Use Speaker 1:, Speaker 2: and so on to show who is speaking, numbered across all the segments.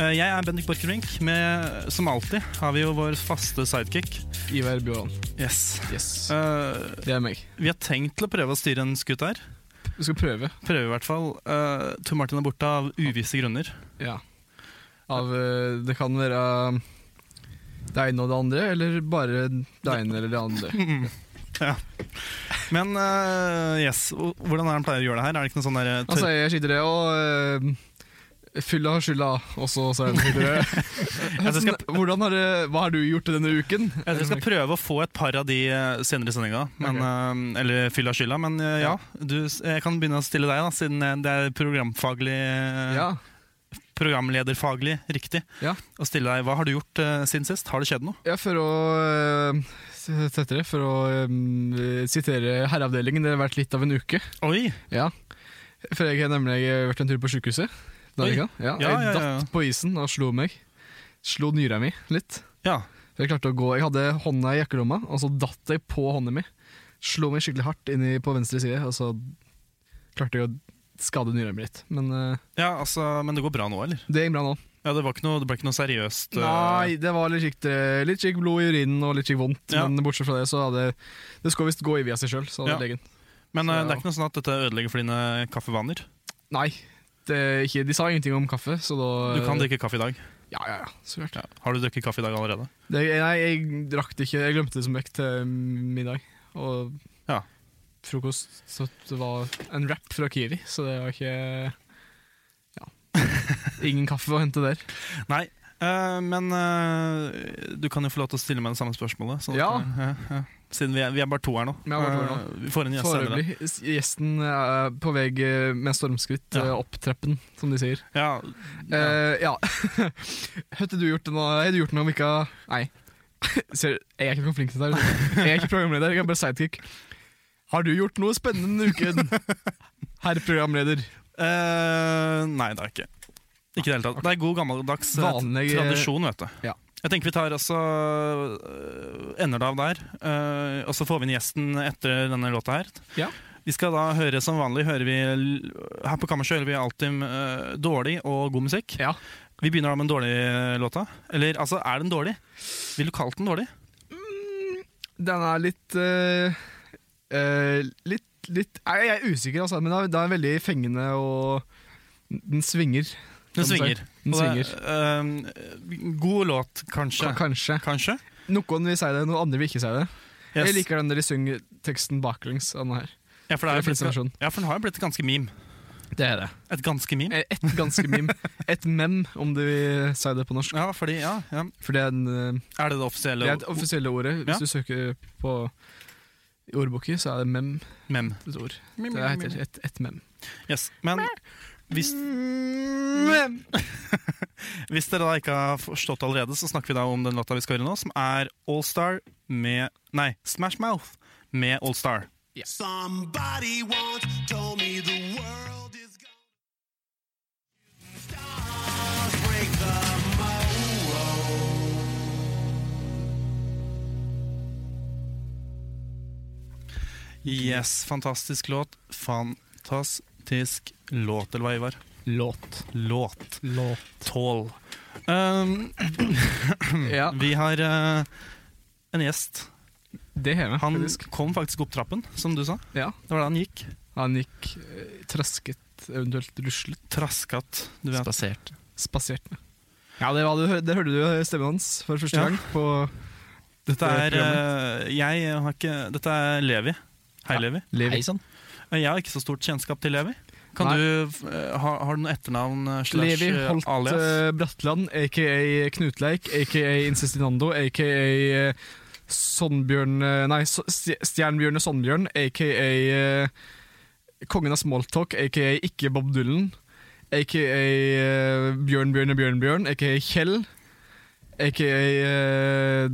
Speaker 1: Eh, Jeg er Bendik Borchgrevink. med- Som alltid har vi jo vår faste sidekick.
Speaker 2: Ivar Bjørland.
Speaker 1: Yes.
Speaker 2: Yes.
Speaker 1: Eh,
Speaker 2: Det er meg.
Speaker 1: vi har tenkt til å prøve å styre en skutt her.
Speaker 2: Vi skal prøve.
Speaker 1: Prøve i hvert fall. Uh, Tor Martin er borte av uvisse grunner.
Speaker 2: Ja. Av eh, Det kan være det ene og det andre, eller bare det ene eller det andre.
Speaker 1: Men eh, yes, og hvordan er han pleier å gjøre det her? Er det ikke noe sånn der eh,
Speaker 2: Han
Speaker 1: tørr-
Speaker 2: sier jeg skylder det, og eh, fylla har skylda, og så sier han skylder det.
Speaker 1: Altså, Jeg
Speaker 2: Hvordan-
Speaker 1: skal-
Speaker 2: Hvordan har, det- hva har du gjort denne uken?
Speaker 1: Jeg tror jeg skal prøve å få et par av de eh, senere i sendinga. Men, eh, Eller fylla skylda, men eh, ja. Du, jeg kan begynne å stille deg, da, siden eh, det er programfaglig eh,
Speaker 2: Ja.
Speaker 1: Programlederfaglig riktig.
Speaker 2: Ja.
Speaker 1: Og stille deg, Hva har du gjort eh, siden sist? Har det skjedd noe?
Speaker 2: Ja, for å eh, s- tettere, for å eh, sitere Herreavdelingen, det har vært litt av en uke.
Speaker 1: Oi!
Speaker 2: Ja. For jeg har nemlig vært en tur på sykehuset. denne
Speaker 1: Oi.
Speaker 2: uka. Ja,
Speaker 1: Ja,
Speaker 2: jeg
Speaker 1: ja, ja.
Speaker 2: datt på isen og slo meg. Slo nyra mi litt.
Speaker 1: Ja.
Speaker 2: For jeg klarte å gå Jeg hadde hånda i jakkelomma, og så datt jeg på hånda mi. Slo meg skikkelig hardt inn i, på venstre side, og så klarte jeg å skade nyra mi litt. Men eh,
Speaker 1: ja altså, men det går bra nå, eller?
Speaker 2: det gikk bra nå.
Speaker 1: Ja, Det, var ikke noe, det ble ikke noe seriøst? eh,
Speaker 2: Nei, det var litt kjikt eh, Litt kjikt blod i urinen og litt kjikt vondt,
Speaker 1: Ja.
Speaker 2: men bortsett fra det, så hadde Det skal visst gå i via seg sjøl, sa
Speaker 1: Ja.
Speaker 2: legen.
Speaker 1: Men eh,
Speaker 2: så-
Speaker 1: det er ikke noe sånn at dette ødelegger for dine kaffevaner?
Speaker 2: Nei, det, er ikke, de sa ingenting om kaffe, så da
Speaker 1: Du kan drikke kaffe i dag.
Speaker 2: Ja, ja, Eh. ja. Så klart.
Speaker 1: Ja. Har du drukket kaffe i dag allerede?
Speaker 2: Det, nei, jeg rakk det ikke. Jeg glemte det som vekk til middag. Og
Speaker 1: Ja.
Speaker 2: frokost så det var en wrap fra Kiwi, så det var ikke Ja. Ingen kaffe å hente der.
Speaker 1: Nei, eh, men eh, du kan jo få lov til å stille meg det samme spørsmålet. sånn at-
Speaker 2: Ja.
Speaker 1: ja, ja. Siden vi er, vi er bare to her nå.
Speaker 2: Vi er bare to her
Speaker 1: Eh, vi får en gjest senere.
Speaker 2: Foreløpig. S- Gjesten er på vei eh, med stormskritt
Speaker 1: Ja.
Speaker 2: eh, opp treppen, som de sier.
Speaker 1: Ja,
Speaker 2: Ja. ja. Har du gjort noe Har du gjort noe om ikke Nei. Ser, jeg er ikke noe flink til dette. her. Jeg er ikke programleder, jeg er bare sidekick. Har du gjort noe spennende denne uken, herr programleder?
Speaker 1: eh, nei, det er ikke. Ikke i det hele tatt. Det er god gammeldags eh,
Speaker 2: Vanlig-
Speaker 1: tradisjon, vet du.
Speaker 2: Ja.
Speaker 1: Jeg tenker vi tar altså eh, Ender det av der. eh, og så får vi inn gjesten etter denne låta her.
Speaker 2: Ja.
Speaker 1: Vi skal da høre som vanlig hører vi, l- Her på kammerset hører vi alltid eh, dårlig og god musikk.
Speaker 2: Ja.
Speaker 1: Vi begynner da med den dårlige låta. Eller altså, er den dårlig? Vil du kalt den dårlig?
Speaker 2: Den er litt eh, eh, Litt, litt nei, Jeg er usikker, altså, men den er, den er veldig fengende, og den svinger.
Speaker 1: Den
Speaker 2: Som
Speaker 1: svinger.
Speaker 2: Den
Speaker 1: Og det-
Speaker 2: svinger.
Speaker 1: ehm, god låt, kanskje.
Speaker 2: Ka- Kanskje.
Speaker 1: kanskje?
Speaker 2: Noen vil si det, noen andre vil ikke si det.
Speaker 1: Yes.
Speaker 2: Jeg liker den der de synger teksten baklengs. av den her.
Speaker 1: ja, for det er
Speaker 2: det
Speaker 1: jo
Speaker 2: finnes en
Speaker 1: blitt,
Speaker 2: versjon.
Speaker 1: ja, for den har jo blitt et ganske meme.
Speaker 2: Det er det.
Speaker 1: Et ganske meme?
Speaker 2: Eh, Et ganske meme. Et mem, om du vil si det på norsk.
Speaker 1: Ja, fordi, ja, ja.
Speaker 2: For det er, den, eh,
Speaker 1: Er det det offisielle
Speaker 2: det er det offisielle ordet.
Speaker 1: Ja.
Speaker 2: Hvis du søker på i ordboken, så er det mem
Speaker 1: mem?
Speaker 2: et ord. Det heter et, et mem.
Speaker 1: Yes. Men Hvis, hvis dere da ikke har forstått det allerede, så snakker vi da om den låta vi skal høre nå, som er Allstar med Nei, Smash Mouth med Allstar.
Speaker 3: Somebody once told me the world is gone. Stars break the mold.
Speaker 1: Yes, fantastisk låt. Fantastisk låt, eller hva, Ivar?
Speaker 2: Låt.
Speaker 1: Låt.
Speaker 2: Låt.
Speaker 1: Tål. Um,
Speaker 2: Ja,
Speaker 1: vi har eh, en gjest.
Speaker 2: det har jeg
Speaker 1: Han
Speaker 2: faktisk.
Speaker 1: kom faktisk opp trappen, som du sa.
Speaker 2: Ja.
Speaker 1: Det var da han gikk.
Speaker 2: Han gikk eh, trasket, eventuelt ruslet,
Speaker 1: Traskat, du vet.
Speaker 4: Spasert.
Speaker 2: spasert med. Ja, det, var, det, hør- det hørte du eh, stemmen hans for første
Speaker 1: Ja.
Speaker 2: gang på
Speaker 1: Dette
Speaker 2: Det
Speaker 1: er,
Speaker 2: er
Speaker 1: eh, jeg har ikke, dette er Levi. Hei, Levi. Eh,
Speaker 2: Levi.
Speaker 4: Hei sann.
Speaker 1: Jeg har ikke så stort kjennskap til Levi. Kan
Speaker 2: Nei.
Speaker 1: du, f- eh, har, har du noe etternavn? eh, slash,
Speaker 2: Levi
Speaker 1: eh,
Speaker 2: Holt
Speaker 1: alias?
Speaker 2: eh, Bratland, aka Knutleik, aka Insistinando, aka eh, Sonnbjørn eh, Nei, Så- Stje- Stjernbjørne Sonnbjørn, aka eh, Kongen av Smalltalk, aka ikke Bob Dylan, aka eh, Bjørn Bjørne Bjørnbjørn, aka Kjell, aka eh,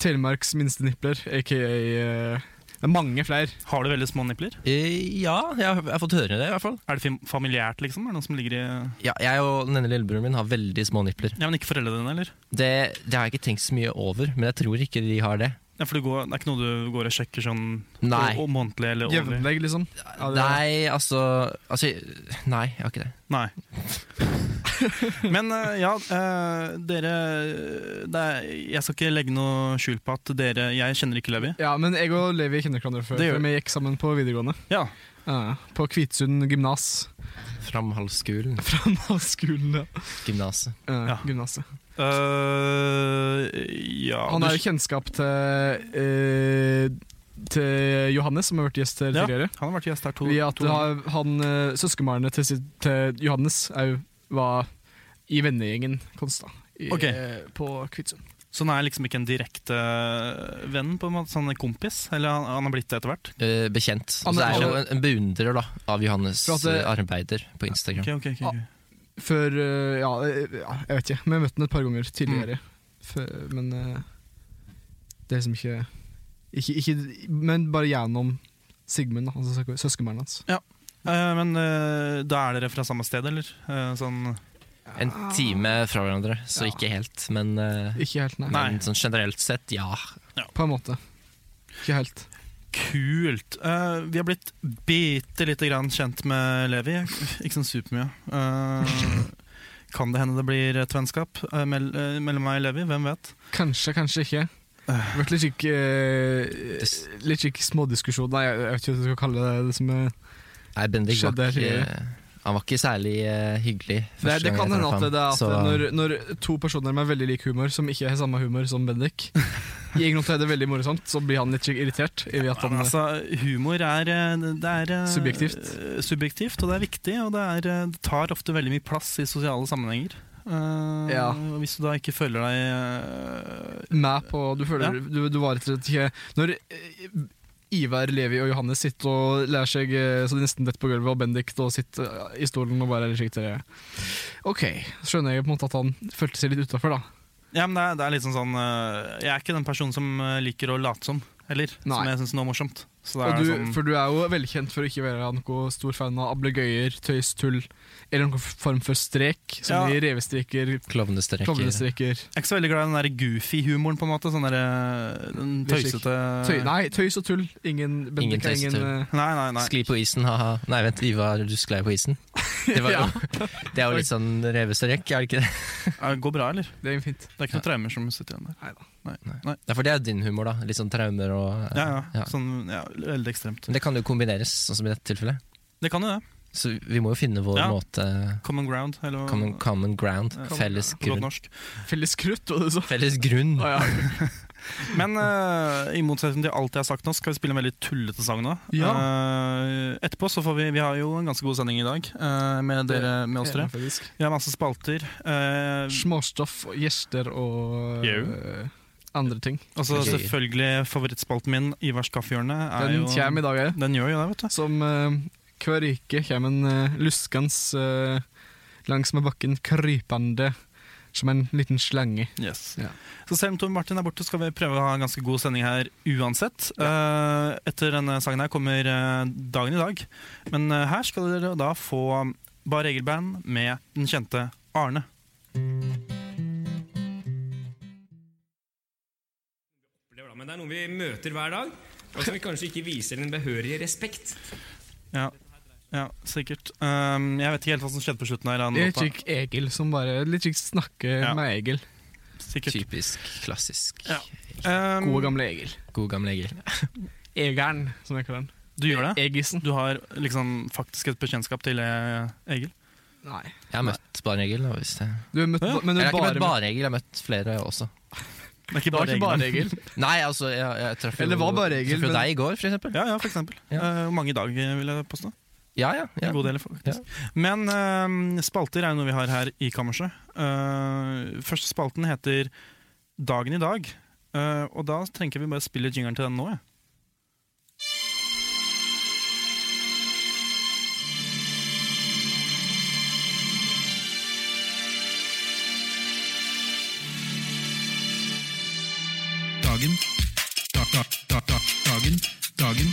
Speaker 2: Telemarks minste nipler, aka eh, Det er mange flere.
Speaker 1: Har du veldig små nipler?
Speaker 4: Eh, ja, jeg har, jeg har fått høre det, i hvert fall.
Speaker 1: Er det fam- familiært, liksom? Er det noen som ligger i
Speaker 4: Ja, jeg og den ene lillebroren min har veldig små nipler.
Speaker 1: Ja, men ikke foreldrene dine, eller?
Speaker 4: Det, det har jeg ikke tenkt så mye over, men jeg tror ikke de har det.
Speaker 1: Ja, for du går, det er ikke noe du går og sjekker sånn
Speaker 4: Nei.
Speaker 1: å- å- månedlig eller årlig?
Speaker 2: Jevnlegg, liksom. Ja, det-
Speaker 4: Nei, altså, altså Nei, jeg har ikke det.
Speaker 1: Nei. Men eh, ja, eh, dere det er, Jeg skal ikke legge noe skjul på at dere Jeg kjenner ikke Levi.
Speaker 2: Ja, men jeg og Levi kjenner hverandre før.
Speaker 1: Det gjør
Speaker 2: for Vi gikk sammen på videregående.
Speaker 1: Ja.
Speaker 2: Ja, på Kvitsund gymnas.
Speaker 4: Framhalsskolen,
Speaker 2: Fra Nav-skolen, ja.
Speaker 4: gymnaset.
Speaker 2: Eh,
Speaker 1: Ja.
Speaker 2: Gymnaset.
Speaker 1: Eh, ja
Speaker 2: Han
Speaker 1: du-
Speaker 2: har jo kjennskap til eh, Til Johannes, som har vært gjest her
Speaker 1: Ja.
Speaker 2: tidligere.
Speaker 1: Han har vært gjest her to,
Speaker 2: Via at
Speaker 1: to ganger.
Speaker 2: har, han, eh, Søskenbarnet til, sitt- til Johannes er jo, var i vennegjengen Konstad. I,
Speaker 1: Ok.
Speaker 2: eh, på Kvitsund.
Speaker 1: Så han er liksom ikke en direkte venn, på en måte, sånn en kompis? Eller han, han har blitt det etter hvert?
Speaker 4: Eh, bekjent.
Speaker 2: Ah,
Speaker 4: Og så
Speaker 2: men
Speaker 4: er jeg
Speaker 2: alle-
Speaker 4: jo en, en beundrer da, av Johannes
Speaker 2: For at det-
Speaker 4: eh, arbeider på Instagram.
Speaker 1: Ok, ok, ok, ok.
Speaker 2: Før eh, ja, eh, ja, jeg vet ikke. Vi har møtt han et par ganger tidligere.
Speaker 1: Mm.
Speaker 2: Før, men eh, det er liksom ikke, ikke, ikke Men bare gjennom Sigmund, da, altså sø- søskenbarnet hans.
Speaker 1: Eh, men eh, da er dere fra samme sted, eller? Eh, sånn
Speaker 4: En time fra hverandre, så
Speaker 2: Ah. Ja.
Speaker 4: ikke helt, men, eh,
Speaker 2: Ikke helt, nei.
Speaker 1: Nei.
Speaker 4: men sånn generelt sett, ja.
Speaker 2: På en måte. Ikke helt.
Speaker 1: Kult! Eh, vi har blitt bitte lite grann kjent med Levi. Ikke sånn supermye. Eh, kan det hende det blir et vennskap eh, mell eh, mellom meg og Levi? Hvem vet?
Speaker 2: Kanskje, kanskje ikke. Det
Speaker 4: Øh.
Speaker 2: har vært litt slik,
Speaker 4: Dis-
Speaker 2: eh, litt slik smådiskusjon. Nei, jeg jeg vet ikke hva jeg skal kalle det. Det, som eh, er,
Speaker 4: Nei, Bendik var
Speaker 2: Skjedde
Speaker 4: ikke,
Speaker 2: tidligere.
Speaker 4: han var ikke særlig eh, hyggelig.
Speaker 2: det,
Speaker 4: første
Speaker 2: det
Speaker 4: gang
Speaker 2: kan
Speaker 4: jeg
Speaker 2: hende
Speaker 4: traff
Speaker 2: at
Speaker 4: han,
Speaker 2: det er at
Speaker 4: så-
Speaker 2: når, når to personer med veldig lik humor, som ikke har samme humor som Bendik, i en måte er det veldig morsomt, så blir han litt slik irritert. i at
Speaker 1: Men
Speaker 2: han,
Speaker 1: altså, humor er, eh, det er eh,
Speaker 2: Subjektivt.
Speaker 1: eh, subjektivt, og det er viktig. Og det, er, eh, det tar ofte veldig mye plass i sosiale sammenhenger. Eh,
Speaker 2: Ja.
Speaker 1: og Hvis du da ikke føler deg eh,
Speaker 2: med på Du føler du, du var rett og slett ikke Når eh, Ivar, Levi og Johannes sitter og lærer seg eh, så de nesten detter på gulvet, og Bendik da sitter eh, i stolen og bare er slik til det. Ok, så skjønner jeg på en måte at han følte seg litt utafor, da.
Speaker 1: Ja, men det er, det er liksom sånn eh, Jeg er ikke den personen som eh, liker å late som, eller.
Speaker 2: Nei.
Speaker 1: Som jeg syns er noe morsomt. Så det
Speaker 2: Og
Speaker 1: er
Speaker 2: du,
Speaker 1: sånn,
Speaker 2: for du er jo velkjent for å ikke være noe stor fan av ablegøyer, tøys, tull eller noen form for strek, som
Speaker 1: Ja.
Speaker 2: i revestreker,
Speaker 4: Klovnestreker.
Speaker 2: klovnestreker
Speaker 1: Jeg er ikke så veldig glad i den der goofy-humoren, på en måte. Sånn der, eh, den
Speaker 2: Virkelig.
Speaker 1: tøysete
Speaker 2: tøy, Nei, tøys og tull. Ingen Bendik er
Speaker 4: tøys og
Speaker 2: ingen
Speaker 4: tull.
Speaker 2: eh,
Speaker 1: nei, nei, nei.
Speaker 4: Skli på isen, haha. Nei, vent, Ivar, du sklei på isen. Det, var, jo- det er jo litt sånn revestrek, er det ikke det?
Speaker 1: Eh, Går bra, eller?
Speaker 2: Det er fint.
Speaker 1: Det er ikke noen traumer som sitter igjen der.
Speaker 2: Neida.
Speaker 4: Ja, for det er jo din humor, da. Litt sånn traumer og
Speaker 1: Ja, ja.
Speaker 4: Ja.
Speaker 1: Sånn, ja, veldig ekstremt.
Speaker 4: Men det kan jo kombineres, sånn som i dette tilfellet.
Speaker 1: Det kan jo det.
Speaker 4: Så vi må jo finne vår
Speaker 1: Ja.
Speaker 4: måte
Speaker 1: Common ground. Eller, hva-
Speaker 4: Common, common ground.
Speaker 1: Ja.
Speaker 4: Felles
Speaker 1: på godt
Speaker 4: grunn.
Speaker 1: norsk.
Speaker 2: Felles krutt, var det sånn. du sa.
Speaker 4: Felles grunn.
Speaker 2: Å, ja.
Speaker 1: Men eh, i motsetning til alt jeg har sagt nå, så skal vi spille en veldig tullete sang nå.
Speaker 2: Ja.
Speaker 1: Eh, etterpå så får vi Vi har jo en ganske god sending i dag eh, med dere med oss tre.
Speaker 2: Faktisk.
Speaker 1: Vi har masse spalter. eh,
Speaker 2: Småstoff og gjester og
Speaker 1: Jau.
Speaker 2: eh, andre ting.
Speaker 1: Og så
Speaker 4: Gøy.
Speaker 1: selvfølgelig favorittspalten min, Ivars kaffehjørne. er
Speaker 2: Den
Speaker 1: jo-
Speaker 2: kommer i dag, jeg.
Speaker 1: Den gjør jo det, vet du.
Speaker 2: Som eh, Hver uke kommer en eh, luskans eh, langsmed bakken krypende som en liten slange.
Speaker 1: Yes.
Speaker 2: Ja.
Speaker 1: Så selv om Tom Martin er borte, skal vi prøve å ha en ganske god sending her uansett. Eh, etter denne sangen her kommer eh, dagen i dag. Men eh, her skal dere da få Bar Egil-band med den kjente Arne.
Speaker 5: opplever da, men det er noen vi møter hver dag, og som vi kanskje ikke viser den behørige respekt.
Speaker 1: Ja, ja sikkert. Um, jeg vet ikke helt hva som skjedde på slutten her. han
Speaker 2: Litt
Speaker 1: låta.
Speaker 2: kikk Egil som bare litt kikk snakker
Speaker 1: Ja.
Speaker 2: med Egil.
Speaker 1: Sikkert.
Speaker 4: Typisk, klassisk.
Speaker 1: Ja. Um,
Speaker 2: Gode, gamle Egil.
Speaker 4: God gamle Egil.
Speaker 2: Egeren, som jeg kaller den.
Speaker 1: du gjør det?
Speaker 2: Egisen.
Speaker 1: Du har liksom faktisk et bekjentskap til eh, Egil?
Speaker 2: Nei.
Speaker 4: Jeg har møtt Bare Egil. da, hvis det...
Speaker 2: Du har møtt,
Speaker 1: Ja, ja.
Speaker 2: men du
Speaker 4: Jeg
Speaker 2: har
Speaker 4: har ikke
Speaker 2: bare
Speaker 4: møtt Bare Egil, jeg har møtt flere også.
Speaker 1: Det er ikke
Speaker 2: Det var ikke
Speaker 1: Egil,
Speaker 2: bare
Speaker 1: men-
Speaker 2: Egil.
Speaker 4: Nei, altså, jeg, jeg traff jo,
Speaker 2: Eller var Bare Egil,
Speaker 4: traff jo
Speaker 2: men-
Speaker 4: deg i går, for eksempel.
Speaker 1: Ja, ja, for eksempel.
Speaker 4: Ja.
Speaker 1: Eh, hvor mange i dag, eh, vil jeg påstå.
Speaker 4: Ja, ja. ja.
Speaker 1: En god del, faktisk. Men eh, spalter er jo noe vi har her i kammerset. Eh, første spalten heter Dagen i dag. Eh, og da trenger vi bare spille jingeren til den nå, jeg.
Speaker 6: dagen, da, da, da, da, dagen, dagen,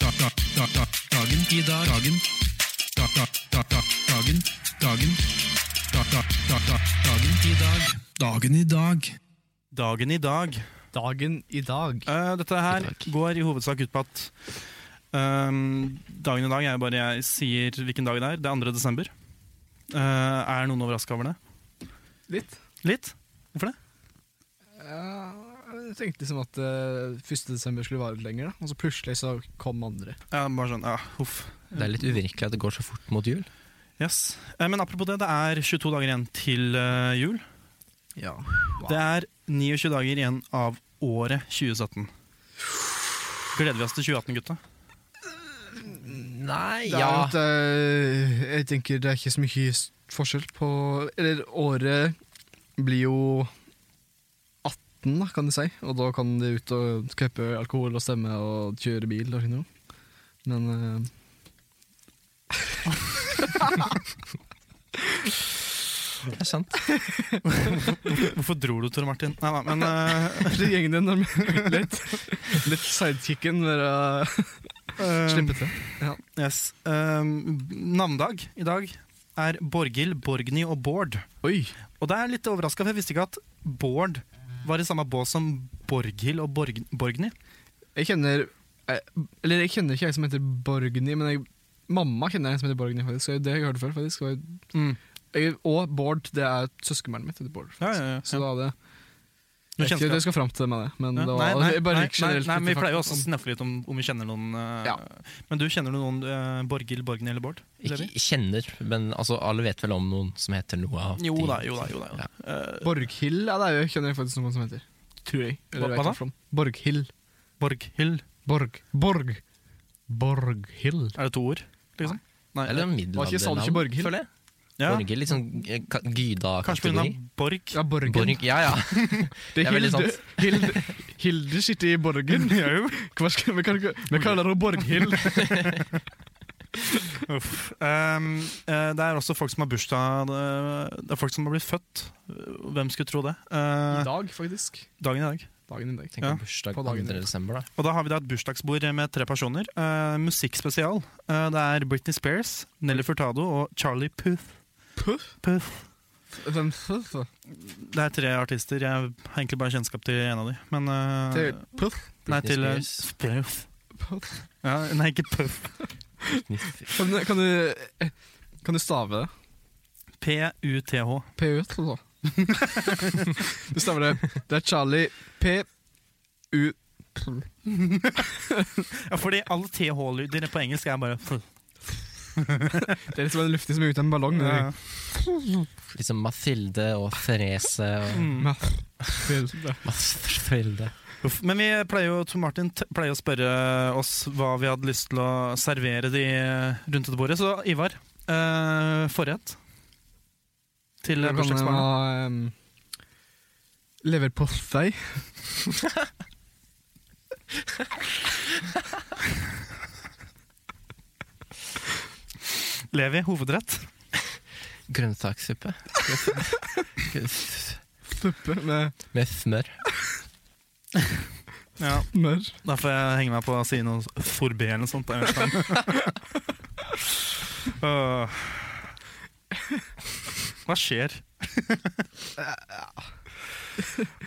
Speaker 6: da, da, da, da, dagen, i dag, dagen, da, da, da, da, dagen, dagen, da, da, da, da, dagen, i dag, dagen i dag.
Speaker 1: Dagen i dag.
Speaker 2: Dagen i dag.
Speaker 1: Eh, dette her
Speaker 4: I dag.
Speaker 1: går i hovedsak ut på at ehm, dagen i dag er jo bare jeg sier hvilken dag det er. Det er 2. desember. Eh, er noen overraska over det?
Speaker 2: Litt.
Speaker 1: Litt? Hvorfor det?
Speaker 2: Ja, jeg tenkte liksom at eh, 1. desember skulle vare litt lenger, da. og så plutselig så kom andre.
Speaker 1: Ja, bare sånn, ja, huff.
Speaker 4: Det er litt uvirkelig at det går så fort mot jul.
Speaker 1: Yes. Eh, men apropos det, det er 22 dager igjen til eh, jul.
Speaker 2: Ja.
Speaker 1: Det er 29 dager igjen av året 2017. Gleder vi oss til 2018, gutta?
Speaker 4: Nei,
Speaker 2: Det er jo at, eh, jeg tenker det er ikke så mye s- forskjell på Eller året blir jo 18, da, kan du si. Og da kan de ut og køppe alkohol og stemme og kjøre bil. Og sånn noe. Men eh,
Speaker 4: Det er sant.
Speaker 1: Hvorfor dro du, Tore Martin? Nei, nei, men eh,
Speaker 2: kanskje det gjengen din har mye litt, litt sidekicken være
Speaker 1: eh,
Speaker 2: slippete.
Speaker 1: Yes. Um, navndag i dag er Borghild, Borgny og Bård.
Speaker 2: Oi!
Speaker 1: Og det er litt overraska, for jeg visste ikke at Bård var i samme bås som Borghild og Borg Borgny.
Speaker 2: Jeg kjenner eh, Eller jeg kjenner ikke jeg som heter Borgny, men jeg, mamma kjenner en som heter Borgny, faktisk. Så Det har jeg hørt før, faktisk. Og,
Speaker 1: Mm.
Speaker 2: jeg, og Bård, det er søskenbarnet mitt. heter Bård, faktisk.
Speaker 1: Ja, ja, ja,
Speaker 2: Så
Speaker 1: ja.
Speaker 2: da hadde jeg
Speaker 1: Nå
Speaker 2: jeg vet ikke
Speaker 1: kjenner jeg-
Speaker 2: at jeg skal fram til det med det, men
Speaker 1: Ja,
Speaker 2: det var,
Speaker 1: nei, nei,
Speaker 2: jeg bare
Speaker 1: nei,
Speaker 2: gikk
Speaker 1: nei,
Speaker 2: generelt
Speaker 1: nei,
Speaker 2: litt
Speaker 1: men vi
Speaker 2: til
Speaker 1: pleier jo også å
Speaker 2: fakta.
Speaker 1: sneffe litt om, om vi kjenner noen. eh,
Speaker 2: Ja.
Speaker 1: Men du kjenner du noen uh, Borghild, Borgny eller Bård? Levi?
Speaker 4: Ikke kjenner, men altså, alle vet vel om noen som heter noe av
Speaker 1: Jo
Speaker 4: de-
Speaker 1: da, jo da. jo da, jo da.
Speaker 4: Ja.
Speaker 1: Eh,
Speaker 2: Borghild ja, det er jo, kjenner jeg faktisk noen som heter. Tror jeg.
Speaker 1: Hva-
Speaker 2: Eller
Speaker 1: hva
Speaker 2: hva,
Speaker 1: da?
Speaker 2: hva da? Borghild.
Speaker 1: Borghild,
Speaker 2: Borg. Borg. Borghild.
Speaker 1: er det to ord? liksom? Nei,
Speaker 4: Eller
Speaker 2: Var ikke sa du
Speaker 4: middelaldernavn,
Speaker 2: ikke Borghild?
Speaker 4: føler jeg.
Speaker 1: ja.
Speaker 4: Borghild, litt sånn eh, ka-
Speaker 1: Kanskje pga.
Speaker 4: Gyda-kategori.
Speaker 1: Borg?
Speaker 2: Ja, Borgen.
Speaker 4: Borg, ja, ja.
Speaker 2: Det
Speaker 4: Det er
Speaker 2: er
Speaker 4: veldig
Speaker 2: Hilde. Hilde, Hilde sitter i Borgen. Hva skal, vi, kan, ikke- vi kaller henne Borghild.
Speaker 1: Uff. Ehm, eh, det er også folk som har bursdag eh, Det det er folk som har blitt født. Hvem skulle tro det? Eh,
Speaker 2: I dag, faktisk.
Speaker 1: dagen i dag.
Speaker 2: Dagen i dag.
Speaker 4: Tenk
Speaker 1: Ja.
Speaker 4: på bursdag
Speaker 2: På
Speaker 4: 2.
Speaker 2: dagen.
Speaker 4: desember, da.
Speaker 1: Og da har vi da et bursdagsbord med tre personer. Eh, musikkspesial. Eh, det er Britney Spears, Nelly Furtado og Charlie Puth.
Speaker 2: Puff?
Speaker 1: Puth.
Speaker 2: Hvem puff? da?
Speaker 1: Det er tre artister. Jeg har egentlig bare kjennskap til en av de. Men eh,
Speaker 2: Til puff?
Speaker 1: Nei,
Speaker 4: Britney
Speaker 1: til eh,
Speaker 4: Spears.
Speaker 1: Spears.
Speaker 2: puff.
Speaker 1: Ja, nei, ikke Puth.
Speaker 2: Kan, du- kan, du, kan du stave det?
Speaker 1: P-U-T-H.
Speaker 2: PU, altså. du staver det. Det er Charlie P-U
Speaker 1: Ja, fordi alle TH-lyder på engelsk er bare Puth.
Speaker 2: Det er litt som en luftig som er ute av en ballong. det er-
Speaker 4: Liksom Mathilde og Therese og
Speaker 1: Mm.
Speaker 2: Men- det-
Speaker 4: Mathilde.
Speaker 1: Uff, Men vi pleier jo, Tor Martin t- pleier å spørre oss hva vi hadde lyst til å servere de rundt dette bordet. Så Ivar, eh, forrett til
Speaker 2: Da kan jeg
Speaker 1: bursdagsbarnet.
Speaker 2: ha um, ehm, leverpostei. eh,
Speaker 1: Levi, hovedrett.
Speaker 4: Grønnsakssuppe.
Speaker 2: Puppe med
Speaker 4: Med smør.
Speaker 1: Ja,
Speaker 2: mørr.
Speaker 1: Da får jeg henge meg på å si noe forbi eller noe sånt. da, Jeg vet ikke. Åh. Hva skjer?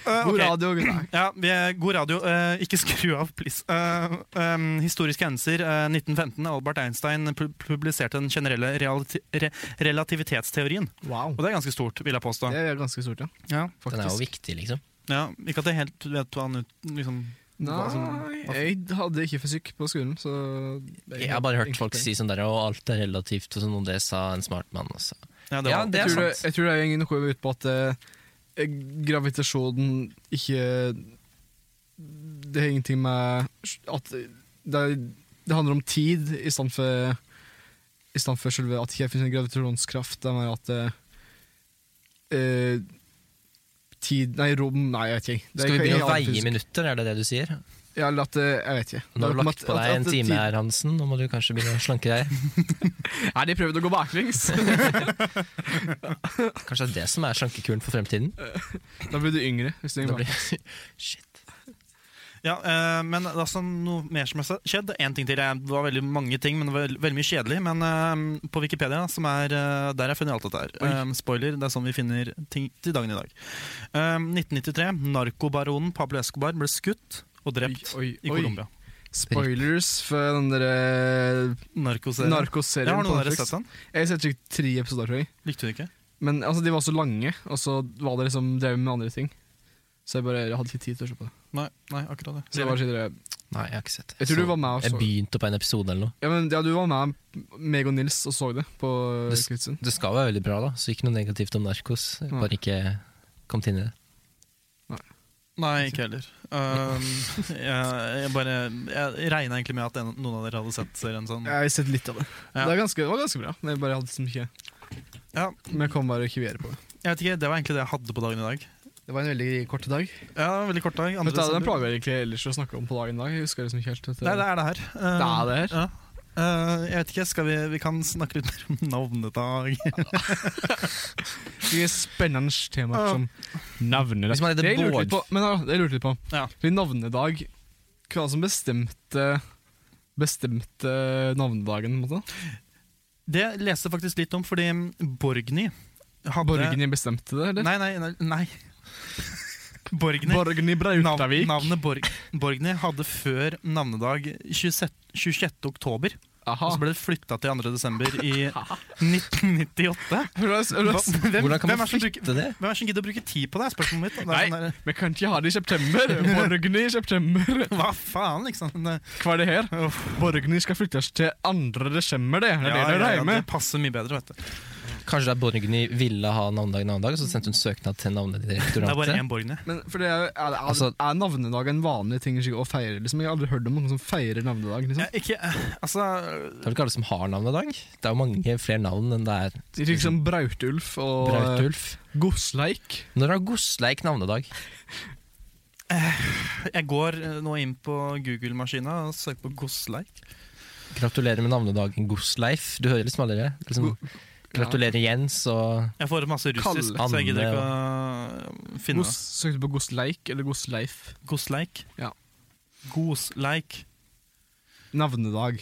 Speaker 1: Eh,
Speaker 2: God
Speaker 1: ok.
Speaker 2: radio. Nei.
Speaker 1: Ja, vi er god radio. Eh, ikke skru av, please. Eh, em, historiske hendelser. eh, 1915. Albert Einstein pu publiserte den generelle realiti re relativitetsteorien.
Speaker 2: Wow.
Speaker 1: Og det er ganske stort, vil jeg påstå.
Speaker 2: Det er ganske stort, ja.
Speaker 1: Ja,
Speaker 4: Den er jo
Speaker 2: Faktisk.
Speaker 4: viktig, liksom.
Speaker 1: ja, ikke at jeg helt vet hva han ut, liksom, hva
Speaker 4: altså.
Speaker 1: som-
Speaker 2: Nei, jeg hadde ikke fysikk på skolen, så
Speaker 4: Jeg har bare hørt folk si sånn der, og alt er relativt, og sånn, og det sa en smart mann altså. også.
Speaker 1: ja, det var,
Speaker 4: Ja, det
Speaker 2: Jeg
Speaker 4: er
Speaker 2: tror det,
Speaker 4: sant.
Speaker 2: jeg tror det er noe ut på at eh, gravitasjonen ikke Det har ingenting med at det, det handler om tid i stedet for i stedet for selve at det ikke finnes en gravitasjonskraft. Det er mer at eh, eh, tid Nei, rom Nei, jeg vet ikke. Det er
Speaker 4: Skal vi
Speaker 2: ikke-
Speaker 4: begynne å
Speaker 2: jeg-
Speaker 4: veie minutter, er det det du sier?
Speaker 2: Ja, eller at det, jeg vet ikke.
Speaker 4: Nå har
Speaker 2: Det
Speaker 4: du
Speaker 2: er
Speaker 4: lagt
Speaker 2: at- at-
Speaker 4: på deg en
Speaker 2: at
Speaker 4: time
Speaker 2: tid-
Speaker 4: her, Hansen. Nå må du kanskje begynne å slanke deg.
Speaker 2: Nei, de prøvde å gå baklengs.
Speaker 4: Kanskje det er det som er slankekuren for fremtiden?
Speaker 2: da blir du yngre. Hvis du er
Speaker 4: Da
Speaker 2: yngre.
Speaker 4: blir, shit.
Speaker 1: Ja, eh, men altså, noe mer som har skjedd. Én ting til. Det var veldig mange ting, men det var veldig mye kjedelig. Men eh, på Wikipedia, som er, eh, der har jeg funnet alt dette her.
Speaker 2: Oi.
Speaker 1: Eh, spoiler, det er sånn vi finner ting til dagen i dag. Eh, 1993. Narkobaronen Pablo Escobar ble skutt og drept
Speaker 2: Oi,
Speaker 1: i
Speaker 2: oi, oi.
Speaker 1: Colombia.
Speaker 2: Spoilers for den eh, derre
Speaker 1: Narkoserien.
Speaker 2: narkoserien.
Speaker 1: ja, har
Speaker 2: på
Speaker 1: noen av dere
Speaker 2: Netflix.
Speaker 1: sett den?
Speaker 2: Jeg har sett sikkert tre episoder, tror jeg.
Speaker 1: Likte du den ikke?
Speaker 2: Men altså, de var så lange, og så var det liksom drev med andre ting. Så jeg bare jeg hadde ikke tid til å se på det.
Speaker 1: Nei, nei akkurat det.
Speaker 2: Så jeg, var så videre-
Speaker 4: Nei, jeg har ikke sett det.
Speaker 2: jeg tror du
Speaker 4: Så-
Speaker 2: var med og
Speaker 4: Jeg
Speaker 2: så
Speaker 4: begynte på en episode eller noe.
Speaker 2: ja, men, ja, du var med, meg og Nils, og så det på
Speaker 4: Det-
Speaker 2: Kvidsund.
Speaker 4: Det skal være veldig bra, da, så ikke noe negativt om
Speaker 1: Mm.
Speaker 4: narkos. Jeg Bare ikke kom inn i det.
Speaker 1: Nei, ikke heller. Um, jeg, jeg bare Jeg regna egentlig med at en, noen av dere hadde sett serien sånn.
Speaker 2: Jeg har sett litt av det.
Speaker 1: Ja.
Speaker 2: Det, er ganske, det var ganske bra, men jeg bare hadde så mye
Speaker 1: Ja,
Speaker 2: Men jeg kom bare ikke videre på det.
Speaker 1: jeg vet ikke, Det var egentlig det jeg hadde på dagen i dag.
Speaker 2: Det var en veldig kort dag.
Speaker 1: Ja, veldig kort dag. andre
Speaker 2: Vet du, hva, Den
Speaker 1: desember.
Speaker 2: plager jeg egentlig ellers å snakke om på dagen i dag. Jeg husker liksom ikke helt vet du.
Speaker 1: Nei, det er det her. Eh,
Speaker 2: Det er det her.
Speaker 1: Ja. Eh, jeg vet ikke, skal vi, vi kan snakke litt mer om navnedag.
Speaker 2: Mye spennende temaer som navnedag.
Speaker 4: Hvis man heter
Speaker 2: Det jeg lurte
Speaker 4: Bård.
Speaker 2: litt på, men ja, det jeg lurte litt på.
Speaker 1: Ja.
Speaker 2: Fordi navnedag Hva som bestemte Bestemte navnedagen? på en måte?
Speaker 1: Det leste jeg faktisk litt om, fordi Borgny hadde
Speaker 2: Borgny bestemte det, eller?
Speaker 1: Nei, nei, nei. nei. Borgny.
Speaker 2: Borgny Brautavik.
Speaker 1: Navnet Borg, Borgny hadde før navnedag 26. 26. oktober,
Speaker 2: Aha.
Speaker 1: og så ble det flytta til 2. desember i 1998.
Speaker 2: Høres- høres-
Speaker 1: Hvem,
Speaker 4: Hvordan kan
Speaker 1: hvem
Speaker 4: man
Speaker 1: er som bruker-
Speaker 4: flytte det?
Speaker 1: hvem er det som gidder å bruke tid på det? er Spørsmålet mitt. Det er
Speaker 2: Nei.
Speaker 1: sånn der,
Speaker 2: Vi kan ikke ha det i september! Borgny i september.
Speaker 1: hva faen, liksom? Det,
Speaker 2: Hva er det her?
Speaker 1: Uff.
Speaker 2: Borgny skal flyttes til 2. desember, det. Det er det det regner
Speaker 1: det
Speaker 2: med.
Speaker 1: passer mye bedre, vet du.
Speaker 4: Kanskje det er Borgny ville ha navnedag navnedag, og så sendte hun søknad
Speaker 1: Det er bare
Speaker 4: til navnedirektoratet.
Speaker 1: én Borgny.
Speaker 2: Men for det er, jo- er, er,
Speaker 4: Altså-
Speaker 2: er navnedag en vanlig ting å feire? Liksom? Jeg har aldri hørt om noen som feirer navnedag. Liksom.
Speaker 1: Ja, ikke, eh, altså
Speaker 4: Det er vel ikke alle som har navnedag? Det er jo mange flere navn enn det er
Speaker 2: Det er liksom Brautulf og eh,
Speaker 4: Brautulf.
Speaker 2: Gosleik.
Speaker 4: Når har Gosleik navnedag?
Speaker 1: Jeg går eh, nå inn på Google-maskina og søker på Gosleik.
Speaker 4: Gratulerer med navnedagen, Gosleif. Du hører liksom allerede. Liksom, gratulerer Jens og
Speaker 1: Jeg får opp masse russisk,
Speaker 4: Kalle.
Speaker 1: så jeg gidder ikke å finne
Speaker 2: Gos,
Speaker 1: det.
Speaker 2: søkte du på Gosleik eller Gosleif?
Speaker 1: Gosleik.
Speaker 2: Ja.
Speaker 1: Gosleik.
Speaker 2: Navnedag.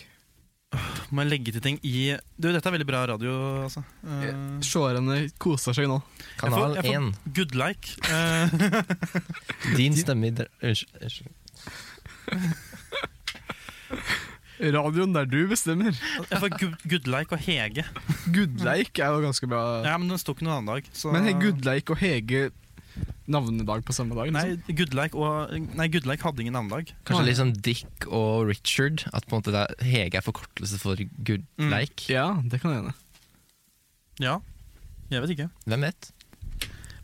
Speaker 1: Må jeg legge til ting i Du, dette er veldig bra radio, altså. Eh,
Speaker 2: Seerne koser seg nå.
Speaker 4: Kanal
Speaker 1: jeg får-
Speaker 4: 1.
Speaker 1: good like. Eh,
Speaker 4: Din stemme i dra- Unnskyld. unnskyld.
Speaker 2: Radioen der du bestemmer.
Speaker 1: jeg får good, good like og Hege.
Speaker 2: Gudleik er jo ganske bra.
Speaker 1: Ja, men den sto ikke noen annen dag. Så.
Speaker 2: Men har Gudleik og Hege navnedag på samme dag?
Speaker 1: Nei,
Speaker 2: Liksom?
Speaker 1: good like og, nei, good like hadde ingen annen dag.
Speaker 4: Kanskje litt sånn Dick og Richard. At på en måte det er, Hege er forkortelse for good
Speaker 1: Mm.
Speaker 4: like.
Speaker 2: Ja, det kan hende.
Speaker 1: Ja. Jeg vet ikke.
Speaker 4: Hvem vet?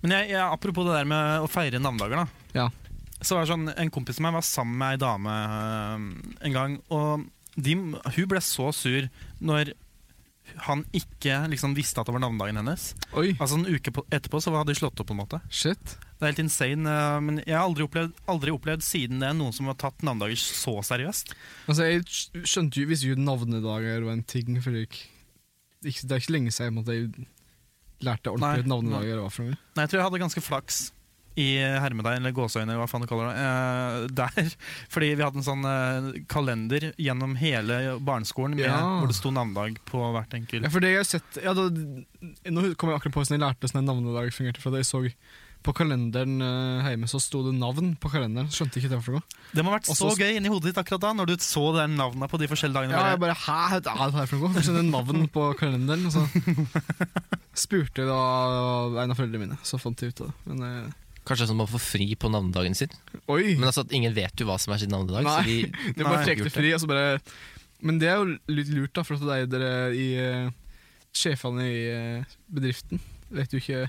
Speaker 1: Men jeg, jeg, apropos det der med å feire navnedager, da.
Speaker 2: Ja.
Speaker 1: Så var det sånn, En kompis av meg var sammen med ei dame eh, en gang, og de, hun ble så sur når han ikke liksom visste at det var navnedagen hennes.
Speaker 2: Oi,
Speaker 1: Altså En uke på, etterpå så hadde de slått opp. på en måte
Speaker 2: shit.
Speaker 1: Det er helt insane, eh, men jeg har aldri opplevd, aldri opplevd siden det noen som har tatt navnedager så seriøst.
Speaker 2: Altså, jeg skj- skjønte jo, visste jo navnedager var en ting før jeg gikk ikke, det er ikke lenge siden at jeg lærte
Speaker 1: Nei,
Speaker 2: ordentlig navnedag eller hva for noe.
Speaker 1: Nei, jeg tror jeg hadde ganske flaks i hermedeig, eller gåseøyne, hva faen du kaller det. eh, der. Fordi vi hadde en sånn eh, kalender gjennom hele barneskolen med,
Speaker 2: Ja.
Speaker 1: hvor det sto navnedag på hvert enkelt.
Speaker 2: Ja, for det jeg har sett ja, da, Nå kom jeg akkurat på hvordan jeg lærte hvordan en navnedag fungerte. For at jeg så på kalenderen eh, hjemme, så sto det navn på kalenderen. Skjønte ikke det for noe.
Speaker 1: Det må ha vært så
Speaker 2: Også-
Speaker 1: gøy inni hodet ditt akkurat da, når du så de der navna på de forskjellige dagene.
Speaker 2: Ja,
Speaker 1: bare,
Speaker 2: jeg bare Hæ, hva er det her for noe? Skjønte navn på kalenderen. Og så spurte jeg da en av foreldrene mine, så fant jeg ut av det. Men eh,
Speaker 4: Kanskje sånn man får fri på navnedagen sin.
Speaker 2: oi!
Speaker 4: Men altså at ingen vet jo hva som er sitt navnedag.
Speaker 2: Nei.
Speaker 4: Så de,
Speaker 2: Det er bare
Speaker 1: Mm. Nei.
Speaker 2: trekte fri, og så bare Men det er jo litt lurt, da, for at det er dere i eh, Sjefene i eh, bedriften vet jo ikke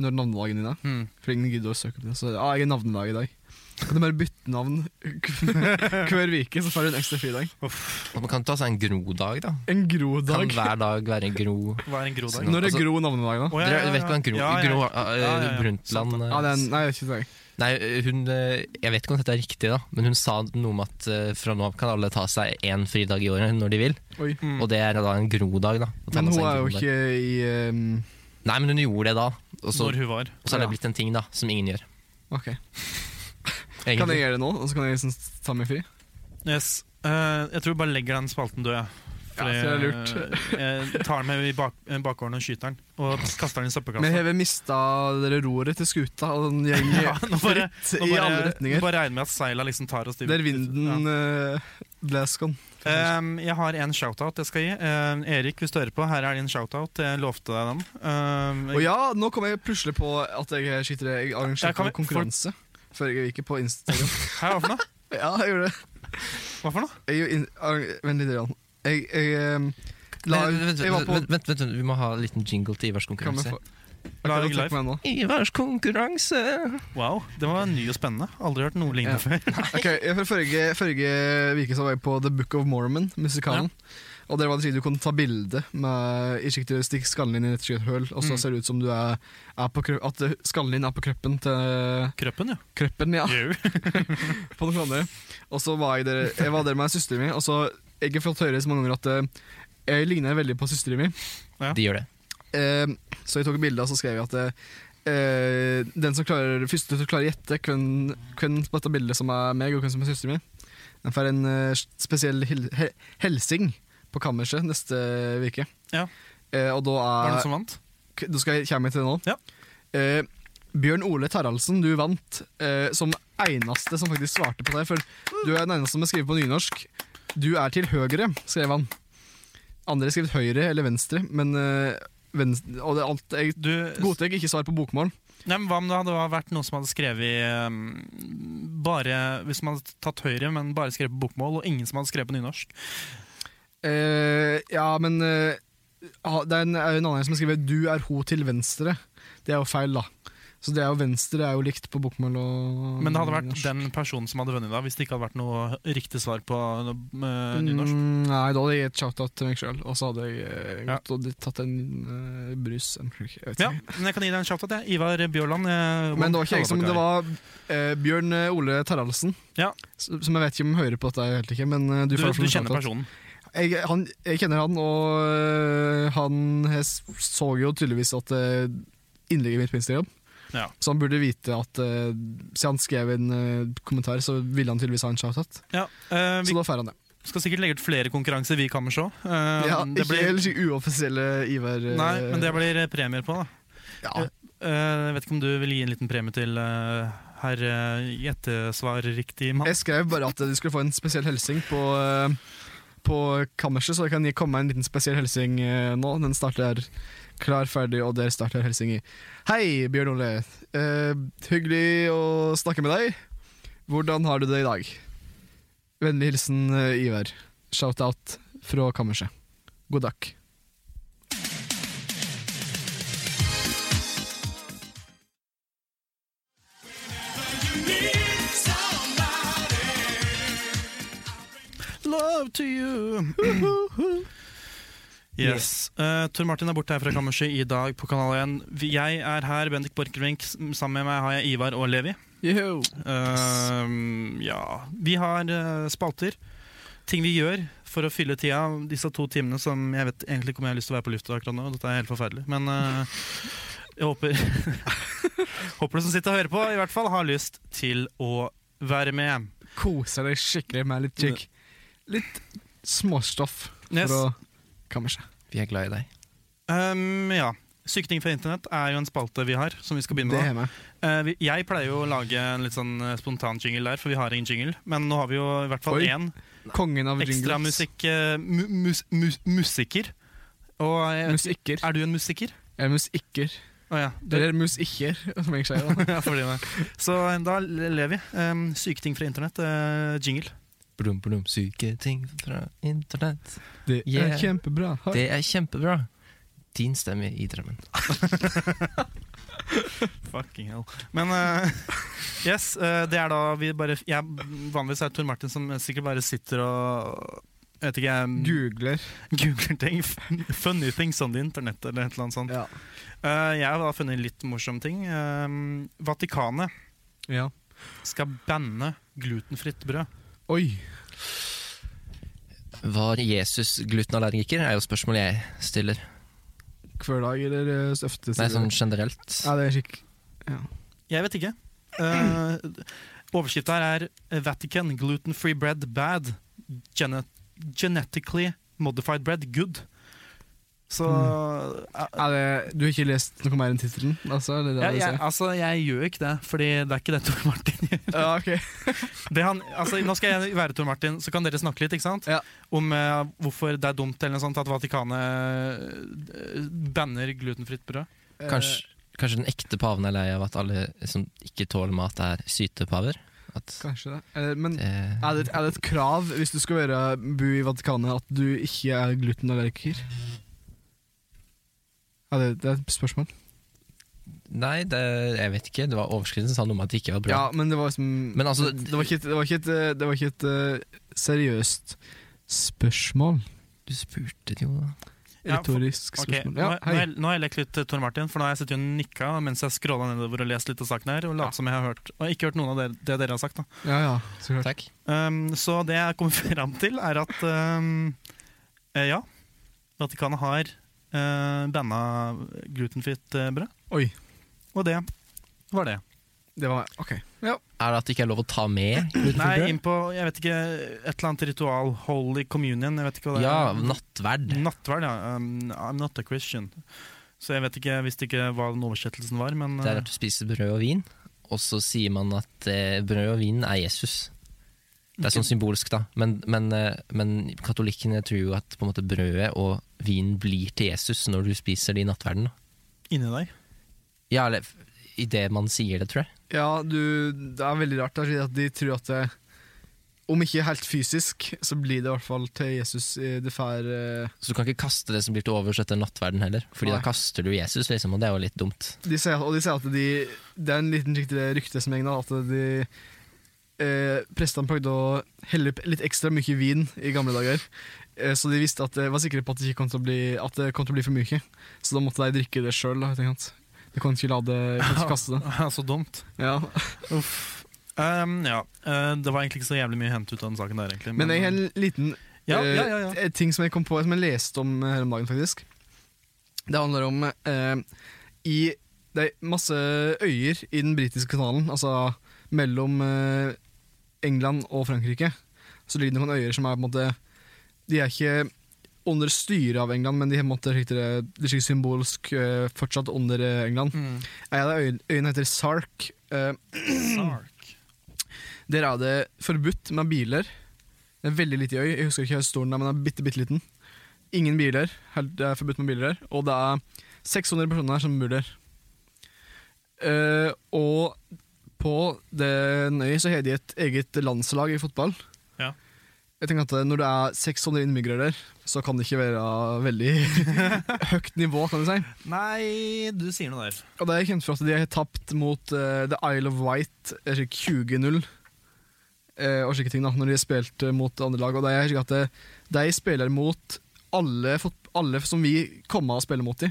Speaker 2: når navnedagen din er.
Speaker 1: Mm.
Speaker 2: For ingen gidder å søke på det. Så ah, jeg er navnedag i dag. Kan du bare bytte navn hver uke, så får du en ekstra fridag?
Speaker 4: og man kan ta seg en grodag, da.
Speaker 2: En grodag.
Speaker 4: Kan hver dag være en gro.
Speaker 1: Hva er en grodag?
Speaker 4: Nå-
Speaker 2: Når er
Speaker 4: altså-
Speaker 2: gro navnedag, da?
Speaker 1: Å, ja, ja,
Speaker 4: Dere vet
Speaker 1: ja.
Speaker 4: hva en gro,
Speaker 1: Ja, ja,
Speaker 4: gro eh,
Speaker 1: ja, ja, ja.
Speaker 4: Brundtland eh,
Speaker 2: Ja, det er, en- nei, jeg vet ikke det.
Speaker 4: Nei, hun eh, Jeg vet ikke om dette er riktig, da men hun sa noe om at eh, fra nå av kan alle ta seg én fridag i året når de vil.
Speaker 2: Oi.
Speaker 1: Mm.
Speaker 4: Og det er da en grodag. da Da tar
Speaker 2: Men
Speaker 4: man seg
Speaker 2: hun
Speaker 4: en
Speaker 2: er jo
Speaker 4: grodag.
Speaker 2: ikke i ehm,
Speaker 4: Nei, men hun gjorde det da. Og så,
Speaker 1: Når hun var.
Speaker 4: og så er
Speaker 2: Ja.
Speaker 4: det blitt en ting da som ingen gjør.
Speaker 2: Ok, Kan jeg
Speaker 4: Egentlig.
Speaker 2: gjøre det nå, og så kan jeg liksom ta meg fri?
Speaker 1: Yes. Eh, jeg tror jeg bare legger den spalten død, jeg.
Speaker 2: Ja, det er lurt.
Speaker 1: jeg tar den med i bak, eh, bakgården og skyter den. Og kaster den i søppelkassa.
Speaker 2: Men har vi mista dere roret til skuta, og den gjeng
Speaker 1: Ja, nå bare,
Speaker 2: fritt
Speaker 1: nå
Speaker 2: i
Speaker 1: bare,
Speaker 2: alle retninger?
Speaker 1: nå bare regner med at seila liksom tar oss til-
Speaker 2: Der vinden eh, ja. Glasgow.
Speaker 1: Ehm, jeg har en shoutout jeg skal gi. Ehm, Erik, hvis du hører på, her er din shoutout. Jeg lovte deg den. Ehm,
Speaker 2: Og ja, nå kom jeg plutselig på at jeg skyter Jeg
Speaker 1: Ja,
Speaker 2: arrangerte
Speaker 1: kan vi-
Speaker 2: en konkurranse forrige uke på Instagram.
Speaker 1: Hæ, hva for noe?
Speaker 2: ja, jeg gjorde det.
Speaker 1: Hva for noe?
Speaker 2: Jeg, gjorde in- arrang- Vent litt. Jan. Jeg, jeg, ehm, la,
Speaker 4: Nei, Vent,
Speaker 2: jeg var
Speaker 4: vent,
Speaker 2: på
Speaker 4: vent, vent, vent, vi må ha en liten jingle til Ivars
Speaker 2: Kan vi
Speaker 4: konkurranse.
Speaker 2: få Ok, da
Speaker 1: Lag
Speaker 2: trekk meg nå.
Speaker 4: Ivars konkurranse!
Speaker 1: Wow, det var ny og spennende. Aldri hørt noe lignende før.
Speaker 2: Ok, jeg- fra forrige, forrige uke så var jeg på The Book of Mormon, musikalen. Og der var det slik du kunne ta bilde med i slik du stikker skallen din i et skjøthøl, og så
Speaker 1: Mm.
Speaker 2: ser det ut som du er, er på krø- at eh, skallen din er på kroppen til
Speaker 1: Krøppen, ja.
Speaker 2: Krøppen, ja.
Speaker 1: Jau.
Speaker 2: på noen andre. Og så var jeg der, jeg var der med søsteren min, og så jeg har fått høre så mange ganger at eh, jeg ligner veldig på søsteren min.
Speaker 4: De gjør det.
Speaker 2: Eh, så jeg tok bilde, og så skrev jeg at eh, den som klarer, første til å klare å gjette hvem, hvem på dette bildet som er meg, og hvem som er søsteren min, den får en eh, spesiell hel he helsing på kammerset neste uke.
Speaker 1: Ja.
Speaker 2: Eh, og da
Speaker 1: Var det
Speaker 2: er
Speaker 1: noen som vant?
Speaker 2: K- Da skal jeg komme til det nå.
Speaker 1: Ja.
Speaker 2: Eh, Bjørn Ole Terralsen, du vant eh, som eneste som faktisk svarte på det. her, For du er den eneste som har skrevet på nynorsk. Du er til høyre, skrev han. Andre har skrevet høyre eller venstre, men eh, venstre, og det er alt, jeg
Speaker 1: Du,
Speaker 2: godtar ikke svar på bokmål.
Speaker 1: nei, men hva om det hadde vært noen som hadde skrevet ehm, bare Hvis man hadde tatt høyre, men bare skrevet på bokmål, og ingen som hadde skrevet på nynorsk?
Speaker 2: Eh, ja, men eh, ha- det er en, er en annen som har skrevet 'du er ho til venstre'. Det er jo feil, da. Så det er jo venstre er jo likt på bokmål og
Speaker 1: Men det hadde vært
Speaker 2: norsk.
Speaker 1: den personen som hadde vunnet da, hvis det ikke hadde vært noe riktig svar på eh, nynorsk.
Speaker 2: Mm, nei, da hadde jeg gitt shout-out til meg sjøl, og så hadde jeg eh,
Speaker 1: Ja.
Speaker 2: gått og tatt en eh, brus. En slurk, jeg vet
Speaker 1: Ja,
Speaker 2: ikke.
Speaker 1: men jeg kan gi deg en shoutout, jeg. Ivar Bjørland. eh,
Speaker 2: Men det var ikke jeg som
Speaker 1: Kallabakar.
Speaker 2: Det var eh, Bjørn eh, Ole Terralsen,
Speaker 1: Ja.
Speaker 2: s- som jeg vet ikke om hører på dette helt ikke, men eh, du,
Speaker 1: Du,
Speaker 2: får i hvert
Speaker 1: du,
Speaker 2: fall en
Speaker 1: kjenner
Speaker 2: shout-out.
Speaker 1: personen.
Speaker 2: Jeg, han, jeg kjenner han, og eh, han jeg s- så jo tydeligvis at eh, innlegget mitt på Instagram.
Speaker 1: Ja.
Speaker 2: Så han burde vite at eh, siden han skrev en eh, kommentar, så ville han tydeligvis ha en shout-out.
Speaker 1: Ja, eh,
Speaker 2: Så
Speaker 1: vi
Speaker 2: da får han det.
Speaker 1: skal sikkert legge ut flere konkurranser, vi kan se. Eh,
Speaker 2: ja,
Speaker 1: det
Speaker 2: Ikke
Speaker 1: blir,
Speaker 2: helt slik uoffisielle Ivar. eh,
Speaker 1: nei, men det blir premier på, da.
Speaker 2: ja.
Speaker 1: Eh, jeg vet ikke om du vil gi en liten premie til eh, herr eh, gjettesvar-riktig mann?
Speaker 2: Jeg skrev bare at du skulle få en spesiell helsing på, eh, på kammerset, så jeg kan gi- komme med en liten spesiell helsing eh, nå. Den starter her. Klar, ferdig, og der starter helsing i. Hei, Bjørn Ole. Eh, hyggelig å snakke med deg. Hvordan har du det i dag? Vennlig hilsen eh, Ivar. Shout-out fra kammerset. God dag.
Speaker 1: Love to you! Yes. Eh, Tor Martin er borte her fra kammerset i dag på Kanal 1. Vi- Jeg er her, Bendik Borchgrevink. S- Sammen med meg har jeg Ivar og Levi. Ehm, Eh, ja Vi har eh, spalter. Ting vi gjør for å fylle tida, disse to timene som jeg vet egentlig ikke om jeg har lyst til å være på lufta akkurat nå. Dette er helt forferdelig. Men eh, jeg håper Håper du som sitter og hører på, i hvert fall har lyst til å være med.
Speaker 2: Koser deg skikkelig med litt chick. Litt småstoff for
Speaker 1: Yes.
Speaker 2: å kamme seg.
Speaker 4: Vi er glad i deg.
Speaker 1: Um, ja. Sykning fra internett er jo en spalte vi har, som vi skal begynne
Speaker 2: Det har
Speaker 1: med.
Speaker 2: jeg.
Speaker 1: Eh, vi- jeg pleier jo å lage en litt sånn eh, spontan jingle der, for vi har ingen jingle. Men nå har vi jo i hvert fall
Speaker 2: Oi.
Speaker 1: én
Speaker 2: Kongen av jingles.
Speaker 1: ekstramusikk... eh, mu- mus- mus- Musikker. Og jeg vet,
Speaker 2: Musikker.
Speaker 1: er du en musiker?
Speaker 2: Eller musikker.
Speaker 1: Å ja. Du,
Speaker 2: Eller musikker, som jeg sier. da.
Speaker 1: ja fordi det. Så eh, da lever vi. Um, syke ting fra internett. eh, jingle.
Speaker 4: Blum, blum, syke ting fra internett.
Speaker 2: Det
Speaker 4: Yeah.
Speaker 2: er kjempebra. Ha-
Speaker 4: Det er kjempebra. Din stemme i drømmen.
Speaker 1: Fucking hell. Men eh, yes, eh, det er da vi bare jeg, Vanligvis er det Tor Martin som sikkert bare sitter og jeg vet ikke, jeg
Speaker 2: Googler.
Speaker 1: googler ting. fun- Funny things on the internet, eller et eller annet sånt.
Speaker 2: Ja.
Speaker 1: Eh, jeg har da funnet litt morsomme ting. Eh, Vatikanet
Speaker 2: ja.
Speaker 1: skal banne glutenfritt brød.
Speaker 2: Oi.
Speaker 4: Var Jesus glutenallergiker, er jo spørsmålet jeg stiller.
Speaker 2: Hver dag eller eh, støfte?
Speaker 4: Nei,
Speaker 2: sier
Speaker 4: sånn
Speaker 2: du?
Speaker 4: generelt.
Speaker 2: Ja, det er skikk.
Speaker 1: Jeg vet ikke. Uh, Overskriften her er eh, Vatican gluten free bread bad. Gene genetically modified bread good. Så eh,
Speaker 2: Mm. Ja, det, du har ikke lest noe mer enn tittelen? Altså, det er det
Speaker 1: ja,
Speaker 2: du
Speaker 1: jeg,
Speaker 2: sier?
Speaker 1: altså, jeg gjør ikke det, Fordi det er ikke det Tor Martin gjør.
Speaker 2: Ja, ok.
Speaker 1: Det han, altså, nå skal jeg være Tor Martin, så kan dere snakke litt ikke sant?
Speaker 2: Ja.
Speaker 1: om eh, hvorfor det er dumt eller noe sånt at Vatikanet eh, banner glutenfritt brød.
Speaker 2: Eh,
Speaker 4: Kanskje, kanskje den ekte paven er lei av at alle som ikke tåler mat, er sytepaver? At
Speaker 2: Eh, kanskje det. Eh, men
Speaker 4: eh,
Speaker 2: er det, er det et krav hvis du skal være bu i Vatikanet at du ikke er glutenallergiker? Ja, det, det er et spørsmål.
Speaker 4: Nei, det, jeg vet ikke. Det var Overskriften som sa noe om at det ikke var bra.
Speaker 2: Ja, men det var liksom
Speaker 4: Men altså-
Speaker 2: det, det var ikke et, det var ikke et, eh, det var ikke et eh, seriøst spørsmål.
Speaker 4: Du spurte det jo, da.
Speaker 1: Ja, for-
Speaker 2: Retorisk
Speaker 1: Ok,
Speaker 2: spørsmål.
Speaker 1: nå,
Speaker 2: Ja,
Speaker 1: nå, har
Speaker 2: hei.
Speaker 1: jeg, nå har jeg lekt litt eh, Tor Martin, for nå har jeg sittet og nikka mens jeg scrolla nedover og lest litt av saken her. Og latt som jeg har hørt Og ikke hørt noen av det, det dere har sagt. Da.
Speaker 2: Ja, ja, så klart.
Speaker 4: Takk.
Speaker 1: Um, så det jeg kommer fram til, er at um, eh, ja, Vatikanet har uh, banna glutenfritt eh, brød.
Speaker 2: Oi,
Speaker 1: Og det var det.
Speaker 2: det var Ok. Ja.
Speaker 4: Er det at det ikke er lov å ta med glutenfritt
Speaker 1: Nei,
Speaker 4: brød?
Speaker 1: inn på jeg vet ikke, et eller annet ritual. Holy communion. Jeg vet ikke hva det
Speaker 4: Ja,
Speaker 1: er.
Speaker 4: nattverd.
Speaker 1: Nattverd, ja. Um, I'm not a Christian. Så jeg vet ikke, jeg visste ikke hva den oversettelsen var, men eh,
Speaker 4: Det er at du spiser brød og vin, og så sier man at eh, brød og vin er Jesus. Det er sånn symbolsk, da. Men, men, eh, men katolikkene tror jo at på en måte brødet og vinen blir til Jesus når du spiser det i nattverden. da.
Speaker 1: eh, inni deg.
Speaker 4: Ja, eller idet man sier det, tror jeg.
Speaker 2: ja, du Det er veldig rart da, fordi at de tror at det, om ikke helt fysisk, så blir det i hvert fall til Jesus eh, det får eh,
Speaker 4: Så du kan ikke kaste det som blir til overs etter nattverden heller, Fordi
Speaker 2: Nei.
Speaker 4: da kaster du Jesus, liksom, og det er jo litt dumt.
Speaker 2: de sier, Og de sier at de Det er en liten riktig rykte som egner at de eh, Prestene plagde å helle opp litt ekstra mye vin i gamle dager. Eh, så de visste at, var sikre på at det, ikke kom til å bli, at det kom til å bli for mye. Så da måtte de drikke det sjøl. De kunne ikke la det de kunne ikke kaste det.
Speaker 1: Så dumt.
Speaker 2: Ja.
Speaker 1: Uff. Um, ja, eh, det var egentlig ikke så jævlig mye å hente ut av den saken der, egentlig. eh,
Speaker 2: Men jeg har en liten
Speaker 1: ja, ja, ja, ja.
Speaker 2: eh, ting som jeg kom på Som jeg leste om eh, her om dagen, faktisk. Det handler om eh, I det er masse øyer i den britiske kanalen, altså mellom eh, England og Frankrike. Så ligger det noen øyer som er på en måte De er ikke under styret av England, men de er på en måte slik det- det er slik symbolsk eh, fortsatt under eh, England.
Speaker 1: Mm.
Speaker 2: En av øyene, øyene heter Sark. Eh,
Speaker 1: Sark.
Speaker 2: der er det forbudt med biler. Det er en veldig liten øy. Jeg husker ikke hvor stor den er, men den er bitte, bitte liten. Ingen biler. Helt- Det er forbudt med biler der. Og det er 600 personer som bor der. Eh, og på den øya så har de et eget landslag i fotball.
Speaker 1: Ja.
Speaker 2: Jeg tenker at Når det er 600 innbyggere der, så kan det ikke være veldig høyt nivå. kan du si
Speaker 1: Nei, du sier noe der.
Speaker 2: og det er kjent for at de har tapt mot eh, The Isle of Wight eh, slik 20-0 eh, og slike ting da, når de har spilt eh, mot andre lag. Og det er slik at eh, de spiller mot alle, fot- alle som vi kommer og spiller mot i.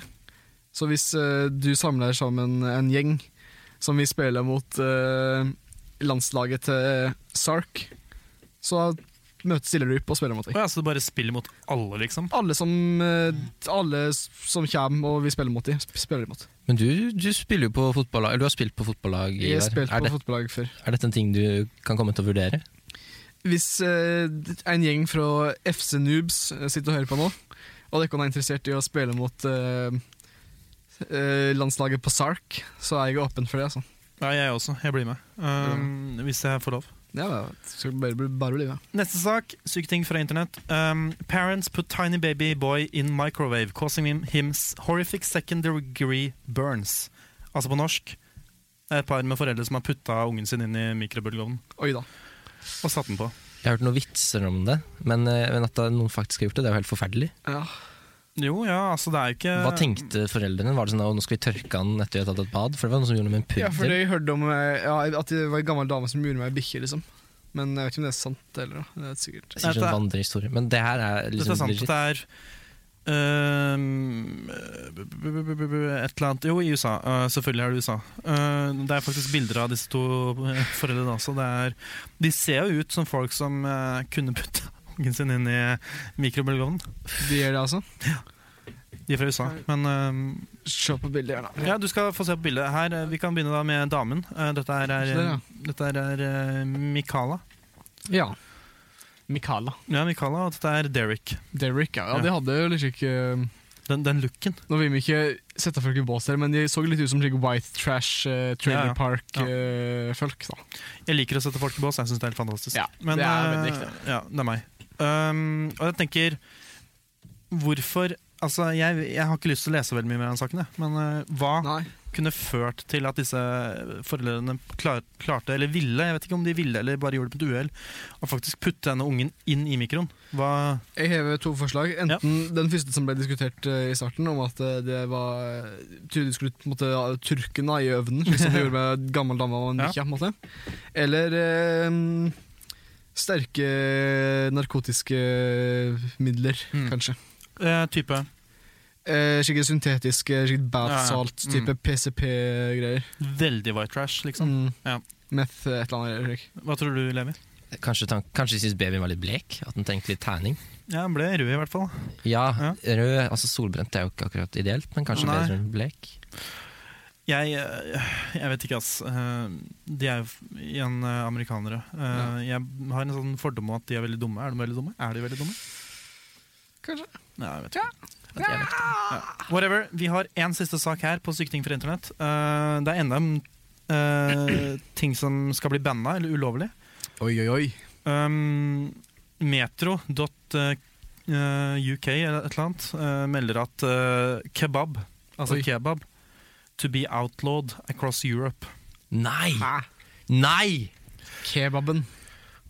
Speaker 2: Så hvis eh, du samler sammen en gjeng som vi spiller mot eh, landslaget til Sark, eh, så møte Stillerup og spille mot dem.
Speaker 1: Å ja, så du bare spiller mot alle, liksom?
Speaker 2: Alle som, eh, alle s- som kommer og vi spiller mot dem, spiller de mot.
Speaker 4: Men du, du spiller jo på fotballag, eller du har spilt på fotballag.
Speaker 2: Jeg har
Speaker 4: Ivar.
Speaker 2: spilt
Speaker 4: er,
Speaker 2: på
Speaker 4: det,
Speaker 2: fotballag før.
Speaker 4: er dette en ting du kan komme til å vurdere?
Speaker 2: Hvis eh, en gjeng fra FC Noobs eh, sitter og hører på nå, og dere er interessert i å spille mot eh, eh, landslaget på Sark, så er jeg åpen for det. altså.
Speaker 1: Ja, jeg også. Jeg blir med. Um, Hvis jeg får lov.
Speaker 2: Ja, ja, det skal bare, bli- bare bli med.
Speaker 1: Neste sak, syke ting fra internett. Um, parents put tiny baby boy in microwave, causing him, him s- horrific second degree burns. Altså på norsk et par med foreldre som har putta ungen sin inn i mikrobølgeovnen
Speaker 2: Oi da.
Speaker 1: og satt den på.
Speaker 4: Jeg har hørt noen vitser om det, men, eh, men at da noen faktisk har gjort det, det er jo helt forferdelig.
Speaker 2: Ja.
Speaker 1: Jo, ja, altså det er jo ikke
Speaker 4: Hva tenkte foreldrene? Var det sånn at nå skal vi tørke han etter vi har tatt et bad? For det var noen som gjorde det med en
Speaker 2: ja, for
Speaker 4: puddel.
Speaker 2: det jeg hørte om eh, ja, at det var en gammel dame som gjorde meg bikkje, liksom. Men jeg vet ikke om det er sant eller noe. Det er sikkert.
Speaker 4: Det er sikkert
Speaker 1: Dette-
Speaker 4: en vandrehistorie. Men det her er
Speaker 1: Dette
Speaker 4: liksom
Speaker 1: er sant.
Speaker 4: legit.
Speaker 1: Det er um, bu- bu- bu- bu- bu- bu- et eller annet Jo, i USA. Uh, selvfølgelig er det USA. Uh, det er faktisk bilder av disse to uh, foreldrene også. Det er, de ser jo ut som folk som uh, kunne putta ungen sin inn i mikrobølgeovnen.
Speaker 2: De gjør det, altså.
Speaker 1: De er fra USA. Men um,
Speaker 2: Se på bildet her, da.
Speaker 1: ja, du skal få se på bildet her. Uh, Vi kan begynne da med damen. Uh, dette her er,
Speaker 2: Se der, Sånn, ja.
Speaker 1: dette her er uh, Michaela.
Speaker 2: Ja. Michaela.
Speaker 1: Ja, Michaela, og dette er Derek.
Speaker 2: Derrick, ja. ja. De hadde jo liksom ikke
Speaker 1: Den, den looken.
Speaker 2: Nå vil vi ikke sette folk i bås her, men de så litt ut som slik white trash, eh,
Speaker 1: Ja,
Speaker 2: trailer
Speaker 1: ja. Ja.
Speaker 2: park-folk. da.
Speaker 1: Jeg liker å sette folk i bås. Jeg syns det er helt fantastisk.
Speaker 2: Ja, det er veldig
Speaker 1: eh,
Speaker 2: riktig.
Speaker 1: Ja, det er meg. Um, og jeg tenker Hvorfor Altså, jeg, jeg har ikke lyst til å lese veldig mye mer av den saken, jeg. men eh, hva
Speaker 2: Nei.
Speaker 1: kunne ført til at disse foreldrene klar, klarte, eller ville, jeg vet ikke om de ville eller bare gjorde det på et uhell, å faktisk putte denne ungen inn i mikroen? Hva
Speaker 2: Jeg hever to forslag. Enten den første som ble diskutert eh, i starten, om at eh, det var trodde de skulle på en måte, ja, turke den da, i ovnen, slik som de gjorde med gammel dame og en
Speaker 1: Ja.
Speaker 2: bikkje. på en måte. Eller eh, sterke narkotiske midler,
Speaker 1: Mm.
Speaker 2: kanskje.
Speaker 1: eh, type
Speaker 2: Eh, Skikkelig syntetiske, skikkelig
Speaker 1: Ja, Mm. ja.
Speaker 2: bathsalt-type PCP-greier.
Speaker 1: veldig white trash, liksom?
Speaker 2: Mm.
Speaker 1: Ja.
Speaker 2: Meth, eh, et eller annet. Erik.
Speaker 1: Hva tror du, Levi?
Speaker 4: Kanskje, tank, kanskje de syntes babyen var litt blek? At den trengte litt terning?
Speaker 1: Ja, han ble rød, i hvert fall.
Speaker 4: Ja,
Speaker 1: Ja.
Speaker 4: rød, altså solbrent er jo ikke akkurat ideelt, men kanskje
Speaker 1: Nei.
Speaker 4: bedre enn blek.
Speaker 1: Jeg, eh, jeg vet ikke, ass. Eh, De er jo f- igjen eh, amerikanere. Eh, Jeg har en sånn fordom om at de er veldig dumme. Er de veldig dumme? Er de veldig dumme?
Speaker 2: Kanskje.
Speaker 1: Nei, jeg vet ikke. At jeg vet ikke. Ja. Whatever. Vi har én siste sak her på Syke ting fra internett. Eh, Det er enda en eh, ting som skal bli banna, eller ulovlig.
Speaker 2: Oi, oi, oi.
Speaker 1: Um, eh, Metro.uk eh, eller et eller annet eh, melder at eh, kebab, altså
Speaker 2: Oi.
Speaker 1: kebab, to be outlawed across Europe.
Speaker 4: Nei!
Speaker 2: Hæ?
Speaker 4: Nei!
Speaker 2: Kebaben.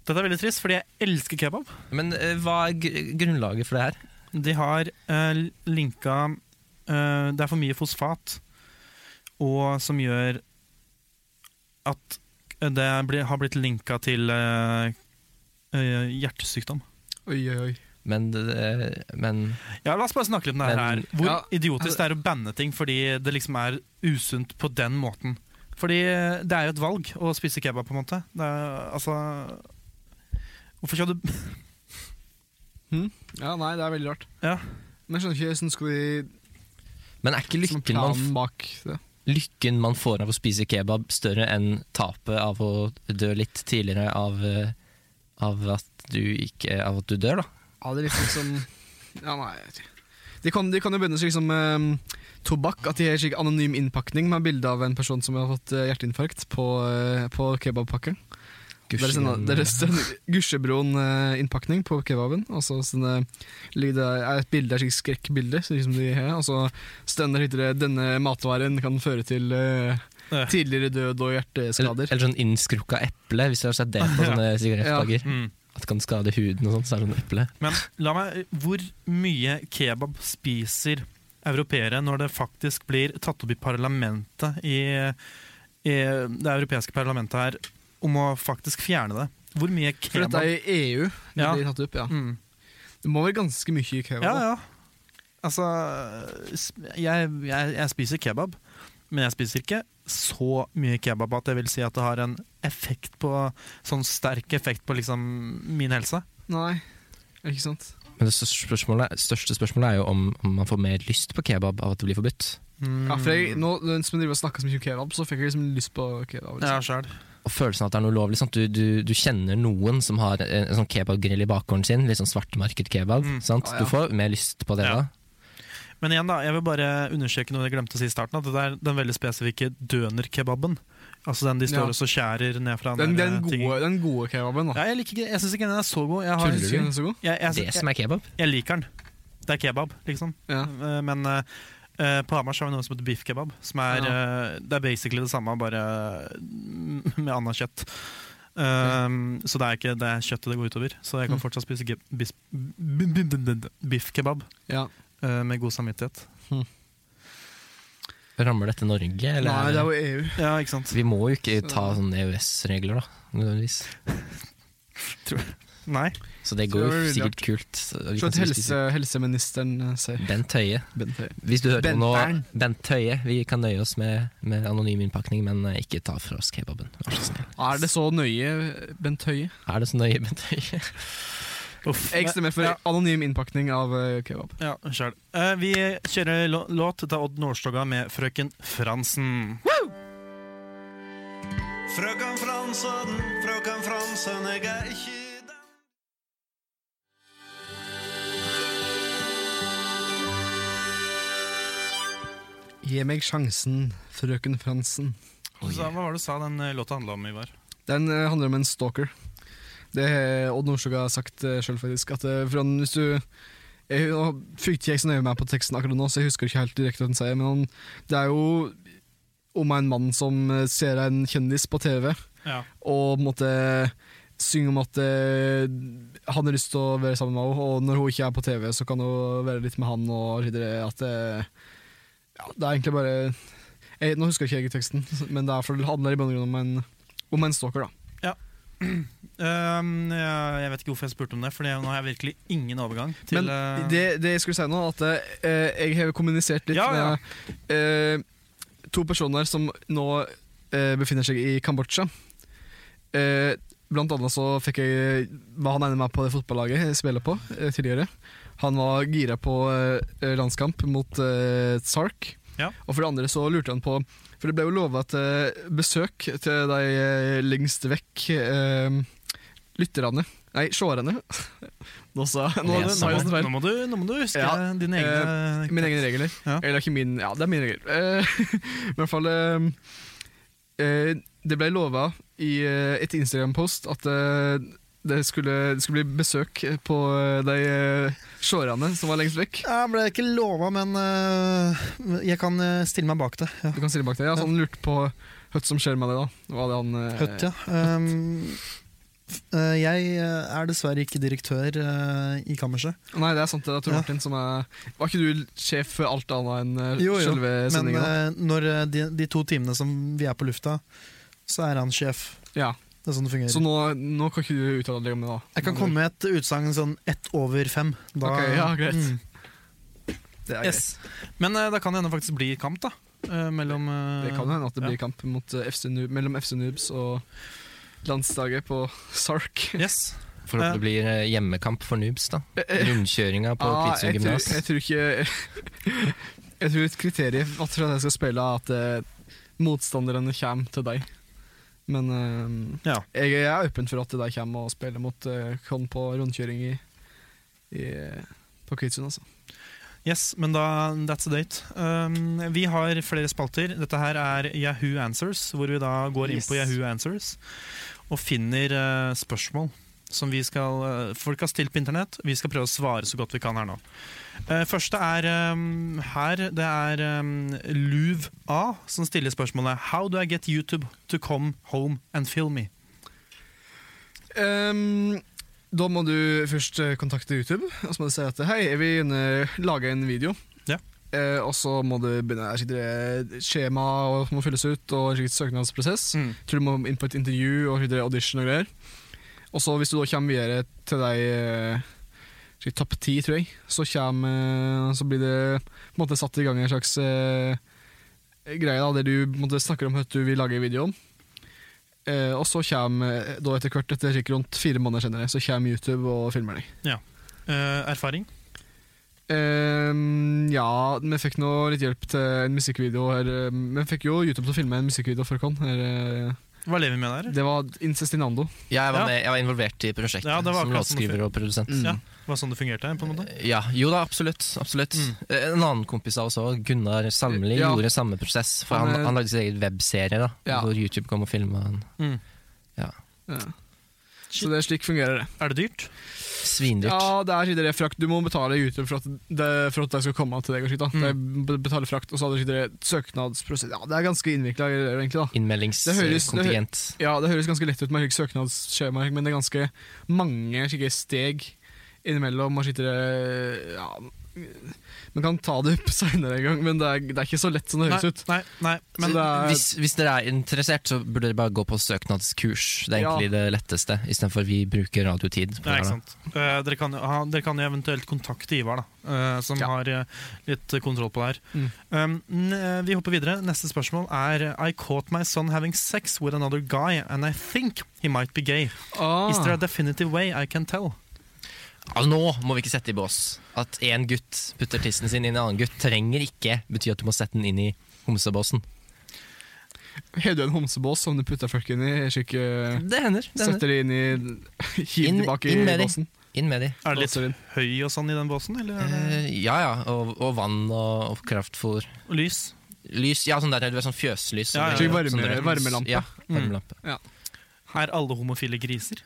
Speaker 1: Dette er veldig trist, fordi jeg elsker kebab.
Speaker 4: Men eh, hva er gr grunnlaget for det her?
Speaker 1: De har eh, linka eh, Det er for mye fosfat, og som gjør at eh, det blir, har blitt linka til eh, eh, hjertesykdom.
Speaker 2: Oi, oi, oi.
Speaker 4: Men, eh, men
Speaker 1: Ja, La oss bare snakke litt om det her.
Speaker 4: Men-
Speaker 1: Hvor
Speaker 2: Ja,
Speaker 1: idiotisk det er å banne ting fordi det liksom er usunt på den måten. Fordi eh, det er jo et valg å spise kebab, på en måte. Det er, altså Hvorfor skal du
Speaker 2: Ja, nei, det er veldig rart.
Speaker 1: Ja.
Speaker 2: Men jeg skjønner ikke, hvordan skal de
Speaker 4: Men er ikke
Speaker 2: som er
Speaker 4: lykken man,
Speaker 2: planen bak det?
Speaker 4: f- lykken man får av å spise kebab, større enn tapet av å dø litt tidligere av, eh, av, at, du ikke, av at du dør, da?
Speaker 2: Ja, det er liksom som Ja, nei, jeg vet ikke. De kan, de kan jo begynne slik som eh, tobakk, at de har slik anonym innpakning med bilde av en person som har fått eh, hjerteinfarkt på, eh, på kebabpakken. Det er sånn- det er sånn Gusjebroen-innpakning på kebaben. Og så sånne, ligger det er et bilde, er slik skrekkbilde, slik som de har. Og så stender det litt, denne matvaren kan føre til eh,
Speaker 1: Eh.
Speaker 2: tidligere død og hjerteskader.
Speaker 4: eller, eller sånn innskrukka eple, hvis du har sett det på sånne sigarettpakker.
Speaker 1: mm.
Speaker 4: At det kan skade huden og sånt, så er det sånn eple.
Speaker 1: Men la meg eh, Hvor mye kebab spiser europeere når det faktisk blir tatt opp i parlamentet i, i det europeiske parlamentet her om å faktisk fjerne det? Hvor mye
Speaker 2: For
Speaker 1: kebab
Speaker 2: dette er i E EU. Det
Speaker 1: Ja.
Speaker 2: blir tatt opp, ja.
Speaker 1: mm.
Speaker 2: Det må være ganske mye kebab.
Speaker 1: Ja,
Speaker 2: da.
Speaker 1: ja. Altså s- jeg, jeg, jeg spiser kebab, men jeg spiser ikke så mye kebab at jeg vil si at det har en effekt på Sånn sterk effekt på liksom min helse.
Speaker 2: Nei, ikke sant?
Speaker 4: Men det største spørsmålet, største spørsmålet er jo om, om man får mer lyst på kebab av at det blir forbudt.
Speaker 1: Mm.
Speaker 2: Ja, for jeg, nå, Mens vi driver og snakker så mye om kebab, så fikk jeg liksom lyst på kebab.
Speaker 1: Ja,
Speaker 2: Liksom.
Speaker 1: sjæl.
Speaker 4: Og følelsen av at det er noe ulovlig. sant? Du, du, du kjenner noen som har en, en sånn kebabgrill i bakgården sin, litt sånn svartmarkedkebab.
Speaker 1: Mm.
Speaker 4: sant?
Speaker 2: Ja, ja.
Speaker 4: Du får mer lyst på det
Speaker 1: Ja.
Speaker 4: da.
Speaker 1: Men igjen, da, jeg vil bare understreke noe jeg glemte å si i starten. At det er den veldig spesifikke dønerkebaben. Altså den de står
Speaker 2: Ja.
Speaker 1: og så skjærer ned fra
Speaker 2: Den,
Speaker 1: der,
Speaker 2: den,
Speaker 1: eh, tingen.
Speaker 2: gode, den gode kebaben, da.
Speaker 1: Ja, jeg liker ikke, jeg syns ikke den er så god. Jeg, har,
Speaker 2: Synes
Speaker 1: jeg,
Speaker 2: den er så god?
Speaker 1: Altså, jeg,
Speaker 4: Det
Speaker 1: jeg,
Speaker 4: som er kebab.
Speaker 1: jeg liker den. Det er kebab, liksom.
Speaker 2: Ja.
Speaker 1: Eh, Men eh, eh, på Hamar så har vi noe som heter beef kebab. Som er, eh, det er basically det samme, bare mm, med annet kjøtt. Um, Så det er ikke det er kjøttet det går utover. Så jeg kan
Speaker 2: Mm.
Speaker 1: fortsatt spise ge- bis- b- b- b- b- biff kebab
Speaker 2: Ja.
Speaker 1: eh, med god samvittighet.
Speaker 4: Rammer dette Norge, eller?
Speaker 2: Nei, det er jo E EU.
Speaker 1: Ja, ikke sant?
Speaker 4: Vi må jo ikke ta sånne EØS-regler, da. Nødvendigvis.
Speaker 1: Nei.
Speaker 4: Så det
Speaker 2: Så
Speaker 4: går
Speaker 2: det var
Speaker 4: jo
Speaker 2: veldig
Speaker 4: sikkert kult. så vi
Speaker 2: Jeg tror
Speaker 4: kan
Speaker 2: at
Speaker 4: sikkert
Speaker 2: helse, helseministeren eh, sier
Speaker 4: spise- Bent Høie.
Speaker 2: Bent Høie.
Speaker 4: Hvis du hører på nå,
Speaker 2: Benteren.
Speaker 4: Bent Høie, vi kan nøye oss med, med anonym innpakning, men eh, ikke ta fra oss kebaben. Vær så snill.
Speaker 2: Er det så nøye, Bent Høie?
Speaker 4: Er det så nøye, Bent Høie?
Speaker 1: Uff.
Speaker 2: Jeg stemmer for
Speaker 1: Ja.
Speaker 2: anonym innpakning av eh, kebab.
Speaker 1: Ja, sjæl. Eh, vi kjører lå- låt til Odd Nordstoga med 'Frøken Fransen'.
Speaker 3: Frøken Fransen, frøken Fransen, jeg er ikke den
Speaker 2: Gi meg sjansen, frøken Fransen. Oh,
Speaker 1: Så Hva var det du sa den eh, låta handla om, Ivar?
Speaker 2: Den eh, handler om en stalker. Det har Odd Nordstoga sagt uh, sjøl, faktisk. At, eh, for han, hvis du jeg, nå fulgte ikke jeg så nøye med på teksten akkurat nå, så jeg husker ikke helt direkte hva han sier. Men han, det er jo om en mann som eh, ser en kjendis på TV,
Speaker 1: Ja.
Speaker 2: og på en måte synge om at eh, han har lyst til å være sammen med henne, og når hun ikke er på TV, så kan hun være litt med han og videre. At det, ja, det er egentlig bare jeg, Nå husker ikke jeg teksten, men det er for det handler i bunn og grunn om en, om en stalker, da.
Speaker 1: Ehm, jeg, jeg vet ikke hvorfor jeg spurte om det, for nå har jeg virkelig ingen overgang. Til,
Speaker 2: men
Speaker 1: eh,
Speaker 2: det, det jeg skulle si nå, at eh, jeg har kommunisert litt
Speaker 1: Ja, ja.
Speaker 2: med eh, to personer som nå eh, befinner seg i Kambodsja. Eh, blant annet så fikk jeg Var han ene med på det fotballaget jeg spiller på eh, tidligere. Han var gira på eh, landskamp mot eh, Sark.
Speaker 1: Ja.
Speaker 2: Og for det andre så lurte han på For det ble jo lova et eh, besøk til de eh, lengst vekk eh, lytterne. Nei, seerne. Nå sa nå, nå,
Speaker 4: Leserne.
Speaker 2: sa jeg nesten feil.
Speaker 1: nå, må du, nå må du huske eh,
Speaker 2: Ja. eh,
Speaker 1: dine egne
Speaker 2: Mine egne regler.
Speaker 1: Ja.
Speaker 2: Eller ikke min, ja, det er mine regler. Eh, I hvert fall eh, eh, Det ble lova i eh, et Instagram-post at eh, det skulle, det skulle bli besøk på eh, de eh, seerne som var lengst vekk.
Speaker 1: Jeg ble ikke lova, men eh, jeg kan stille meg bak det. Ja.
Speaker 2: Du kan stille bak deg. Ja, så han lurte på hva som skjer med deg, da. Hva det han, eh,
Speaker 1: Høtt, ja. Ehm, f- eh, jeg eh, er dessverre ikke direktør eh, i kammerset.
Speaker 2: Nei, det er sant, det er Tor
Speaker 1: Ja.
Speaker 2: Martin som er Var ikke du sjef for alt annet enn eh,
Speaker 1: Jo, jo,
Speaker 2: selve
Speaker 1: Men
Speaker 2: sendinga?
Speaker 1: eh, når eh, de, de to timene som vi er på lufta, så er han sjef.
Speaker 2: Ja.
Speaker 1: Det er sånn det
Speaker 2: Så
Speaker 1: fungerer.
Speaker 2: nå, nå kan ikke du uttale deg om det, da. eh,
Speaker 1: Jeg kan komme med et utsagn sånn ett over fem. Da,
Speaker 2: Ok, ja, greit.
Speaker 1: Mm.
Speaker 2: Det er
Speaker 1: Yes. Men eh, da kan det hende faktisk bli kamp, da. eh, mellom
Speaker 2: greit.
Speaker 1: eh,
Speaker 2: Det kan jo hende at det blir kamp mot eh, FC Noob, mellom FC Noobs og landslaget på Sark. Eh,
Speaker 1: Yes.
Speaker 4: For at det blir eh, hjemmekamp for noobs, da. Rundkjøringa på
Speaker 2: Ah,
Speaker 4: Kvitsøy
Speaker 2: jeg, tror,
Speaker 4: gymnas.
Speaker 2: jeg tror ikke Jeg tror et kriterium for at jeg skal spille, er at eh, motstanderne kommer til deg. Men eh,
Speaker 1: Ja.
Speaker 2: jeg, jeg er åpen for at de kommer og spiller mot eh, Kon på rundkjøring i, i, eh, på Kvitsund, altså.
Speaker 1: Yes, men da that's a date. Um, vi har flere spalter. Dette her er Yahoo Answers, hvor vi da går inn på
Speaker 2: Yes.
Speaker 1: Yahoo Answers og finner eh, spørsmål som vi skal eh, folk har stilt på internett. Vi skal prøve å svare så godt vi kan her nå. Eh, første er um, her. Det er um, Luv A som stiller spørsmålet How do I get YouTube to come home and film me?
Speaker 2: Ehm, da må du først eh, kontakte YouTube og så må du si at hei, jeg vil gjerne lage en video.
Speaker 1: Ja.
Speaker 2: Eh, og så må du begynne skikkelig skjema og må fylles ut og skikkelig søknadsprosess.
Speaker 1: Mm.
Speaker 2: Tror du må inn på et intervju og skikkelig audition og greier. Og så hvis du da kommer videre til deg eh, skikkelig topp ti, tror jeg, så, kommer, eh, så blir det på en måte satt i gang en slags eh, greie da, der du på en måte, snakker om hva du vil lage video om. Eh, og så kommer, eh, da etter hvert, etter sikkert rundt fire måneder senere, så kommer YouTube og filmmelding.
Speaker 1: Eh, erfaring?
Speaker 2: Eh, ja, vi fikk nå litt hjelp til en musikkvideo her. eh, Vi fikk jo YouTube til å filme en musikkvideo for oss. Her,
Speaker 1: Hva lever vi med
Speaker 2: eh,
Speaker 1: der?
Speaker 2: det var Incestinando.
Speaker 4: Ja, jeg, var
Speaker 1: Ja.
Speaker 4: Med, jeg var involvert i prosjektet
Speaker 1: Ja, det var
Speaker 4: som
Speaker 1: akkurat som du
Speaker 4: låtskriver og produsent.
Speaker 1: Ja, Hva sånn det fungerte her, på en måte?
Speaker 4: Ja, jo da, absolutt. absolutt.
Speaker 1: Mm.
Speaker 4: Eh, En annen kompis av oss òg, Gunnar Salmeli,
Speaker 2: Ja.
Speaker 4: gjorde samme prosess. For
Speaker 2: Han
Speaker 4: han,
Speaker 2: er-
Speaker 4: han lagde sin egen webserie, da,
Speaker 2: Ja.
Speaker 4: hvor YouTube kom og filma han.
Speaker 2: Ja. Så det er slik fungerer det.
Speaker 1: Er det dyrt?
Speaker 4: Svindyrt.
Speaker 2: Ja, det er sikkert det frakt. Du må betale YouTube for at det, for at det skal komme til deg. og slikt,
Speaker 1: Mm.
Speaker 2: da. Det er betale frakt, og så hadde det søknadsprosess. Ja, det er ganske innvikla, egentlig. da. Det høres- det hø-
Speaker 4: Innmeldingskontingent.
Speaker 2: Ja, det høres ganske lett ut med slik søknadsskjema, men det er ganske mange slike steg innimellom. Man sitter eh, ja, Man kan ta det opp seinere en gang, men det er, det er ikke så lett som det høres
Speaker 1: Nei,
Speaker 2: ut.
Speaker 1: nei, nei, men
Speaker 2: så det er,
Speaker 4: Hvis, hvis dere er interessert, så burde dere bare gå på søknadskurs. Det er
Speaker 2: Ja.
Speaker 4: egentlig det letteste, istedenfor vi bruker radiotid. på
Speaker 1: Nei, ikke
Speaker 4: det her, da.
Speaker 1: sant. Eh, dere, kan, jo ha, dere kan jo eventuelt kontakte Ivar, da, eh, som
Speaker 2: Ja.
Speaker 1: har eh, litt kontroll på det her.
Speaker 2: Mm.
Speaker 1: Um, n- eh, vi hopper videre. Neste spørsmål er eh, I caught my son having sex with another guy, and I think he might be gay.
Speaker 2: ah,
Speaker 1: Is there a definitive way I can tell?
Speaker 4: Altså, nå må vi ikke sette i bås. At én gutt putter tissen sin inn i en annen gutt, trenger ikke bety at du må sette den inn i homsebåsen.
Speaker 2: Har du en homsebås som du putter folk inn i? Slik, eh,
Speaker 4: Det hender. Det hender.
Speaker 2: setter de inn i Hiver
Speaker 4: Inn-
Speaker 2: tilbake
Speaker 4: inn
Speaker 2: i
Speaker 4: med de.
Speaker 2: båsen?
Speaker 4: Inn med de.
Speaker 1: Er det
Speaker 2: Låser inn.
Speaker 1: litt høy og sånn i den båsen, eller er det
Speaker 4: Eh, ja ja, og, og vann og, og kraftfôr.
Speaker 1: lys?
Speaker 4: Lys, ja, sånn der, du vet, sånn fjøslys.
Speaker 1: Ja, Mhm. ja.
Speaker 4: Sånn-
Speaker 2: Slik varme-
Speaker 4: sånn rødt.
Speaker 2: varmelampe.
Speaker 4: Ja, varmelampe.
Speaker 1: Er alle homofile griser?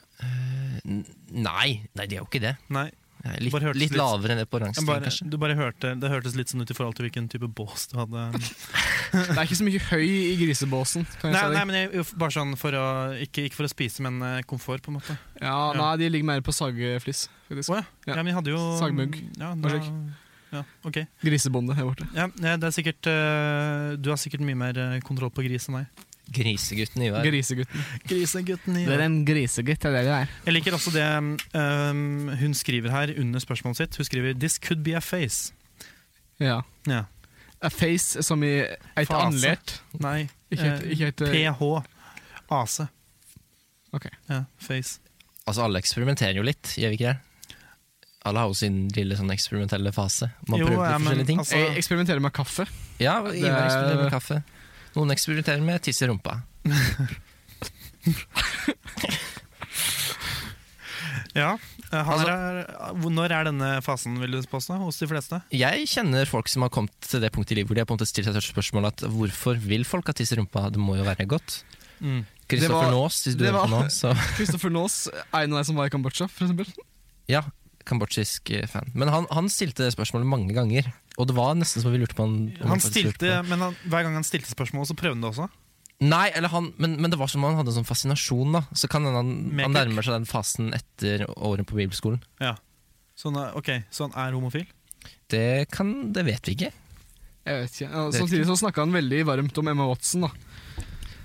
Speaker 4: Nei, nei, det er jo ikke det.
Speaker 1: Nei.
Speaker 4: Nei, Litt,
Speaker 1: Bare hørtes
Speaker 4: litt,
Speaker 1: litt-
Speaker 4: lavere enn det på
Speaker 1: jeg
Speaker 4: oransje,
Speaker 1: Bare,
Speaker 4: kanskje.
Speaker 1: du bare hørte, det hørtes litt sånn ut i forhold til hvilken type bås du hadde.
Speaker 2: Det er ikke så mye høy i grisebåsen. Kan jeg
Speaker 1: Nei,
Speaker 2: si deg.
Speaker 1: nei men jeg, bare sånn for å Ikke, ikke for å spise, men eh, komfort, på en måte.
Speaker 2: ja,
Speaker 1: ja.
Speaker 2: nei, de ligger mer på sageflis, faktisk.
Speaker 1: Å ja.
Speaker 2: Ja.
Speaker 1: Ja, men jeg hadde jo mm,
Speaker 2: Sagmugg.
Speaker 1: Ja,
Speaker 2: Vær
Speaker 1: da,
Speaker 2: så
Speaker 1: ja, ok.
Speaker 2: Grisebonde her borte.
Speaker 1: Ja, nei, det er sikkert eh, Du har sikkert mye mer eh, kontroll på gris enn meg.
Speaker 4: Grisegutten Ivar.
Speaker 2: Grisegutten.
Speaker 1: Grisegutten i
Speaker 2: en grisegutt, det er det du er.
Speaker 1: Jeg liker også det um, hun skriver her under spørsmålet sitt. Hun skriver 'This could be a face'.
Speaker 2: Ja.
Speaker 1: Ja.
Speaker 2: A face som i et
Speaker 1: Fase. Eh,
Speaker 2: anlert.
Speaker 1: Nei,
Speaker 2: Ikke et, ikke et, eh,
Speaker 1: PH. AC.
Speaker 2: Ok.
Speaker 1: Ja, face.
Speaker 4: Altså, alle eksperimenterer jo litt, gjør vi ikke det? Alle har jo sin lille sånn eksperimentelle fase. Man
Speaker 1: Jo,
Speaker 4: prøver litt
Speaker 1: ja, men
Speaker 4: forskjellige ting.
Speaker 1: altså-
Speaker 2: jeg eksperimenterer med kaffe.
Speaker 4: Ja, Ivar
Speaker 2: Det-
Speaker 4: eksperimenterer med kaffe. Noen eksperimenterer med tiss i rumpa.
Speaker 1: Ja, eh, han er, hvor- når er denne fasen, vil du påstå? Hos de fleste?
Speaker 4: Jeg kjenner folk som har kommet til det punktet i livet hvor de har på en måte stilt seg selv spørsmålet at hvorfor vil folk ha tiss i rumpa? Det må jo være godt.
Speaker 2: Det var-
Speaker 1: Mm.
Speaker 4: Kristoffer Naas, hvis du
Speaker 2: det
Speaker 4: hører på nå,
Speaker 2: var-
Speaker 4: så
Speaker 2: Kristoffer Naas, en av de som var i Kambodsja, for eksempel.
Speaker 4: Ja, kambodsjisk eh, fan. Men han, han stilte det spørsmålet mange ganger. Og det var nesten som vi lurte på han, om
Speaker 1: Han
Speaker 4: faktisk lurte
Speaker 1: stilte,
Speaker 4: på-
Speaker 1: men han, Hver gang han stilte spørsmål, så prøvde han det også.
Speaker 4: Nei, eller han, men, men det var som om han hadde en sånn fascinasjon. da Så kan hende han,
Speaker 1: Med
Speaker 4: han
Speaker 1: kuk.
Speaker 4: nærmer seg den fasen etter året på bibelskolen.
Speaker 1: Ja. Så han er, Sånn, eh, ok, så han er homofil?
Speaker 4: Det kan Det vet vi ikke.
Speaker 2: Jeg vet ikke. Ja,
Speaker 4: Det vet
Speaker 2: Samtidig så snakka han veldig varmt om Emma Watson. da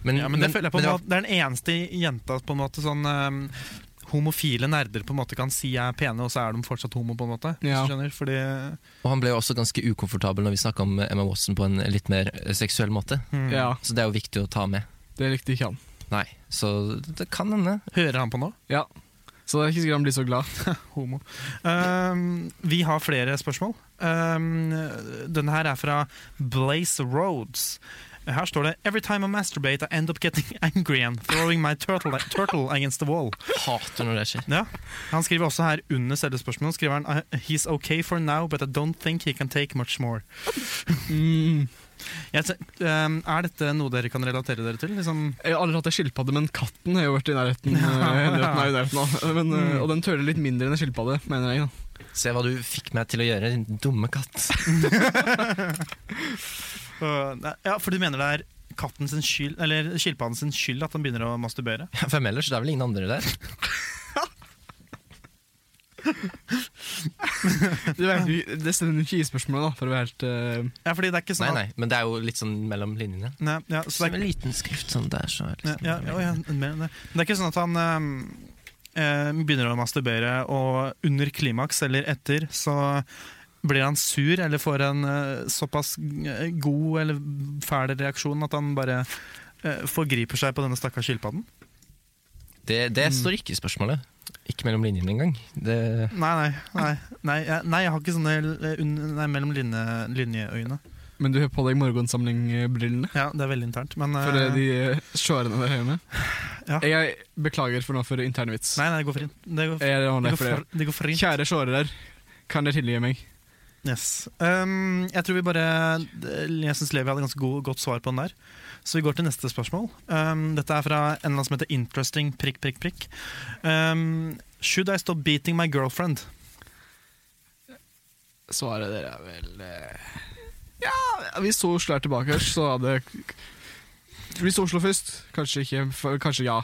Speaker 4: Men,
Speaker 1: Ja, men Det føler jeg på
Speaker 4: men
Speaker 1: en
Speaker 4: det var-
Speaker 1: måte, det er den eneste jenta på en måte sånn ehm, Homofile nerder på en måte kan si jeg er pene, og så er de fortsatt homo. på en måte hvis
Speaker 2: Ja.
Speaker 1: du skjønner, Fordi eh,
Speaker 4: Og han ble jo også ganske ukomfortabel når vi snakka om Emma Watson på en litt mer eh, seksuell måte.
Speaker 1: hmm.
Speaker 2: Ja,
Speaker 4: Så det er jo viktig å ta med.
Speaker 2: Det likte ikke han.
Speaker 4: Nei, så det kan hende.
Speaker 1: Hører han på nå?
Speaker 2: Ja Så det er ikke sikkert han blir så glad.
Speaker 1: Homo. Ehm, vi har flere spørsmål. Ehm, denne her er fra Blaze Roads. Her står det Every time I masturbate, I end up getting angry and throwing my turtle, turtle against the wall.
Speaker 4: Hater når det skjer.
Speaker 1: Ja. Han skriver også her under selve spørsmålet skriver han, "I- He's okay for now, but I don't think he can take much more.
Speaker 4: Mm.
Speaker 1: Jeg te- ehm, er dette noe dere kan relatere dere til? Liksom,
Speaker 2: Jeg har aldri hatt ei skilpadde, men katten har jo vært i nærheten. eh, i nærheten, er i nærheten av. Men, eh,
Speaker 1: Mm.
Speaker 2: Og den tøler litt mindre enn en skilpadde, mener jeg. da
Speaker 4: Se hva du fikk meg til å gjøre, din dumme katt.
Speaker 1: øh, nei, ja, For du mener det er katten sin skyld, eller skilpadden sin skyld at han begynner å masturbere?
Speaker 4: Hvem ellers? Det er vel ingen andre der?
Speaker 2: Det, er jo- det stemmer jo ikke i spørsmålet, da for å være helt eh,
Speaker 1: Ja, fordi det er ikke sånn
Speaker 4: Nei,
Speaker 1: at-
Speaker 4: nei, men det er jo litt sånn mellom linjene.
Speaker 1: Nei, ja, så
Speaker 4: Som
Speaker 1: det er,
Speaker 4: en liten skrift sånn der, så er det
Speaker 1: ja,
Speaker 4: liksom-
Speaker 1: ja, ja, ja, men det men det er ikke sånn at han eh, eh, begynner å masturbere, og under klimaks eller etter så blir han sur eller får en eh, såpass eh, god eller fæl reaksjon at han bare eh, forgriper seg på denne stakkars skilpadden?
Speaker 4: Det, det står ikke i spørsmålet. Ikke mellom linjene engang. Det,
Speaker 1: Nei, nei, nei, nei, jeg, nei, jeg har ikke sånne eh, un- nei, mellom linje, linjeøyne.
Speaker 2: Men du har på deg morgensamling-brillene.
Speaker 1: Ja, Det er veldig internt. Men, eh,
Speaker 2: For eh, de eh, sjåerne der hjemme.
Speaker 1: Ja.
Speaker 2: Jeg beklager for nå for internvits.
Speaker 1: Nei, nei, det går fint. Det går,
Speaker 2: Jeg
Speaker 1: det
Speaker 2: ordner
Speaker 1: går,
Speaker 2: for det.
Speaker 1: for, det går fint.
Speaker 2: Kjære sjåere der, kan dere tilgi meg?
Speaker 1: Yes. Um, jeg tror vi bare eh, Jeg syns Levi hadde ganske god, godt svar på den der. Så vi går til neste spørsmål. Um, dette er fra en eller annen som heter Interesting prikk, prikk, prikk. Um, should I stop beating my girlfriend?
Speaker 2: Svaret dere er vel eh, Ja, hvis to slår tilbake, her, så hadde Hvis Oslo først, kanskje ikke for- Kanskje ja.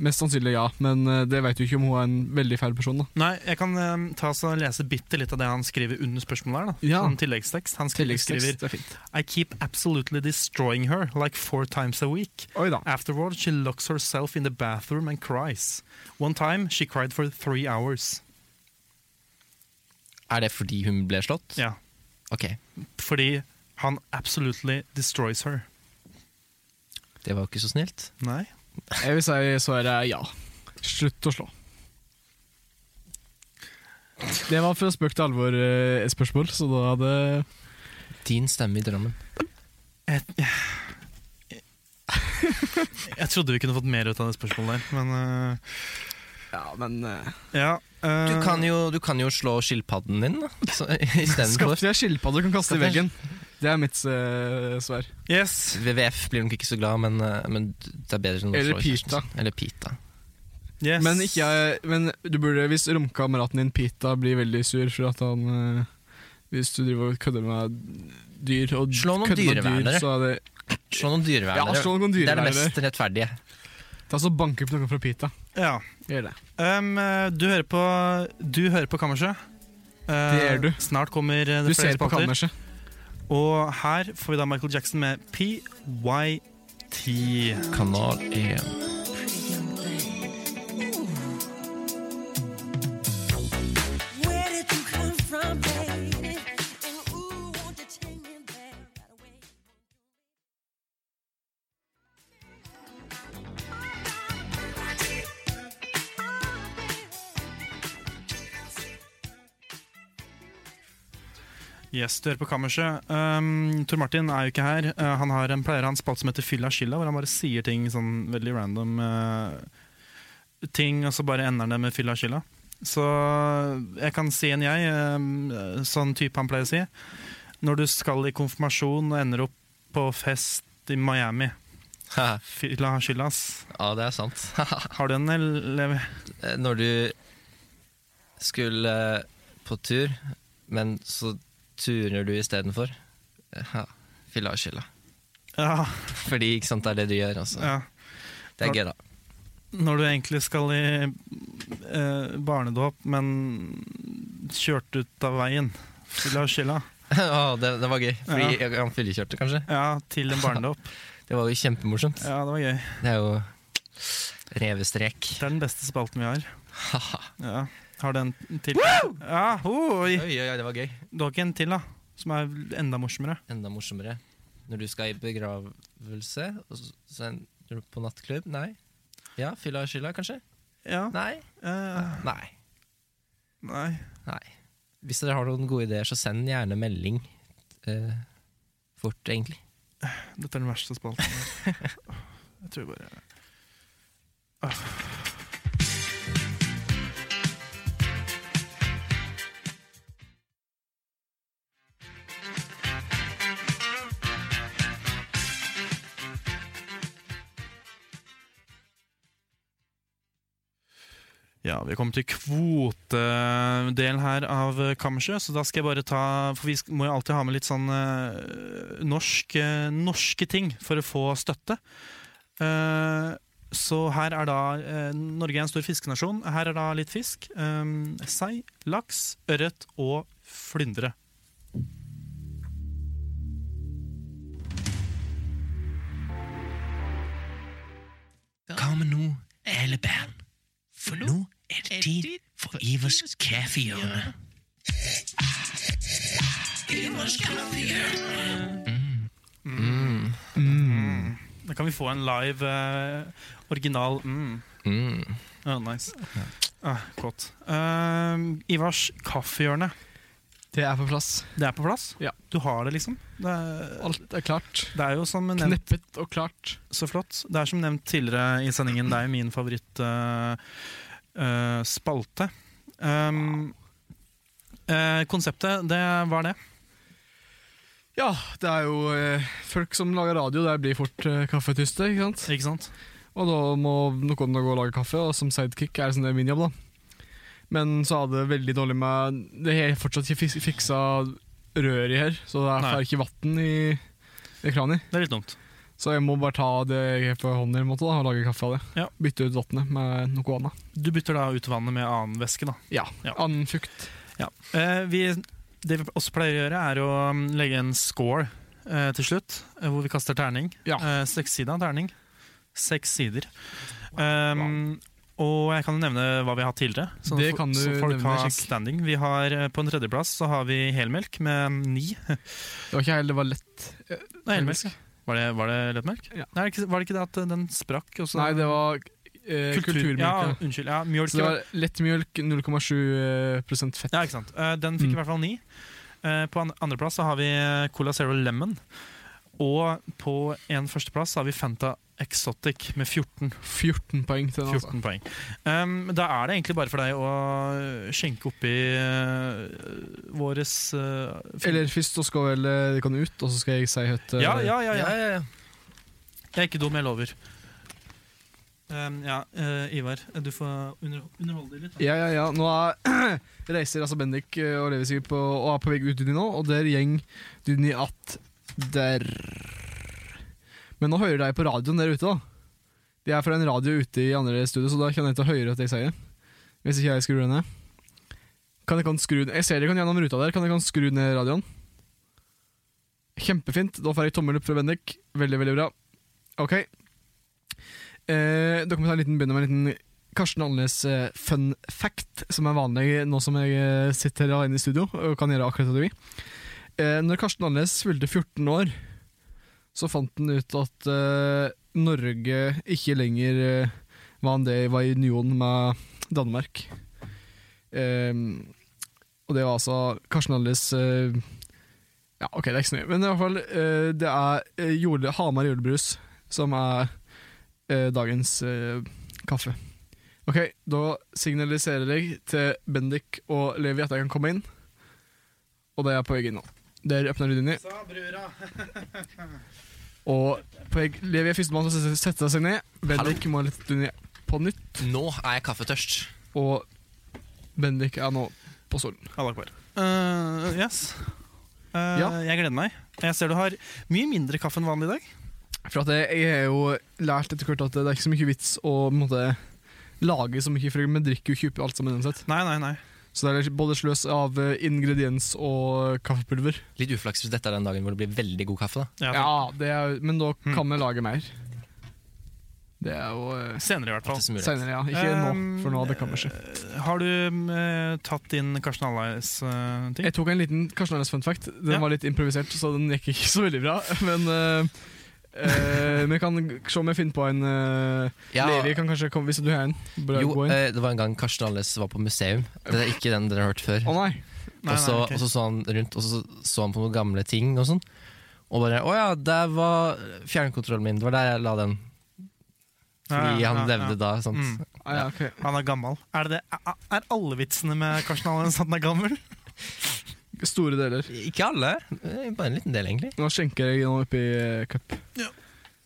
Speaker 2: Mest sannsynlig ja, men eh, det veit du ikke om hun er en veldig feil person. da
Speaker 1: Nei, jeg kan um, ta oss og lese bitte litt av det han skriver under spørsmålet. her da,
Speaker 2: Ja.
Speaker 1: Som tilleggstekst. Han skriver,
Speaker 2: Tilleggstekst, det er fint.
Speaker 1: skriver I keep absolutely destroying her like four times a week.
Speaker 2: Oi da.
Speaker 1: Afterward, she locks herself in the bathroom and cries. One time, she cried for three hours.
Speaker 4: er det fordi hun ble slått?
Speaker 1: Ja.
Speaker 4: Ok,
Speaker 1: Fordi han absolutely destroys her.
Speaker 4: det var jo ikke så snilt.
Speaker 1: Nei.
Speaker 2: Jeg vil si svaret er ja. Slutt å slå. Det var fra spøk til alvor eh, et spørsmål, så da hadde
Speaker 4: Din stemme i Drammen.
Speaker 1: Jeg, jeg trodde vi kunne fått mer ut av det spørsmålet der, men øh,
Speaker 2: Ja, men eh,
Speaker 1: ja. øh,
Speaker 4: Du kan jo, du kan jo slå skilpadden din, da. Så- Istedenfor.
Speaker 2: Skaff deg skilpadde du kan kaste i
Speaker 4: Skaff deg-
Speaker 2: veggen. Det er mitt eh, svar.
Speaker 1: Yes.
Speaker 4: WWF blir nok ikke så glad, men, eh, men det er bedre enn å
Speaker 2: Eller
Speaker 4: slå i kjeften.
Speaker 2: Pita.
Speaker 4: Eller Pita.
Speaker 1: yes.
Speaker 2: Men, ikke, jeg- men du burde, hvis romkameraten din Pita blir veldig sur for at han eh, Hvis du driver og kødder med dyr og
Speaker 4: Slå noen
Speaker 2: kødder med dyr,
Speaker 4: dyrevernere.
Speaker 2: så er det-
Speaker 4: Slå noen dyrevernere.
Speaker 2: Ja, slå noen
Speaker 4: Det er det
Speaker 2: dyrevernere.
Speaker 4: mest rettferdige.
Speaker 2: Ta så Bank opp noen fra Pita.
Speaker 1: Ja.
Speaker 2: Gjør det.
Speaker 1: Øhm, øh, du hører på Du hører på Kammerset. Øh,
Speaker 2: Det gjør du.
Speaker 1: Snart kommer øh, det
Speaker 2: Du
Speaker 1: flere
Speaker 2: ser på
Speaker 1: spalter.
Speaker 2: kammerset.
Speaker 1: Og her får vi da Michael Jackson med PYT.
Speaker 4: Kanal 1.
Speaker 7: Where did you come from, baby? And ooh, won't you take me there? Gotta wait.
Speaker 1: Yes, du hører på Kammerset. Um, Tor Martin er jo ikke her. Uh, han har en pleier av en spalte som heter Fylla skilla, hvor han bare sier ting sånn veldig random uh, ting, og så bare ender det med Fylla skilla. Så eh, jeg kan si en jeg, um, sånn type han pleier å si. Når du skal i konfirmasjon og ender opp på fest i Miami.
Speaker 4: Haha,
Speaker 1: Fylla skyldas.
Speaker 4: ja, det er sant. Haha. Eh,
Speaker 1: Har du en, eller?
Speaker 4: Når du skulle eh, på tur, men så turer du istedenfor. Ja, Fylla og skylda.
Speaker 1: Ja,
Speaker 4: Fordi ikke sant, det er det du gjør. Altså.
Speaker 1: ja.
Speaker 4: Det er gøy, da.
Speaker 1: Når du egentlig skal i eh, barnedåp, men kjørt ut av veien. Fylla skylda.
Speaker 4: Å, det, det var gøy. Fordi han fyllekjørte, kanskje.
Speaker 1: Ja, til en barnedåp.
Speaker 4: Det var jo kjempemorsomt.
Speaker 1: Ja, det var gøy.
Speaker 4: Det er jo revestrek.
Speaker 1: Det er den beste spalten vi har.
Speaker 4: Haha.
Speaker 1: Ja. Har du en til? Ja, oi.
Speaker 4: Oi, oi, oi, det var gøy.
Speaker 1: Du har ikke en til, da? Som er enda morsommere?
Speaker 4: Enda morsommere. Når du skal i begravelse, og så, så ender du på nattklubb? Nei. Ja, fylla og skylda, kanskje?
Speaker 1: Ja.
Speaker 4: Nei.
Speaker 1: eh,
Speaker 4: Nei.
Speaker 1: nei.
Speaker 4: Nei. Hvis dere har noen gode ideer, så send gjerne melding eh, fort, egentlig.
Speaker 1: Dette er den verste spalten. Jeg tror bare Ah. Ja, vi har kommet til kvotedelen her av Kammerset, så da skal jeg bare ta For vi sk- må jo alltid ha med litt sånn eh, norsk, eh, norske ting for å få støtte. Eh, så her er da eh, Norge er en stor fiskenasjon. Her er da litt fisk. eh, sei, laks, ørret og flyndre.
Speaker 8: Kom nu, alle børn. For nu er det tid for Evers kaffehjørne.
Speaker 1: Da kan vi få en live eh, original mm.
Speaker 4: Mm.
Speaker 1: Ja, nice. Ah, Kåt. Ehm, Ivars kaffehjørne.
Speaker 2: Det er på plass.
Speaker 1: Det er på plass?
Speaker 2: Ja.
Speaker 1: Du har det, liksom? Det er,
Speaker 2: Alt er klart.
Speaker 1: det er jo som nevnt
Speaker 2: Kneppet og klart.
Speaker 1: Så flott. Det er som nevnt tidligere i sendingen, det er jo min favoritt eh, eh, spalte. Um, eh, konseptet, det var det.
Speaker 2: Ja, det er jo eh, folk som lager radio, der blir fort eh, kaffetyste, ikke sant?
Speaker 1: Ikke sant?
Speaker 2: Og da må noen gå og lage kaffe, og som sidekick er det sånn det er min jobb, da. Men så er det veldig dårlig med Det har fortsatt ikke fis- fiksa rør i her, så det er
Speaker 1: Nei.
Speaker 2: derfor ikke vann i, i kranen.
Speaker 1: Det er litt dumt.
Speaker 2: Så jeg må bare ta det jeg har på hånden i en måte, da, og lage kaffe av det.
Speaker 1: Ja.
Speaker 2: Bytte ut vannet med noe annet.
Speaker 1: Du bytter da ut vannet med annen væske, da.
Speaker 2: Ja.
Speaker 1: Ja.
Speaker 2: Annen fukt.
Speaker 1: Eh, vi, det vi også pleier å gjøre, er å um, legge en score eh, til slutt, eh, hvor vi kaster terning.
Speaker 2: Ja.
Speaker 1: Eh, Sekssida terning. Seks sider. Um, og jeg kan jo nevne hva vi har hatt tidligere. Så,
Speaker 2: Det
Speaker 1: fo-
Speaker 2: kan du
Speaker 1: så folk
Speaker 2: nevne,
Speaker 1: har
Speaker 2: sjekk.
Speaker 1: standing. Vi har, eh, på en tredjeplass så har vi helmelk med ni.
Speaker 2: Det var ikke helt, det var lett.
Speaker 1: Nei, helmelk. ja. Var det, var det lettmelk?
Speaker 2: Ja.
Speaker 1: Nei, ikke- var det ikke det at eh, den sprakk? Og så,
Speaker 2: Nei, det var eh,
Speaker 1: Kultur-
Speaker 2: kulturmjølk.
Speaker 1: Ja,
Speaker 2: Ja.
Speaker 1: unnskyld. Ja, mjølk.
Speaker 2: Så det var lettmjølk, 0,7 prosent fett.
Speaker 1: Ja, ikke sant. Eh, Den fikk
Speaker 2: Mm.
Speaker 1: i hvert fall ni. Eh, På an- andreplass så har vi eh, Cola Zero Lemon. Og på en førsteplass så har vi Fanta Exotic med 14,
Speaker 2: 14 poeng til den, altså.
Speaker 1: 14 poeng. Um, da er det egentlig bare for deg å eh, skjenke oppi uh, våres eh, fin-
Speaker 2: Eller først så skal vel eh, de kan ut, og så skal jeg si høyt eh,
Speaker 1: ja, ja, ja, ja.
Speaker 4: Ja, ja, ja.
Speaker 1: Jeg er ikke dum, jeg lover. Um, ja, eh, Ivar, du får under underholde deg litt. da.
Speaker 2: Ja, ja, ja. Nå er, reiser altså Bendik eh, og Levi sikkert på, og er på vei ut til de nå, og der gjeng Duni att der. Men nå hører de på radioen der ute, da. De er fra en radio ute i andre studio, så da kan jeg ikke høre at jeg sier. Hvis ikke jeg skrur den ned. Kan jeg, kan skru, jeg ser dere kan gjennom ruta der. Kan jeg kan skru ned radioen? Kjempefint. Da får jeg tommel opp fra Bendik. Veldig, veldig bra. Ok. Eh, dere må ta en liten, begynne med en liten Karsten Alnes eh, fun fact, som er vanlig nå som jeg eh, sitter her alene i studio og kan gjøre akkurat det du vil. Eh, Når Karsten Alnes fylte 14 år, så fant han ut at eh, Norge ikke lenger eh, var en del var i union med Danmark. Eh, og det var altså Karsten Alnes eh, Ja, ok, det er ikke så mye, men i hvert fall, eh, det er eh, jorde, Hamar julebrus som er eh, dagens eh, kaffe. Ok, da signaliserer jeg til Bendik og Levi at jeg kan komme inn. Og det er jeg på vei inn nå. Der åpner du din i. Og på vei, Levi er førstemann til å sette seg ned. Bendik må litt inn i på nytt.
Speaker 4: Nå er jeg kaffetørst.
Speaker 2: Og Bendik er nå på stolen.
Speaker 1: Allah akbar. Eh, yes. Eh,
Speaker 2: Ja.
Speaker 1: Jeg gleder meg. Jeg ser du har mye mindre kaffe enn vanlig i dag.
Speaker 2: For at jeg, jeg har jo lært etter hvert at det er ikke så mye vits å på en måte, lage så mye, for vi drikker jo ikke opp alt sammen uansett.
Speaker 1: Nei, nei, nei.
Speaker 2: Så det er både sløs av eh, ingrediens og kaffepulver.
Speaker 4: Litt uflaks hvis dette er den dagen hvor det blir veldig god kaffe.
Speaker 1: Ja,
Speaker 4: da
Speaker 1: Hm.
Speaker 2: Ja, det er, men da kan vi lage mer. Det er jo eh,
Speaker 1: Senere, i hvert fall.
Speaker 4: Alltid som mulighet.
Speaker 2: senere, ja. Ikke nå,
Speaker 1: Um,
Speaker 2: for nå det kan vi ikke.
Speaker 1: Eh, Har du eh, tatt inn Karsten eh, Hallais-ting?
Speaker 2: Jeg tok en liten Karsten Arnes fun fact. Den
Speaker 1: Ja.
Speaker 2: var litt improvisert, så den gikk ikke så veldig bra. Men eh, eh, vi kan se om jeg finner på en eh,
Speaker 4: Ja.
Speaker 2: Levi kan kanskje komme, hvis du har en. Bra,
Speaker 4: Jo,
Speaker 2: gå inn. Å
Speaker 4: eh, det var en gang Karsten Alles var på museum. Det er ikke den dere har hørt før.
Speaker 2: nei.
Speaker 1: Nei,
Speaker 4: og, så,
Speaker 1: nei, ok.
Speaker 4: og så så han rundt Og så så han på noen gamle ting og sånn. Og bare Å ja, der var fjernkontrollen min. Det var der jeg la den. Fordi
Speaker 1: Ja, ja,
Speaker 4: han
Speaker 1: ja,
Speaker 4: levde
Speaker 1: ja.
Speaker 4: da. Sant?
Speaker 1: Mm.
Speaker 2: Ah, ja, ok.
Speaker 1: Han er gammel. Er, det det, er- er alle vitsene med Karsten Hallais at han er gammel?
Speaker 2: Store deler.
Speaker 4: Ikke alle. eh, Bare en liten del, egentlig.
Speaker 2: Nå skjenker jeg nå oppi uh, cup.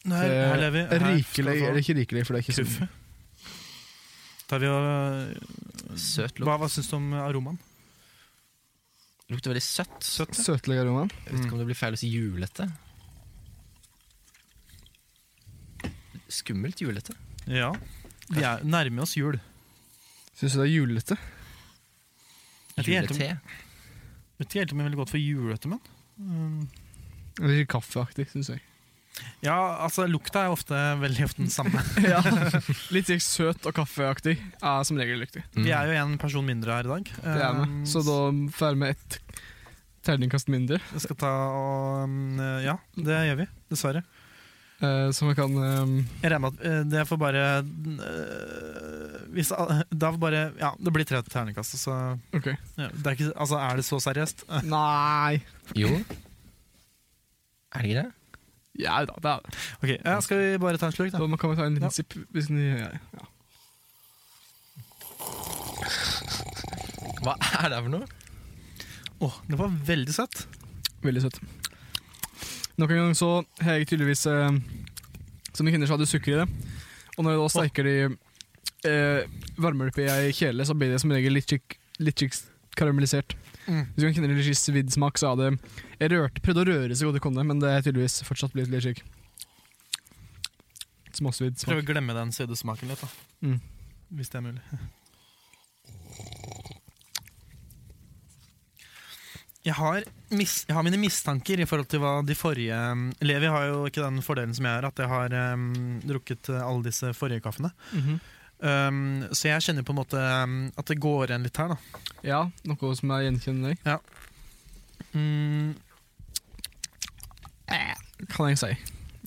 Speaker 1: Nei, her lever vi. Her skal
Speaker 2: Eh, Rikelig,
Speaker 1: du få
Speaker 2: eller ikke rikelig, for det er ikke
Speaker 1: kuffe.
Speaker 2: sånn.
Speaker 1: Tar vi og,
Speaker 4: Søt lukt.
Speaker 1: hva hva syns du om aromaen?
Speaker 4: Lukter veldig søtt.
Speaker 1: Søtt? ja.
Speaker 2: Søtlig aroma.
Speaker 4: Jeg vet ikke om det blir feil å si julete. Skummelt julete.
Speaker 1: Ja. Vi er nærmer oss jul.
Speaker 2: Syns du det er julete?
Speaker 1: Jeg vet ikke helt om-
Speaker 4: Julete.
Speaker 1: Vet ikke helt om jeg ville gått for julete, men. Mm.
Speaker 2: Eller ikke kaffeaktig, syns jeg.
Speaker 1: Ja, altså lukta er ofte veldig ofte den samme.
Speaker 2: Ja, Litt sånn søt og kaffeaktig er som regel riktig.
Speaker 4: Mm.
Speaker 1: Vi er jo en person mindre her i dag.
Speaker 2: Det er med.
Speaker 1: Um,
Speaker 2: Så da får vi et terningkast mindre.
Speaker 1: mm, eh, Jeg skal ta og um, Ja, det gjør vi. Dessverre.
Speaker 2: eh, som jeg kan eh,
Speaker 1: Jeg regner med at eh, det får bare eh, hvis, al- Da får bare Ja, det blir tre terningkast, så
Speaker 2: Ok.
Speaker 1: ja, det er, ikke, altså, er det så seriøst? Eh,
Speaker 2: Nei
Speaker 4: Jo. Er det ikke det?
Speaker 2: Ja da, det er det.
Speaker 1: Ok, ja, Skal vi bare ta en slurk, da?
Speaker 2: Så man kan vel ta en liten sipp hvis den ja. ja.
Speaker 4: Hva er det her for noe?
Speaker 1: Åh, det var veldig søtt.
Speaker 2: Veldig søtt. Nok en gang så har jeg tydeligvis eh, Som de kvinner så hadde sukker i det. Og når jeg da steiker de eh, varmer det opp i ei kjele, så blir det som regel litt, kikk- litt kikk- karamellisert.
Speaker 1: Mm.
Speaker 2: Hvis du kan kjenne litt kikk svidd smak, så er det Jeg rørte, prøvde å røre så godt jeg kunne, men det er tydeligvis fortsatt blitt litt kikk. Småsvidd
Speaker 1: Prøv
Speaker 2: smak.
Speaker 1: å glemme den sødesmaken litt, da.
Speaker 2: Mm.
Speaker 1: Hvis det er mulig. Jeg har, mis, jeg har mine mistanker i forhold til hva de forrige mm, Levi har jo ikke den fordelen som jeg har, at jeg har em, drukket eh, alle disse forrige kaffene.
Speaker 2: Mhm.
Speaker 1: Um, så jeg kjenner på en måte um, at det går igjen litt her, da.
Speaker 2: Ja, noe som jeg gjenkjenner.
Speaker 1: Mm,
Speaker 2: Kan jeg si.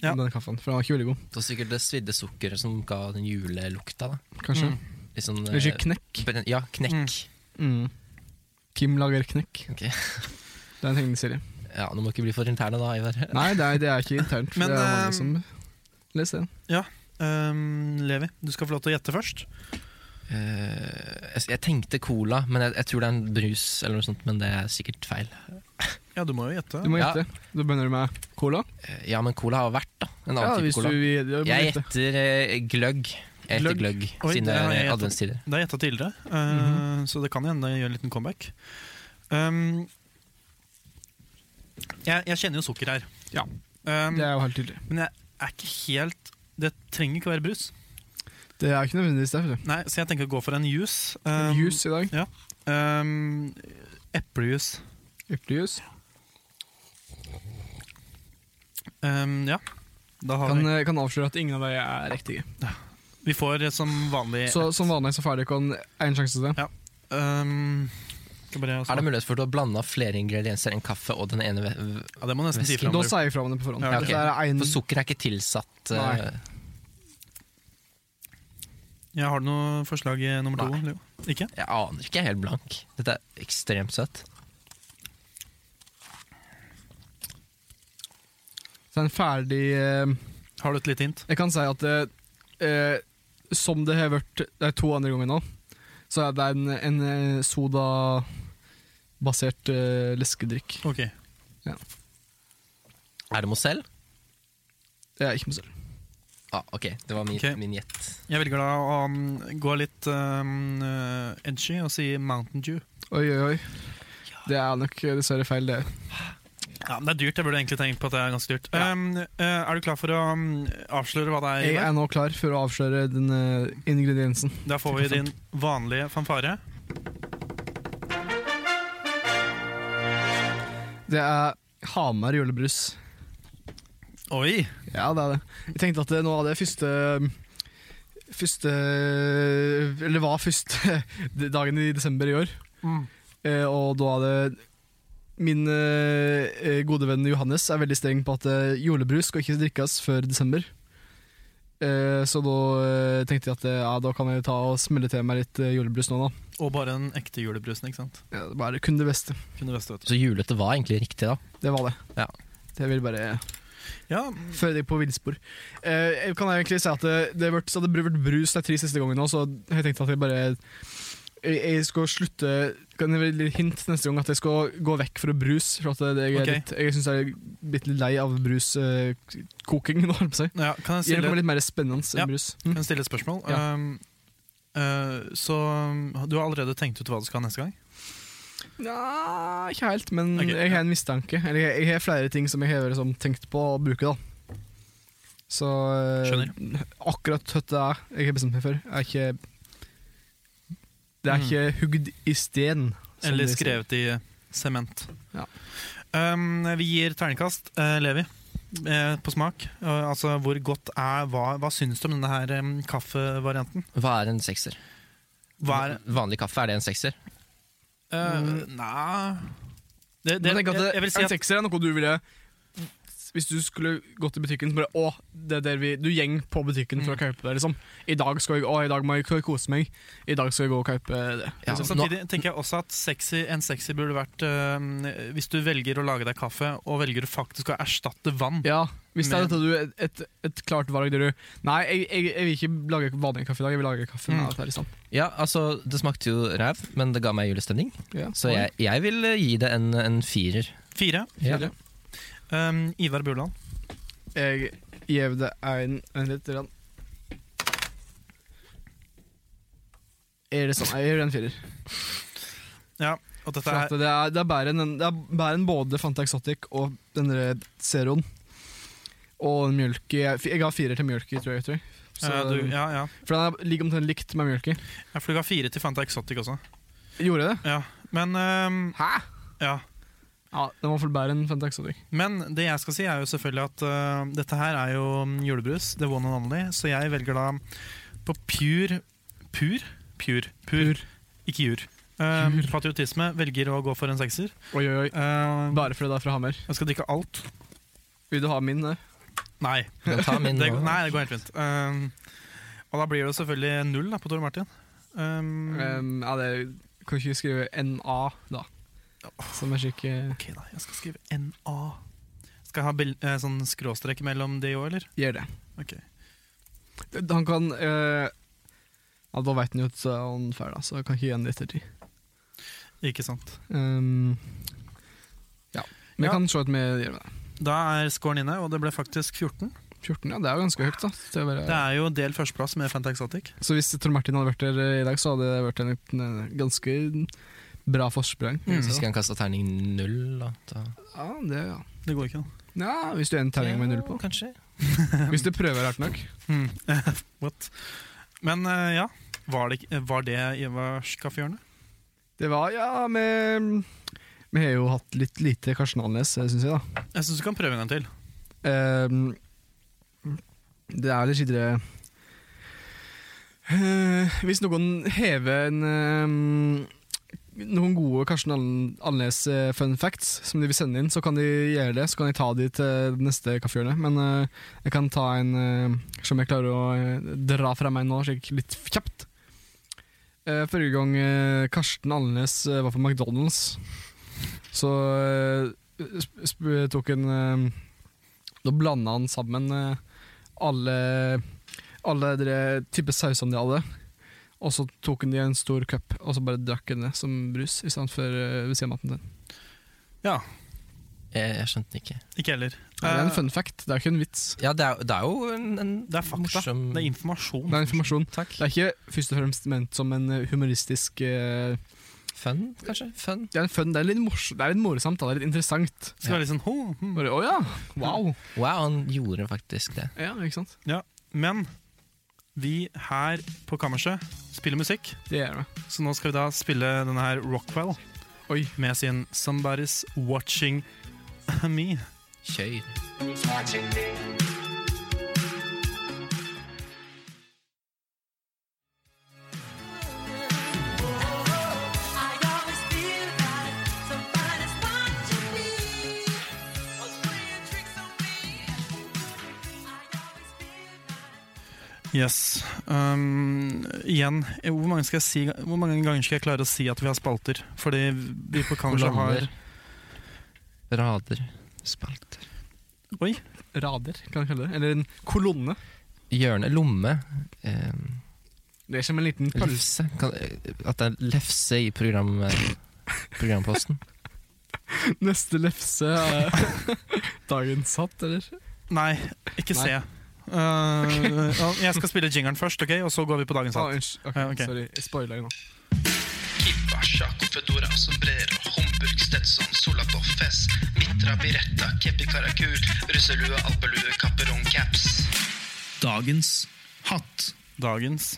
Speaker 1: Ja.
Speaker 2: Om denne kaffen, for den var ikke veldig god.
Speaker 4: Det var sikkert det svidde sukkeret som ga den julelukta. da
Speaker 2: Kanskje.
Speaker 1: Mm.
Speaker 4: Litt sånn,
Speaker 2: Eller
Speaker 4: eh,
Speaker 2: ikke knekk.
Speaker 4: ben- Ja, knekk.
Speaker 2: Mm. Kim lager knekk.
Speaker 4: Ok.
Speaker 2: Det er en tegneserie.
Speaker 4: Ja, Nå må ikke bli for interne, da, Ivar.
Speaker 2: Nei, det er, det er ikke internt. for
Speaker 1: Men,
Speaker 2: det er
Speaker 1: eh,
Speaker 2: mange som leser den.
Speaker 1: um, Levi, du skal få lov til å gjette først.
Speaker 4: Eh, jeg, jeg tenkte cola, men jeg, jeg tror det er en brus, eller noe sånt, men det er sikkert feil.
Speaker 1: Ja, du må jo gjette.
Speaker 2: Du må
Speaker 4: ja.
Speaker 2: gjette. Du begynner med cola.
Speaker 4: Eh, ja, men cola har vært da en
Speaker 2: Ja,
Speaker 4: annen
Speaker 2: hvis
Speaker 4: type
Speaker 2: du
Speaker 4: cola.
Speaker 2: vil du må
Speaker 4: Jeg
Speaker 2: gjette.
Speaker 4: gjetter eh, gløgg. Jeg gjetter gløgg,
Speaker 1: Oi,
Speaker 4: siden
Speaker 1: det
Speaker 4: det
Speaker 1: har jeg
Speaker 4: er
Speaker 1: gjettet.
Speaker 4: adventstider.
Speaker 1: Det har jeg gjetta tidligere, uh,
Speaker 2: Mhm.
Speaker 1: så det kan hende jeg gjør en liten comeback. Um, jeg, jeg kjenner jo sukker her.
Speaker 2: Ja.
Speaker 1: Um,
Speaker 2: Det er jo helt tydelig.
Speaker 1: Men jeg er ikke helt Det trenger ikke være brus.
Speaker 2: Det er ikke nødvendigvis det. vet du.
Speaker 1: Nei, Så jeg tenker å gå for en juice. Um,
Speaker 2: Juice i dag.
Speaker 1: Um, Eplejuice.
Speaker 2: Eplejuice.
Speaker 1: Um, ja. Da har
Speaker 2: Kan,
Speaker 1: vi,
Speaker 2: eh, kan avsløre at ingen av deg er riktige.
Speaker 1: vi får eh, som vanlig
Speaker 2: Så som vanlig så får dere ikke en sjanse til det.
Speaker 1: Um, skal bare
Speaker 4: Er det mulighet for å blande flere ingredienser enn kaffe og den ene ve-
Speaker 1: ja, det må jeg nesten si
Speaker 4: Væske.
Speaker 1: fra om
Speaker 2: Da
Speaker 1: det-
Speaker 2: sier jeg fra om det på forhånd.
Speaker 1: Ja, ok.
Speaker 2: Dette er en,
Speaker 4: For sukker er ikke tilsatt eh,
Speaker 1: Ja, Har du noe forslag eh, nummer to? Leo? Ikke?
Speaker 4: Jeg aner ikke, jeg er helt blank. Dette er ekstremt søtt.
Speaker 2: så er det en ferdig eh,
Speaker 1: Har du et lite hint?
Speaker 2: Jeg kan si at eh, eh, som det har vært det er to andre ganger nå, så er det en, en eh, sodabasert eh, leskedrikk.
Speaker 1: Ok.
Speaker 4: Er det Mozell?
Speaker 2: Det er ikke meg selv.
Speaker 4: Ah, ok, det var min,
Speaker 1: Ok.
Speaker 4: min gjett.
Speaker 1: Jeg velger da å um, gå litt um, eh, edgy og si Mountain Dew.
Speaker 2: Oi, oi, oi. Det er nok eh, dessverre feil, det.
Speaker 1: Ja, men Det er dyrt. Jeg burde egentlig tenkt på at det er ganske dyrt. Um, eh, er du klar for å um, avsløre hva det er?
Speaker 2: Jeg
Speaker 1: Ivar?
Speaker 2: er nå klar for å avsløre den eh, ingrediensen.
Speaker 1: Da får vi din vanlige fanfare.
Speaker 2: Det er Hamar julebrus.
Speaker 1: Oi!
Speaker 2: Ja, det er det. Jeg tenkte at det nå var det første Første Eller var første dagen i desember i år. Eh, og da er det Min eh, gode venn Johannes er veldig streng på at eh, julebrus skal ikke drikkes før desember. Eh, så da eh, tenkte jeg at eh, ja, da kan jeg ta og smelle til meg litt eh, julebrus nå, da.
Speaker 1: Og bare den ekte julebrusen, ikke sant?
Speaker 2: Ja, det var kun det beste.
Speaker 1: Kunne best vet du.
Speaker 4: Så julete var egentlig riktig, da.
Speaker 2: Det var det.
Speaker 4: Ja.
Speaker 2: Jeg vil bare
Speaker 1: Ja,
Speaker 2: føre deg på villspor. Eh, jeg kan egentlig si at det, det, har vært, så det har vært brus de tre siste gangene, nå, så jeg tenkte at jeg bare jeg, jeg skal slutte Kan jeg gi litt hint neste gang at jeg skal gå vekk fra brus? For at det, jeg, er
Speaker 1: Ok.
Speaker 2: litt, jeg syns jeg er blitt litt lei av bruskoking. nå, holdt jeg på å si.
Speaker 1: ja kan,
Speaker 2: Gjør
Speaker 1: jeg
Speaker 2: det
Speaker 1: stille,
Speaker 2: noe litt mer spennende enn
Speaker 1: Ja.
Speaker 2: brus. Mm.
Speaker 1: kan jeg stille et spørsmål?
Speaker 2: Ja.
Speaker 1: Um, eh, så um, du har allerede tenkt ut hva du skal ha neste gang?
Speaker 2: Nja, Ah, ikke helt, men
Speaker 1: Ok,
Speaker 2: jeg har en mistanke. Eller jeg, jeg har flere ting som jeg har liksom, tenkt på å bruke, da. Så eh, akkurat hva det er jeg har bestemt meg for, er ikke Det er
Speaker 1: Mm.
Speaker 2: ikke hugd i sten. som
Speaker 1: Eller
Speaker 2: de sier.
Speaker 1: skrevet i eh, sement?
Speaker 2: Ja.
Speaker 1: Um, vi gir terningkast, eh, Levi, eh, på smak. Eh, altså hvor godt er Hva, hva syns du om denne her um, kaffevarianten?
Speaker 4: Hva er en sekser?
Speaker 1: Hva er
Speaker 4: Vanlig kaffe, er det en sekser?
Speaker 1: uh, Nei det, det,
Speaker 2: Men tenk
Speaker 1: jeg,
Speaker 2: Mm. at det,
Speaker 1: jeg vil si
Speaker 2: En
Speaker 1: at
Speaker 2: sekser er noe du ville hvis du skulle gått i butikken så bare, Å, det er der vi, du gjeng på butikken
Speaker 1: Mm.
Speaker 2: for å kjøpe det, liksom. I dag skal jeg, å, i dag må jeg kose meg. I dag skal jeg gå og kjøpe det. Liksom.
Speaker 4: Ja,
Speaker 1: Så
Speaker 4: nå-
Speaker 1: Samtidig tenker jeg også at sexy, en sexy burde vært eh, Hvis du velger å lage deg kaffe, og velger å faktisk å erstatte vann.
Speaker 2: Ja, hvis det er
Speaker 1: Men-
Speaker 2: dette du, et, et, et klart valg der du Nei, jeg, jeg, jeg vil ikke lage vanlig kaffe i dag, jeg vil lage kaffe med
Speaker 1: Mm.
Speaker 2: dette her, liksom.
Speaker 4: Ja, altså, det smakte jo ræv, men det ga meg julestemning.
Speaker 2: Ja.
Speaker 4: Så jeg, jeg vil eh, gi det en, en firer.
Speaker 1: Fire.
Speaker 4: Ja.
Speaker 2: Fire.
Speaker 1: Um, Ivar Buland.
Speaker 2: Jeg gjev det en, en litt rann. Er det sånn? Jeg gjør en firer.
Speaker 1: Ja, og dette
Speaker 2: For at
Speaker 1: er
Speaker 2: det, er, det, er bedre enn, den- det er bedre enn både Fanta Exotic og den der Zeroen. Og den mjølke Jeg, jeg ga firer til mjølke, tror jeg. Tror jeg. Så,
Speaker 1: eh, du, ja, ja.
Speaker 2: For den er- ligger omtrent likt med mjølke.
Speaker 1: Jeg fløy av fire til Fanta Exotic også.
Speaker 2: Gjorde jeg det?
Speaker 1: Ja. Men, ehm,
Speaker 2: Hæ?
Speaker 1: ja.
Speaker 2: Ja, Den var for bedre enn Fanta Exotic.
Speaker 1: Men det jeg skal si, er jo selvfølgelig at eh, dette her er jo mm, julebrus. The one and only. Så jeg velger da på pure Pur? Pur. Pur. Ikke jur. Eh, patriotisme velger å gå for en sekser.
Speaker 2: Oi, oi, oi.
Speaker 1: Eh,
Speaker 2: Bare fordi det er fra Hammer.
Speaker 1: jeg skal drikke alt.
Speaker 2: Vil du ha min? eh?
Speaker 1: Nei.
Speaker 4: Du kan ta min
Speaker 1: Det,
Speaker 4: nå.
Speaker 1: går- nei, det går helt fint. Um, og da blir det jo selvfølgelig null da, på Tor Martin. Um,
Speaker 2: Um, ja, det kan ikke skrive NA, da. Som er slik eh,
Speaker 1: ok, da. Jeg skal skrive NA. Skal jeg ha bil, eh, sånn skråstrek mellom de òg, eller?
Speaker 2: Gjør det.
Speaker 1: Ok.
Speaker 2: Han kan eh, Ja, Da veit han jo at så er han ferdig, da, så jeg kan ikke gi han det ettertid.
Speaker 1: Ikke sant.
Speaker 2: Um, ja. Men jeg
Speaker 1: Ja.
Speaker 2: kan se at vi gjør med det.
Speaker 1: Da er scoren inne, og det ble faktisk 14.
Speaker 2: 14, ja, det er jo ganske høyt, da. Til å
Speaker 1: Det
Speaker 2: være,
Speaker 1: er jo del førsteplass med Fanta Exotic.
Speaker 2: så hvis Tor Martin hadde vært der eh, i dag, så hadde det vært en, en ganske bra forsprang.
Speaker 1: Mm.
Speaker 2: vil jeg
Speaker 4: Så
Speaker 2: si, da.
Speaker 4: skal han kaste terning null, da. da.
Speaker 2: Ja, det, ja.
Speaker 1: Det går ikke an.
Speaker 2: ja, hvis du er en terning med null på.
Speaker 4: Ja, Kanskje.
Speaker 2: Hvis du prøver hardt nok.
Speaker 1: Hmm. What? Men eh, ja, var det, ikke- var det Ivars kaffehjørne?
Speaker 2: Det var, ja, vi Vi har jo hatt litt lite Karsten Alnes, syns jeg, da.
Speaker 1: Jeg syns du kan prøve en gang til.
Speaker 2: Ehm, det er litt videre Eh, Hvis noen hever en ehm, noen gode Karsten Aln- Alnes eh, fun facts som de vil sende inn, så kan de gjøre det. Så kan jeg ta de til neste kaffehjørne. Men eh, jeg kan ta en eh, som jeg klarer å eh, dra fra meg nå, slik litt kjapt. Eh, forrige gang eh, Karsten Alnes eh, var på McDonald's, så eh, sp sp tok en eh, da blanda han sammen eh, alle, alle dere type sausene de hadde. Og så tok han de i en stor cup og så bare drakk han det som brus i stedet for eh, ved siden av maten sin.
Speaker 4: Jeg, jeg skjønte den ikke.
Speaker 1: Ikke heller.
Speaker 2: Det er
Speaker 1: Eh,
Speaker 2: en fun fact, det er ikke en vits.
Speaker 4: Ja, det er, det er jo en, en
Speaker 1: det er fakta.
Speaker 4: morsom
Speaker 1: Det er informasjon.
Speaker 2: Det er informasjon.
Speaker 4: Takk.
Speaker 2: Det er ikke først og fremst ment som en eh, humoristisk eh,
Speaker 4: Fun, kanskje? Fun.
Speaker 2: Det er en fun, det er litt, mors det er litt morsomt, da. det er litt interessant.
Speaker 1: Det skal være litt sånn ho, hmm.
Speaker 2: Bare, Å ja, wow.
Speaker 4: Wow, han gjorde faktisk det.
Speaker 2: Ja, ikke sant?
Speaker 1: Men vi her på kammerset spiller musikk,
Speaker 2: Det gjør det.
Speaker 1: så nå skal vi da spille denne her Rockwell
Speaker 2: Oi.
Speaker 1: med sin 'Somebody's Watching Me'.
Speaker 4: Kjør.
Speaker 7: I always feel that somebody's watching me, was playing tricks on me. I always feel that.
Speaker 1: Yes. Um, igjen, hvor mange, skal jeg si, hvor mange ganger skal jeg klare å si at vi har spalter? Fordi vi på kammerset har
Speaker 4: Kolonner. Rader. Spalter.
Speaker 1: Oi!
Speaker 2: Rader, kan jeg kalle det. Eller en kolonne.
Speaker 4: Hjørne. Lomme. Eh,
Speaker 2: Det er som en liten pølse.
Speaker 4: lefse. Kan, eh, at det er lefse i program, eh, programposten.
Speaker 2: Neste lefse er dagens hatt, eller?
Speaker 1: Nei, ikke
Speaker 2: Nei.
Speaker 1: se. Uh, ja, jeg skal spille jingeren først, ok? og så går vi på dagens
Speaker 2: Ah,
Speaker 1: hatt.
Speaker 2: unnskyld. Ok,
Speaker 1: Ja, ok.
Speaker 2: Sorry, jeg spoila nå.
Speaker 8: Kipasha, Confedora, Sombrero, Homburg, Stetson, Solator, Fez, Mitra, Biretta, Kepi Karakul, russelue, alpelue, Kapperon, Caps.
Speaker 6: Dagens hatt.
Speaker 1: Dagens.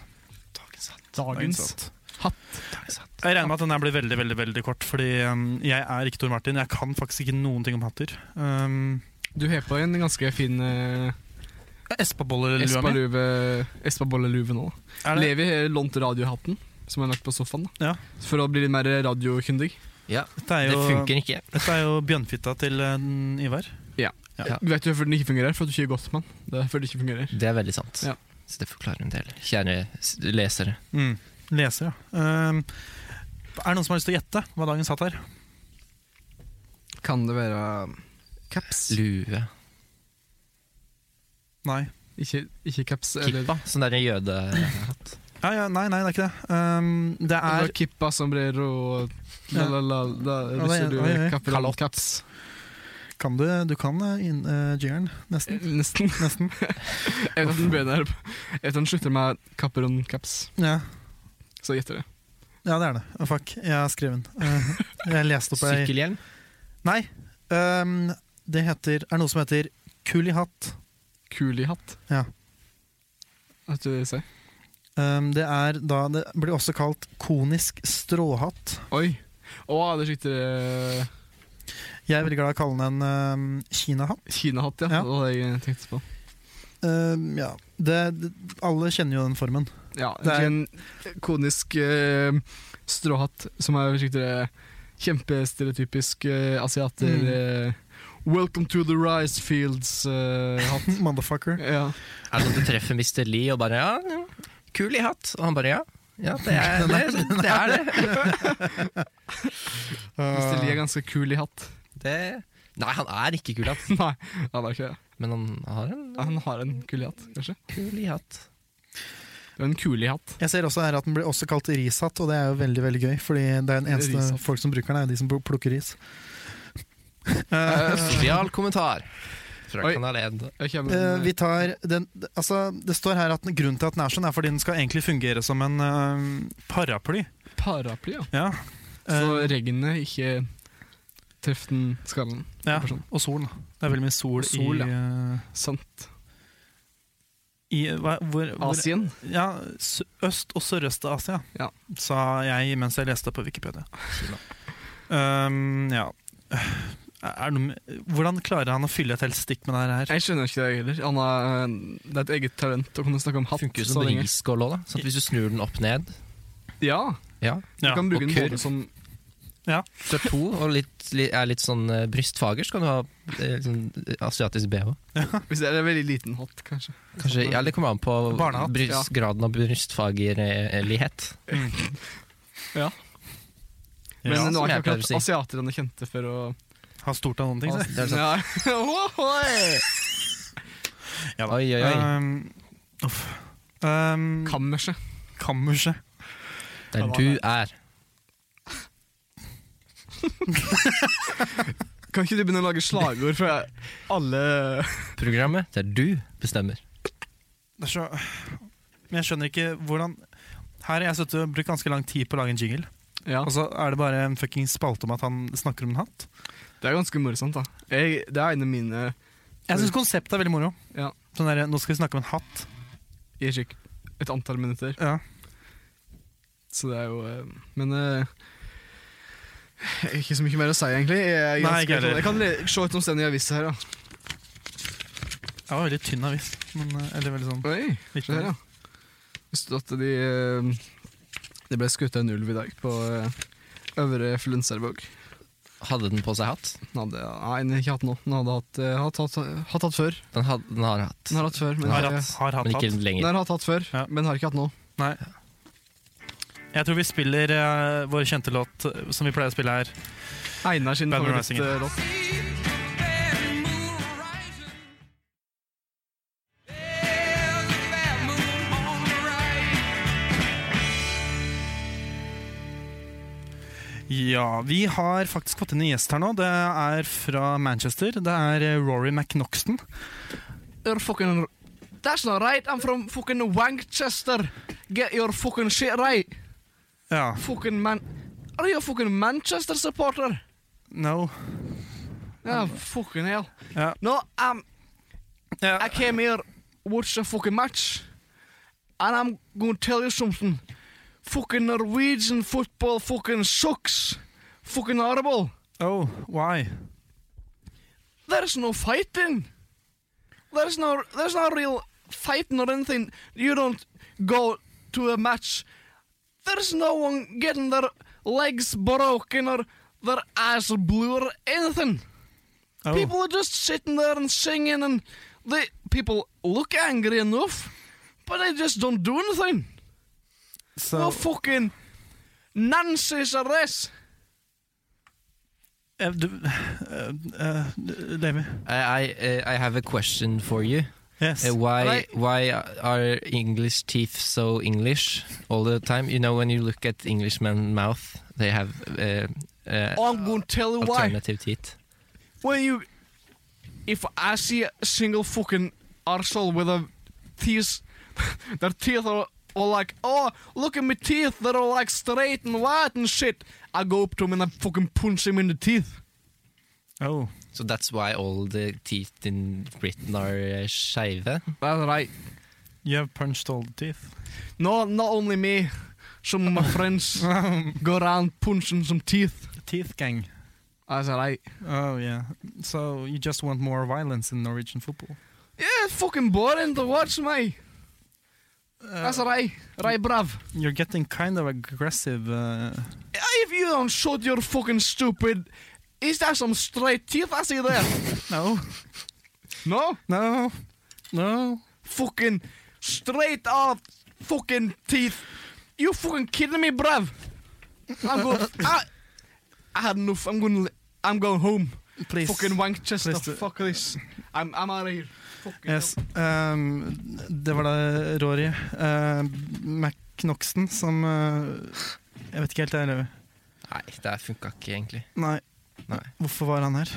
Speaker 2: Dagens
Speaker 1: hatt.
Speaker 2: hatt.
Speaker 1: Jeg regner med at den her blir veldig veldig, veldig kort, fordi um, jeg er ikke Tor Martin. Jeg kan faktisk ikke noen ting om hatter. Um,
Speaker 2: Du har på en ganske fin uh,
Speaker 1: Espaboller-lua mi.
Speaker 2: Espabolle-luve nå.
Speaker 1: Er det-
Speaker 2: Levi har lånt radiohatten, som han har lagt på sofaen, da.
Speaker 1: Ja.
Speaker 2: for å bli litt mer radiokyndig.
Speaker 4: Ja,
Speaker 1: Dette er
Speaker 4: det
Speaker 1: jo,
Speaker 4: funker ikke.
Speaker 1: dette er jo bjørnfitta til um, Ivar.
Speaker 2: Vet du hvorfor den ikke fungerer? For at du ikke er Gothman. Det er derfor det ikke fungerer.
Speaker 4: Det er veldig sant.
Speaker 2: Ja.
Speaker 4: Så det forklarer en del. Kjære s- lesere.
Speaker 1: Mm. Leser, ja. Ehm, er det noen som har lyst til å gjette hva dagens hatt er?
Speaker 2: Kan det være um, caps?
Speaker 4: Lue.
Speaker 1: Nei.
Speaker 2: Ikke, ikke caps. Eller,
Speaker 4: Kippa. Sånn der jødehatt.
Speaker 1: Ja, ja, nei, nei, det er ikke det. Ehm, det
Speaker 2: eller
Speaker 1: er
Speaker 2: kippa, sombrero la, la, la, la,
Speaker 1: Ja,
Speaker 2: Hvis
Speaker 1: det-
Speaker 2: du
Speaker 1: ja, ja, ja.
Speaker 2: kapper alle caps.
Speaker 1: Kan du, du kan eh, inn- eh, jingeren, nesten.
Speaker 2: Nesten.
Speaker 1: Nesten.
Speaker 2: Jeg vet at den begynner Jeg vet at den slutter med kapperon caps,
Speaker 1: Ja.
Speaker 2: så gjetter jeg.
Speaker 1: ja, det er det. Å, fuck, jeg har skrevet den. Eh, jeg leste opp ei
Speaker 4: Sykkelhjelm.
Speaker 1: Nei. ehm, det heter, er noe som heter kulihatt.
Speaker 2: Kulihatt.
Speaker 1: Ja.
Speaker 2: Vet du hva jeg sier?
Speaker 1: Ehm, det er da Det blir også kalt konisk stråhatt.
Speaker 2: Oi. Å, det er riktig. eh,
Speaker 1: Jeg er veldig glad i å kalle den en ehm, kinahatt.
Speaker 2: Kinahatt, ja.
Speaker 1: Ja.
Speaker 2: Det var det jeg tenkte på.
Speaker 1: Ehm, ja. Det, det, alle kjenner jo den formen.
Speaker 2: Ja,
Speaker 1: Det er-
Speaker 2: en konisk eh, stråhatt som er riktig kjempestereotypisk eh, asiater.
Speaker 1: Mm.
Speaker 2: eh, Welcome to the rice fields-hatt.
Speaker 1: Motherfucker.
Speaker 2: ja.
Speaker 4: Er det sånn at du treffer Mr. Lee og bare ja, ja, 'Kul i hatt', og han bare ja. Ja, det er det. Det er det.
Speaker 2: Hvis det
Speaker 1: Ah.
Speaker 2: er ganske kul i hatt.
Speaker 4: det. Nei, han er ikke kul i hatt,
Speaker 2: Nei, han er ikke det.
Speaker 4: men han har en
Speaker 2: Han har en kul i hatt, kanskje.
Speaker 4: kul i hatt.
Speaker 2: Det er en kul i hatt.
Speaker 1: Jeg ser også her at den blir også kalt rishatt, og det er jo veldig veldig gøy. Fordi det er den eneste
Speaker 2: Rishatt.
Speaker 1: folk som bruker den, er de som plukker Eh, ris.
Speaker 4: Sosial kommentar fra
Speaker 2: Oi.
Speaker 4: Kanal 1.
Speaker 2: Jeg kommer,
Speaker 1: Eh, vi tar den, altså, det står her at den- grunnen til at den er sånn, er fordi den skal egentlig fungere som en eh, paraply.
Speaker 2: Paraply, ja.
Speaker 1: Ja.
Speaker 2: Så
Speaker 1: Eh,
Speaker 2: regnet ikke treffer den skallen.
Speaker 1: ja.
Speaker 2: person.
Speaker 1: Og solen. da. Det er veldig mye sol,
Speaker 2: Sol, ja.
Speaker 1: i, eh,
Speaker 2: Sant.
Speaker 1: i hva, hvor, hvor,
Speaker 2: Asien.
Speaker 1: Ja, s- Øst- og Sørøst-Asia,
Speaker 2: Ja.
Speaker 1: sa jeg mens jeg leste på Wikipedia. Um, ja. Er det noe, med- hvordan klarer han å fylle et helt stikk med det her?
Speaker 2: Jeg skjønner ikke det heller. Han har, det er et eget talent å kunne snakke om hatt.
Speaker 4: Funker jo
Speaker 2: så
Speaker 4: som
Speaker 2: lenge.
Speaker 4: risskål òg, da. Sånn at hvis du snur den opp ned
Speaker 2: Ja,
Speaker 4: ja.
Speaker 2: du
Speaker 1: Ja,
Speaker 2: kan bruke
Speaker 4: og
Speaker 2: den
Speaker 4: kurv.
Speaker 2: både som
Speaker 4: Hvis du er to og litt, li- er litt sånn eh, brystfager, så kan du ha eh, sånn eh, asiatisk bh.
Speaker 2: Hvis det er en veldig liten hatt, kanskje.
Speaker 4: Kanskje, ja, Det kommer an på
Speaker 1: Barnehatt,
Speaker 4: bryst,
Speaker 2: ja.
Speaker 4: graden av eh, brystfagerlighet.
Speaker 2: Men
Speaker 4: Ja,
Speaker 2: nå
Speaker 4: som
Speaker 2: er
Speaker 4: jeg
Speaker 2: ikke akkurat
Speaker 4: pleier å si.
Speaker 2: asiaterne kjente for å
Speaker 1: Har stort av noen ting.
Speaker 4: Det er
Speaker 2: Nei. Ohoi!
Speaker 1: Ja da.
Speaker 4: Oi, oi, oi.
Speaker 2: Eh,
Speaker 1: Um, uff. Um,
Speaker 2: Kammerset.
Speaker 1: kammerset.
Speaker 4: Der du er.
Speaker 2: Kan ikke du begynne å lage slagord fra alle
Speaker 4: Programmet der du bestemmer.
Speaker 1: Det er så, men jeg skjønner ikke hvordan Her har jeg sittet og brukt ganske lang tid på å lage en jingle,
Speaker 2: Ja,
Speaker 1: og så er det bare en fucking spalte om at han snakker om en hatt.
Speaker 2: Det er ganske morsomt, da. Jeg, det er en av mine
Speaker 1: Jeg syns konseptet er veldig moro.
Speaker 2: Ja.
Speaker 1: Sånn der, nå skal vi snakke om en hatt.
Speaker 2: i slik et antall minutter.
Speaker 1: Ja.
Speaker 2: Så det er jo eh, Men eh, ikke så mye mer å si, egentlig. Jeg, er
Speaker 1: Nei,
Speaker 2: ganske-
Speaker 1: ikke heller.
Speaker 2: jeg kan le- se et omstendig avis her, da.
Speaker 1: Jeg var veldig tynn avis. Men, eh, eller veldig sånn
Speaker 2: Oi, se
Speaker 1: liten
Speaker 2: her, ja. Det stod at de eh, Det ble skutt en ulv i dag på eh, Øvre Flunservåg.
Speaker 4: Hadde den på seg hatt?
Speaker 2: Den hadde nei, den har ikke hatt nå. Den hadde hatt, eh, hatt, hatt, hatt, hatt før.
Speaker 4: Den, had, den har hatt,
Speaker 2: Den har hatt før, men,
Speaker 1: Har
Speaker 2: eh,
Speaker 1: hatt, har hatt,
Speaker 4: men ikke
Speaker 1: hatt.
Speaker 2: den
Speaker 4: lenger.
Speaker 2: har hatt, hatt før,
Speaker 1: Ja.
Speaker 2: men har ikke hatt nå.
Speaker 1: Nei. Jeg tror vi spiller eh, vår kjente låt eh, som vi pleier å spille her.
Speaker 2: Einar sin eh,
Speaker 1: Band of
Speaker 2: favorittlåt.
Speaker 1: Ja, Vi har faktisk fått inn en gjest her nå. Det er fra Manchester. Det er eh, Rory McNoxton.
Speaker 2: You're fucking That's not right, I'm from fucking Manchester. Get your fucking shit right.
Speaker 1: Ja,
Speaker 2: Fucking man... Are you a fucking Manchester supporter?
Speaker 1: no.
Speaker 2: Yeah, fucking hell.
Speaker 1: Ja.
Speaker 2: No, um,
Speaker 1: Ja.
Speaker 2: I came here, watch a fucking match, and I'm gonna tell you something. Fucking Norwegian football fucking sucks. Fucking horrible.
Speaker 1: Oh, why?
Speaker 2: There's no fighting. There's no there's no real fighting or anything. You don't go to a match. There's no one getting their legs broken or their eyes blue or anything.
Speaker 1: Oh.
Speaker 2: People are just sitting there and singing, and they people look angry enough, but they just don't do anything.
Speaker 1: So
Speaker 2: No fucking Nancy's arrest.
Speaker 1: eh, du, eh, eh, Levi.
Speaker 4: I, eh, I, I have a question for you.
Speaker 1: Yes.
Speaker 4: Uh, why
Speaker 2: Right.
Speaker 4: why are English teeth so English all the time? You know, when you look at Englishman mouth, they have uh, uh,
Speaker 2: Oh, I'm gonna tell you why.
Speaker 4: alternative teeth.
Speaker 2: When you, if I see a single fucking arsehole with a teeth, their teeth are all like, oh, look at my teeth, they're all like straight and white and shit. I go up to him and I fucking punch him in the teeth.
Speaker 1: Oh.
Speaker 4: So that's why all the teeth in Britain are uh, skeive.
Speaker 2: That's right.
Speaker 1: You have punched all the teeth.
Speaker 2: No, not only me. Some of my friends go around punching some teeth.
Speaker 1: Teeth gang.
Speaker 2: That's alright.
Speaker 1: Oh yeah. So you just want more violence in Norwegian football?
Speaker 2: Yeah, it's fucking boring to watch, mate. That's alright. Right, bruv.
Speaker 1: You're getting kind of aggressive. Uh,
Speaker 2: If you don't shut your fucking stupid. Is that some straight teeth I see there?
Speaker 1: no.
Speaker 2: no?
Speaker 1: No. No.
Speaker 2: Fucking straight off fucking teeth. You fucking kidding me, bruv? I'm going. I, I had enough. I'm going. I'm going home.
Speaker 1: Please.
Speaker 2: Fucking Manchester.
Speaker 1: Please do-
Speaker 2: Fuck this. I'm, I'm out of here. Fucking
Speaker 1: Yes, ehm, det var da Rory. Uh, Mac Knoxen som eh, Jeg vet ikke helt, jeg. eller-
Speaker 4: Nei, det funka ikke egentlig.
Speaker 1: Nei.
Speaker 4: Nei.
Speaker 1: Hvorfor var han her?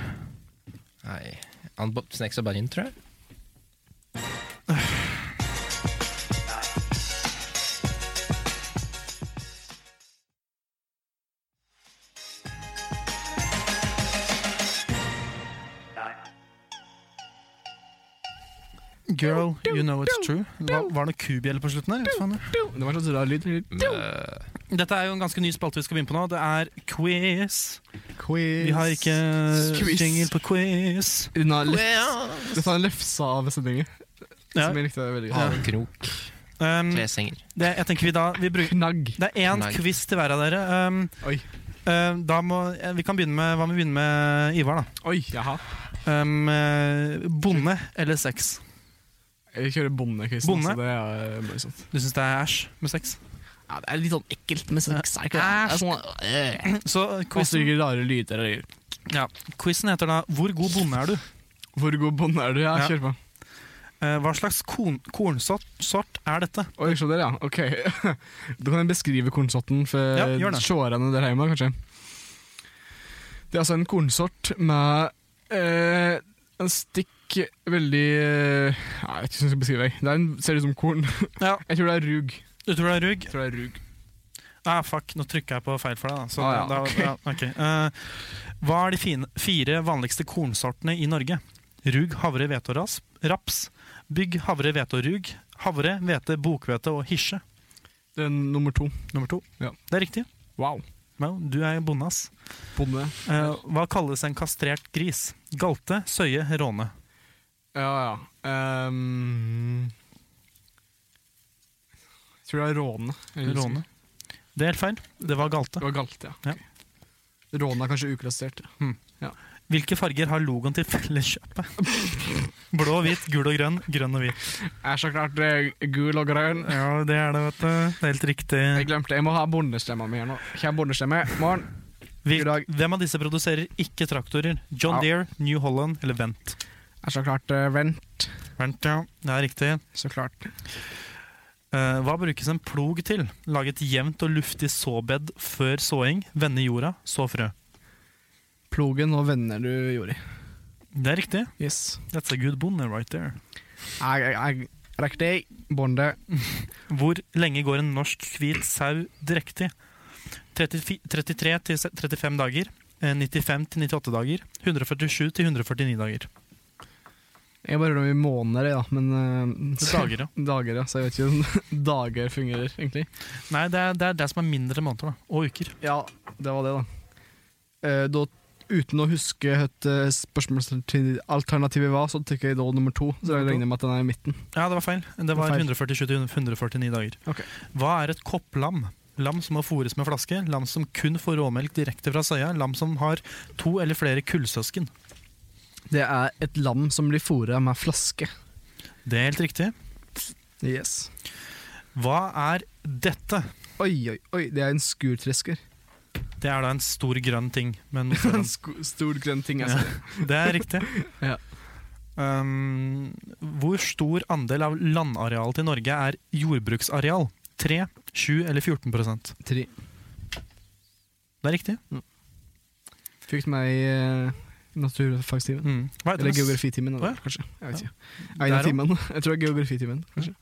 Speaker 4: Nei. Han bo- snek seg bare inn, tror jeg.
Speaker 1: Girl, you know it's true. Hva, var det kubjelle på slutten her? Vet faen jeg.
Speaker 2: Det var sånn rar lyd.
Speaker 1: Dette er jo en ganske ny spalte vi skal begynne på nå. Det er quiz.
Speaker 2: Quiz.
Speaker 1: Vi har ikke uh,
Speaker 2: Quiz.
Speaker 1: jingle på quiz.
Speaker 2: Unna lefs. Det sa en lefse av sendingen.
Speaker 1: Ja.
Speaker 2: Som jeg likte veldig
Speaker 4: eh,
Speaker 2: godt.
Speaker 4: Havkrok,
Speaker 1: ehm,
Speaker 4: kleshenger.
Speaker 1: det, jeg tenker vi da vi bruker,
Speaker 2: Knagg.
Speaker 1: Det er én
Speaker 4: Nei.
Speaker 1: quiz til hver av dere. ehm,
Speaker 2: Oi.
Speaker 1: ehm, da må, eh, vi kan begynne med, hva må vi begynne med Ivar, da?
Speaker 2: Oi, jaha.
Speaker 1: Ehm, eh, bonde eller sex?
Speaker 2: Jeg kjører bonde, Kristian.
Speaker 1: Bonde?
Speaker 2: Så det er eh, bare sånt.
Speaker 1: Du syns det er æsj med sex?
Speaker 2: Ja, det er litt sånn ekkelt med sex. Er det ikke
Speaker 1: Æsj.
Speaker 2: det? Det er sånn, øh,
Speaker 1: Så
Speaker 2: Masse
Speaker 1: quizen,
Speaker 2: rare lyder og greier.
Speaker 1: ja, quizen heter da 'Hvor god bonde er du?'
Speaker 2: Hvor god bonde er du? Ja,
Speaker 1: Ja.
Speaker 2: kjør på.
Speaker 1: Eh, hva slags kon kornsort sort er dette?
Speaker 2: Oi, se der, ja. Ok. Da kan jeg beskrive kornsorten for
Speaker 1: Ja, gjør det.
Speaker 2: seerne der hjemme, kanskje. Det er altså en kornsort med eh, en stikk veldig eh, Nei, Jeg vet ikke hvordan jeg skal beskrive det. Det er en, ser ut som korn.
Speaker 1: Ja.
Speaker 2: Jeg tror det er rug.
Speaker 1: Du tror det er rugg?
Speaker 2: Jeg tror det er rug.
Speaker 1: Ah, fuck, nå trykker jeg på feil for deg. Da. Så,
Speaker 2: Ah, ja,
Speaker 1: da,
Speaker 2: ok.
Speaker 1: ja, ok. Eh, hva er de fine, fire vanligste kornsortene i Norge? Rug, havre, hvete og ras- raps. Bygg, havre, hvete og rug. Havre, hvete, bokhvete og hirse.
Speaker 2: Det er nummer to.
Speaker 1: Nummer to.
Speaker 2: Ja.
Speaker 1: Det er riktig.
Speaker 2: Wow.
Speaker 1: Well, du er bonde, ass.
Speaker 2: Bonde.
Speaker 1: Eh, hva kalles en kastrert gris? Galte, søye, råne.
Speaker 2: Ja, ja. Ehm, jeg tror det er råne. Jeg husker.
Speaker 1: Råne. Det er helt feil. Det var galte.
Speaker 2: Det var galt, ja.
Speaker 1: Ja.
Speaker 2: Råne er kanskje uklassert.
Speaker 1: Hvilke farger har logoen til felleskjøpet? Blå, hvit, gul og grønn. Grønn og hvit.
Speaker 2: Jeg er så klart eh, gul og grønn.
Speaker 1: Ja, det er det, vet du. Det er helt riktig.
Speaker 2: Jeg glemte, jeg må ha bondestemma mi her nå. Kjem bondestemme. Morgen.
Speaker 1: Hvil,
Speaker 2: god dag.
Speaker 1: hvem av disse produserer ikke traktorer? John
Speaker 2: Ja.
Speaker 1: Deere, New Holland eller Vent?
Speaker 2: Jeg er så klart eh, vent.
Speaker 1: Vent, ja. Det er riktig.
Speaker 2: Så klart.
Speaker 1: Eh, hva brukes en plog til? Lage et jevnt og luftig såbed før såing, vende jorda, så frø.
Speaker 2: Plogen og venner du gjorde i.
Speaker 1: Det er riktig.
Speaker 2: Yes.
Speaker 1: That's a good bonde right there.
Speaker 2: Jeg, jeg, jeg Riktig. Bonde.
Speaker 1: Hvor lenge går en norsk hvit sau drektig? 34 33 til 35 dager, eh, 95 til 98 dager, 147 til 149 dager.
Speaker 2: Jeg bare hører om i måneder, ja, men eh,
Speaker 1: Dager, ja.
Speaker 2: Dager, ja. Så jeg vet ikke hvordan dager fungerer, egentlig.
Speaker 1: Nei, det er, det er det som er mindre måneder, da. Og uker.
Speaker 2: Ja, det var det, da. Eh, da uten å huske et eh, spørsmålsalternativet var, så trykker jeg da nummer to. Så jeg
Speaker 1: Nummer to.
Speaker 2: regner med at den er i midten.
Speaker 1: Ja, det var feil. Det var
Speaker 2: Feil.
Speaker 1: 147 til 149 dager.
Speaker 2: Ok.
Speaker 1: Hva er et kopplam? Lam som må fôres med flaske, lam som kun får råmelk direkte fra søya, lam som har to eller flere kullsøsken.
Speaker 2: Det er et lam som blir fôra med flaske.
Speaker 1: Det er helt riktig.
Speaker 2: Yes.
Speaker 1: Hva er dette?
Speaker 2: Oi, oi, oi, det er en skurtresker.
Speaker 1: Det er da en stor grønn ting. Men sånn-
Speaker 2: En sku- stor grønn ting, altså.
Speaker 1: det er riktig.
Speaker 2: Ja.
Speaker 1: Um, hvor stor andel av landarealet til Norge er jordbruksareal? 3, 7 eller 14 prosent?
Speaker 2: Tre.
Speaker 1: Det er riktig.
Speaker 2: Fikk meg i eh, naturfagstimen.
Speaker 1: Mm. Hva, heter
Speaker 2: Eller
Speaker 1: den,
Speaker 2: geografitimen,
Speaker 1: Å ja.
Speaker 2: da, kanskje. Jeg vet
Speaker 1: Ja.
Speaker 2: ikke. En av
Speaker 1: Der
Speaker 2: timene. Jeg tror det er geografitimen. kanskje.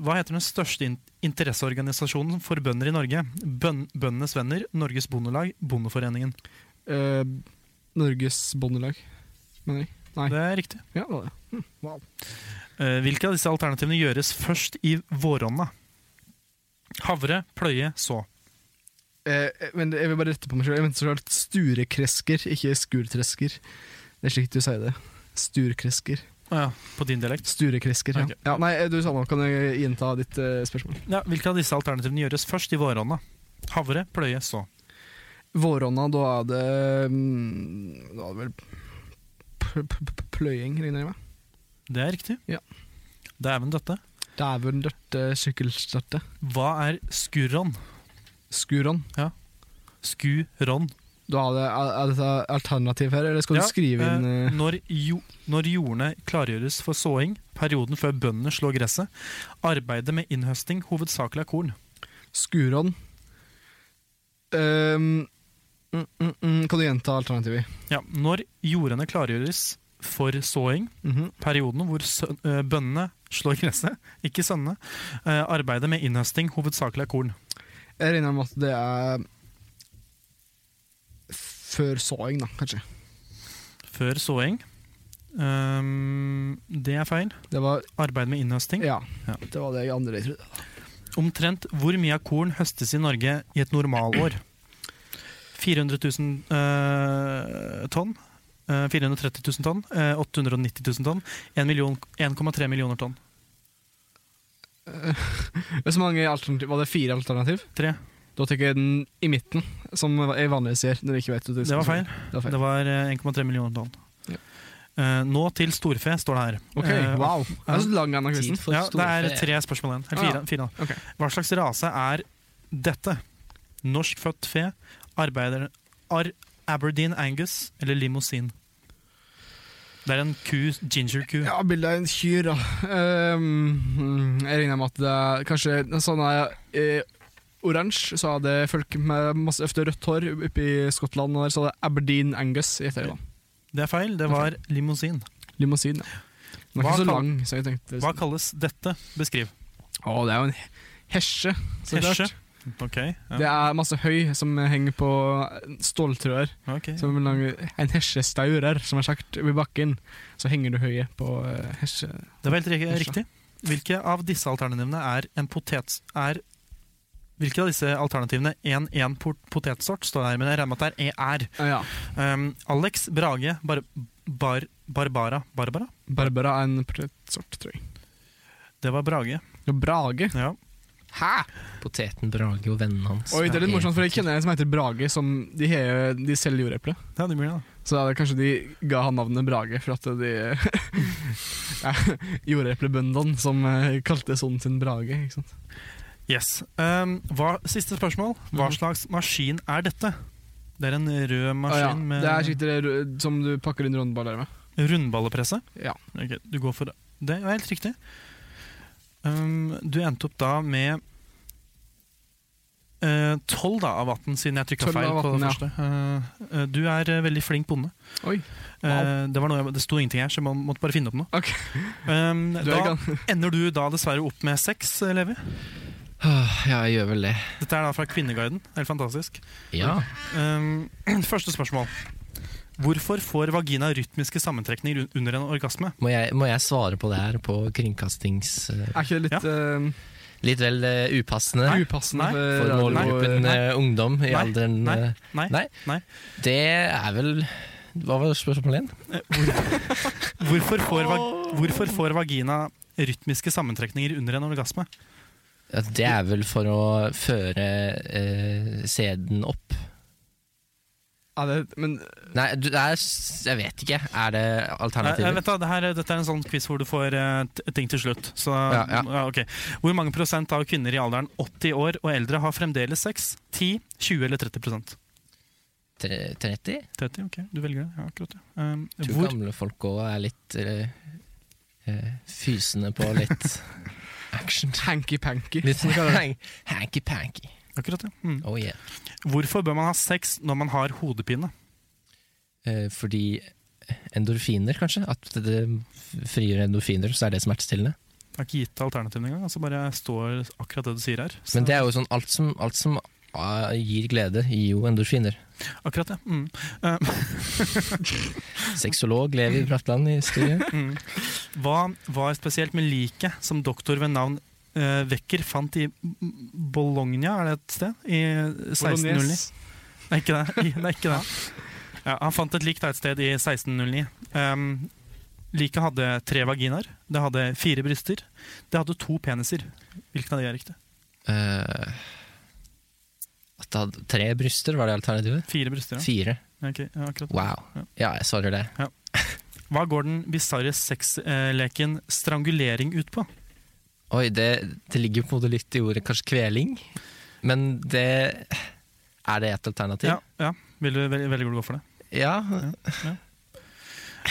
Speaker 1: hva heter den største in interesseorganisasjonen for bønder i Norge? Bøn Bøndenes Venner, Norges Bondelag, Bondeforeningen.
Speaker 2: Eh, Norges Bondelag, mener jeg. Nei.
Speaker 1: Det er riktig.
Speaker 2: Ja, det var det.
Speaker 1: Eh, hvilke av disse alternativene gjøres først i våronna? Havre, pløye, så.
Speaker 2: Eh, men jeg vil bare rette på meg selv. Jeg mente så klart sturekresker, ikke skurtresker. Det er slik du sier det. Sturkresker.
Speaker 1: Å ja, på din dialekt.
Speaker 2: Sturekresker, ja.
Speaker 1: Ok.
Speaker 2: ja. Nei, eh, du sa noe. Kan jeg gjenta ditt eh, spørsmål?
Speaker 1: Ja, hvilke av disse alternativene gjøres først i våronna? Havre, pløye, så.
Speaker 2: Våronna, da er det mm, Da er det vel p- p- p- pløying, regner jeg med.
Speaker 1: Det er riktig.
Speaker 2: Ja.
Speaker 1: Dæven døtte.
Speaker 2: Dæven dørte sykkelstøtte.
Speaker 1: Hva er skurron?
Speaker 2: Skuron.
Speaker 1: Skuron.
Speaker 2: Da er det er, er dette alternativ her, eller skal
Speaker 1: Ja,
Speaker 2: du skrive inn
Speaker 1: eh,
Speaker 2: eh,
Speaker 1: når, jo, når jordene klargjøres for såing, perioden før bøndene slår gresset, arbeidet med innhøsting hovedsakelig av korn.
Speaker 2: eh, skuron? Ehm, mm, mm, mm, kan du gjenta alternativet?
Speaker 1: Ja, når jordene klargjøres for såing,
Speaker 2: Mhm.
Speaker 1: perioden hvor sø eh, bøndene slår gresset, ikke sønnene, eh, arbeidet med innhøsting hovedsakelig av korn.
Speaker 2: Jeg regner med at det er før såing, da, kanskje.
Speaker 1: Før såing. Ehm, det er feil.
Speaker 2: Det var,
Speaker 1: Arbeid med innhøsting.
Speaker 2: ja,
Speaker 1: Ja.
Speaker 2: det var det jeg andre jeg trodde.
Speaker 1: Omtrent hvor mye av korn høstes i Norge i et normalår? 400 000 eh, tonn. eh, 430 000 tonn. eh, 890 000 tonn. 1 million- 1,3 millioner tonn.
Speaker 2: Men Så mange alternativ, var det fire alternativ?
Speaker 1: Tre.
Speaker 2: Da tar jeg den i midten, som jeg vanligvis gjør. når jeg ikke vet hva
Speaker 1: Det var feil.
Speaker 2: Det var feil.
Speaker 1: Det var eh, 1,3 millioner tonn.
Speaker 2: Ja.
Speaker 1: Eh, nå til storfe, står det her.
Speaker 2: Ok,
Speaker 1: Eh,
Speaker 2: wow. Det er så lang denne
Speaker 4: Tid
Speaker 2: quizen.
Speaker 4: for
Speaker 1: Ja, det er
Speaker 4: storfe.
Speaker 1: tre spørsmål igjen. Eller
Speaker 2: Ah,
Speaker 1: fire.
Speaker 2: ja.
Speaker 1: fire. da.
Speaker 2: Ok.
Speaker 1: Hva slags rase er dette? Norskfødt fe, arbeider, ar, Aberdeen Angus eller limousin? Det er en ku, ginger-ku.
Speaker 2: Ja, bildet av en kyr, da. Ehm, jeg regner med at det er kanskje en sånn her, eh, oransje. Så er det folk med masse ofte rødt hår oppe i Skottland, og der, så er det Aberdeen Angus. gjetter jeg da.
Speaker 1: Det er feil, det var limousin.
Speaker 2: Limousin. Ja. Den er
Speaker 1: Hva
Speaker 2: ikke så
Speaker 1: kall-
Speaker 2: lang, så jeg tenkte
Speaker 1: Hva kalles dette? Beskriv.
Speaker 2: Å, det er jo en hesje. så
Speaker 1: Hesje?
Speaker 2: klart.
Speaker 1: Ok. Ja.
Speaker 2: Det er masse høy som henger på ståltrøer.
Speaker 1: ok.
Speaker 2: Som en lang- en hesjestaurer, som er sagt, ved bakken. Så henger du høye på eh, hesje...
Speaker 1: Det var helt ri-
Speaker 2: Hesje.
Speaker 1: riktig. Hvilke av disse alternativene er en potet... Er hvilke av disse alternativene en, en pot potetsort står det her, men jeg regner med at det er E er.
Speaker 2: Ah, ja.
Speaker 1: Um, Alex Brage bar, bar, Barbara Barbara?
Speaker 2: Barbara er en portrettsort, tror jeg.
Speaker 1: Det var Brage.
Speaker 2: Og Brage.
Speaker 1: Ja.
Speaker 2: Hæ?!
Speaker 4: Poteten Brage og vennene hans.
Speaker 2: Oi, det er litt morsomt, for jeg kjenner en som heter Brage, som de, har- de selger jordeple.
Speaker 1: Ja, det blir det, da.
Speaker 2: Så er det kanskje de ga han navnet Brage for at de eh, ja, Jordeplebøndene som eh, kalte sonen sin Brage, ikke sant.
Speaker 1: Yes. Um, hva, siste spørsmål. Hva
Speaker 2: Mhm.
Speaker 1: slags maskin er dette? Det er en rød
Speaker 2: Å
Speaker 1: maskin
Speaker 2: ja.
Speaker 1: med
Speaker 2: Det er sikkert det ru- som du pakker inn rundballer med.
Speaker 1: rundballepresse.
Speaker 2: Ja.
Speaker 1: Ok, du går for det. Det er helt riktig. Um, du endte opp da med eh, tolv da, av 18, siden jeg trykka
Speaker 2: 12
Speaker 1: feil
Speaker 2: av
Speaker 1: på
Speaker 2: 18,
Speaker 1: det
Speaker 2: ja.
Speaker 1: første. Eh, eh, du er eh, veldig flink bonde.
Speaker 2: Oi.
Speaker 1: Eh, det, var noe jeg, det sto ingenting her, så jeg må- måtte bare finne opp noe.
Speaker 2: Ok.
Speaker 1: Um,
Speaker 2: Du er
Speaker 1: da
Speaker 2: gan-
Speaker 1: ender du da dessverre opp med seks, eh, Levi.
Speaker 4: Ah, Ja, jeg gjør vel det.
Speaker 1: Dette er da fra Kvinneguiden. Helt fantastisk.
Speaker 4: Ja.
Speaker 1: Um, første spørsmål. Hvorfor får vagina rytmiske sammentrekninger un- under en orgasme?
Speaker 4: Må jeg, må jeg svare på det her på kringkastings... eh,
Speaker 2: er ikke det litt eh,
Speaker 4: Litt vel eh, upassende
Speaker 2: upassende
Speaker 1: Nei.
Speaker 4: for
Speaker 2: radio-
Speaker 4: målgruppen eh, ungdom i
Speaker 1: Nei.
Speaker 4: alderen
Speaker 1: Nei.
Speaker 4: eh,
Speaker 1: Nei.
Speaker 4: Nei.
Speaker 1: Nei.
Speaker 4: Det er vel Hva var spørsmålet igjen?
Speaker 1: Hvorfor får, vag hvorfor får vagina rytmiske sammentrekninger under en orgasme?
Speaker 4: Ja, det er vel for å føre eh, sæden opp.
Speaker 2: Ja, det, men
Speaker 4: Nei, du, det er, s- jeg vet ikke. Er det
Speaker 1: Nei, jeg
Speaker 4: alternativer?
Speaker 1: vet Eh, da, det her, dette er en sånn quiz hvor du får eh, t- ting til slutt. Så,
Speaker 4: Ja, ja.
Speaker 1: ok. Hvor mange prosent av kvinner i alderen 80 år og eldre har fremdeles sex? 10, 20 eller 30 prosent?
Speaker 4: Tre- 30?
Speaker 1: 30, ok, du velger det. Ja, akkurat det. Um,
Speaker 4: Jeg tror
Speaker 1: hvor,
Speaker 4: gamle folk òg er litt eh, eh, fysende på litt action.
Speaker 2: hanky-panky.
Speaker 4: Litt hang, hanky-panky.
Speaker 1: akkurat det. Mm.
Speaker 4: Oh yeah.
Speaker 1: Hvorfor bør man ha sex når man har hodepine?
Speaker 4: Eh, fordi endorfiner, kanskje? At det frigjør endorfiner, så er det smertestillende.
Speaker 1: Jeg har ikke gitt alternativene engang. Altså bare står akkurat det du sier her. Så-
Speaker 4: Men det er jo sånn alt som, alt som ah, gir glede, gir jo endorfiner.
Speaker 1: Akkurat det. Mm.
Speaker 4: Sexolog Levi Bratland i studio.
Speaker 1: Hva var spesielt med liket som doktor ved navn eh, Vekker fant i M- Bologna, er det et sted? I 1609?
Speaker 2: Bolognese.
Speaker 1: Nei, ikke det. I- Nei, ikke det. Ja, han fant et lik da et sted i 1609. Um, Liket hadde tre vaginaer, det hadde fire bryster, det hadde to peniser. Hvilken av de er riktig?
Speaker 4: Eh, at det hadde tre bryster, var det alternativet?
Speaker 1: Fire bryster, ja.
Speaker 4: Fire.
Speaker 1: Ja, ok, ja akkurat.
Speaker 4: Wow. Ja, jeg svarer det.
Speaker 1: Hva går den bisarre sexleken strangulering ut på?
Speaker 4: Oi, det, det ligger på en måte litt i ordet kanskje kveling, men det Er det et alternativ?
Speaker 1: Ja, ja. Vil du, vel, velger du å gå for det?
Speaker 4: Ja,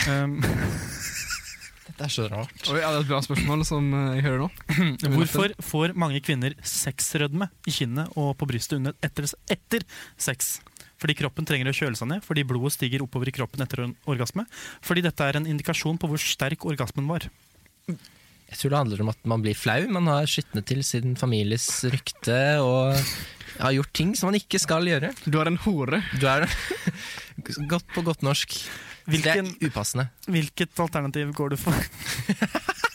Speaker 1: Um,
Speaker 4: Det er så rart.
Speaker 2: Oi, ja, det er et bra spørsmål som eh, jeg hører nå.
Speaker 1: Hvorfor får mange kvinner sexrødme i kinnet og på brystet under etter, etter sex? Fordi kroppen trenger å kjøle seg ned, fordi blodet stiger oppover i kroppen etter en orgasme. Fordi dette er en indikasjon på hvor sterk orgasmen var.
Speaker 4: Jeg tror det handler om at man blir flau. Man har skitnet til sin families rykte og har gjort ting som man ikke skal gjøre.
Speaker 2: Du er en hore.
Speaker 4: Du er godt på godt norsk.
Speaker 1: Hvilken,
Speaker 4: Det er upassende.
Speaker 1: hvilket alternativ går du for?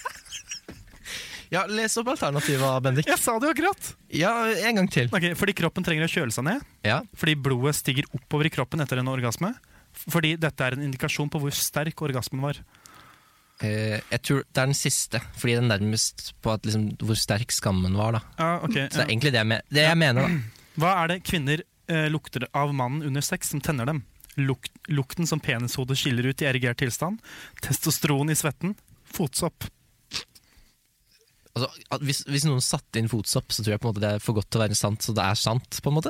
Speaker 4: Ja, Les opp alternativet, Bendik.
Speaker 1: Jeg sa det jo akkurat!
Speaker 4: Ja, en gang til.
Speaker 1: Ok, fordi kroppen trenger å kjøle seg ned,
Speaker 4: Ja,
Speaker 1: fordi blodet stiger oppover i kroppen etter en orgasme. Fordi dette er en indikasjon på hvor sterk orgasmen var.
Speaker 4: eh, Jeg tror det er den siste, fordi det er nærmest på at, liksom, hvor sterk skammen var. da
Speaker 1: Ja, ok,
Speaker 4: Så det
Speaker 1: ja.
Speaker 4: er egentlig det jeg, me det jeg mener. da
Speaker 1: Hva er det kvinner eh, lukter av mannen under sex som tenner dem? Luk lukten som penishodet skiller ut i erigert tilstand? Testosteron i svetten? Fotsopp?
Speaker 4: altså, at hvis, hvis noen satte inn fotsopp, så tror jeg på en måte det er for godt til å være sant, så det er sant. på en måte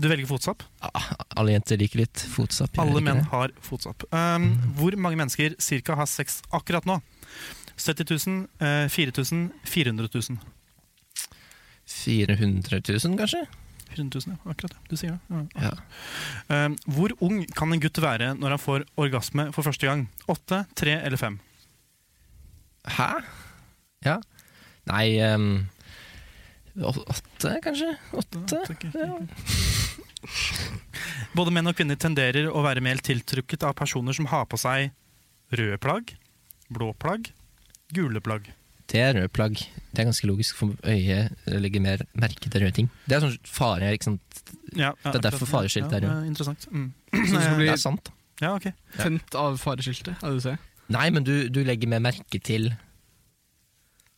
Speaker 1: Du velger fotsopp?
Speaker 4: Ah, Alle jenter liker litt fotsopp. gjør
Speaker 1: Alle
Speaker 4: de ikke
Speaker 1: menn
Speaker 4: det? Mm.
Speaker 1: har fotsopp. Um, hvor mange mennesker cirka har sex akkurat nå? 70 000, eh, 4000, 400 000.
Speaker 4: 400 000, kanskje?
Speaker 1: 400 000, ja. Akkurat det. Du sier det. Ja.
Speaker 4: Ja.
Speaker 1: Um, hvor ung kan en gutt være når han får orgasme for første gang? Åtte, tre eller fem?
Speaker 4: Hæ? Ja. Nei ehm, å- Åtte, kanskje? Åtte? Ja.
Speaker 1: Både menn og kvinner tenderer å være mer tiltrukket av personer som har på seg røde plagg, blå plagg, gule plagg.
Speaker 4: Det er røde plagg. Det er ganske logisk, for øyet legger mer merke til røde ting. Det er sånn fare, ikke sant?
Speaker 1: Ja, ja,
Speaker 4: Det er derfor
Speaker 1: akkurat.
Speaker 4: fareskilt er
Speaker 1: ja,
Speaker 4: rød.
Speaker 1: eh, Interessant. Mm.
Speaker 2: Så du skal bli
Speaker 4: Det er sant.
Speaker 1: Ja, ok.
Speaker 2: tent av fareskiltet, er det du sier?
Speaker 4: Nei, men du, du legger mer merke til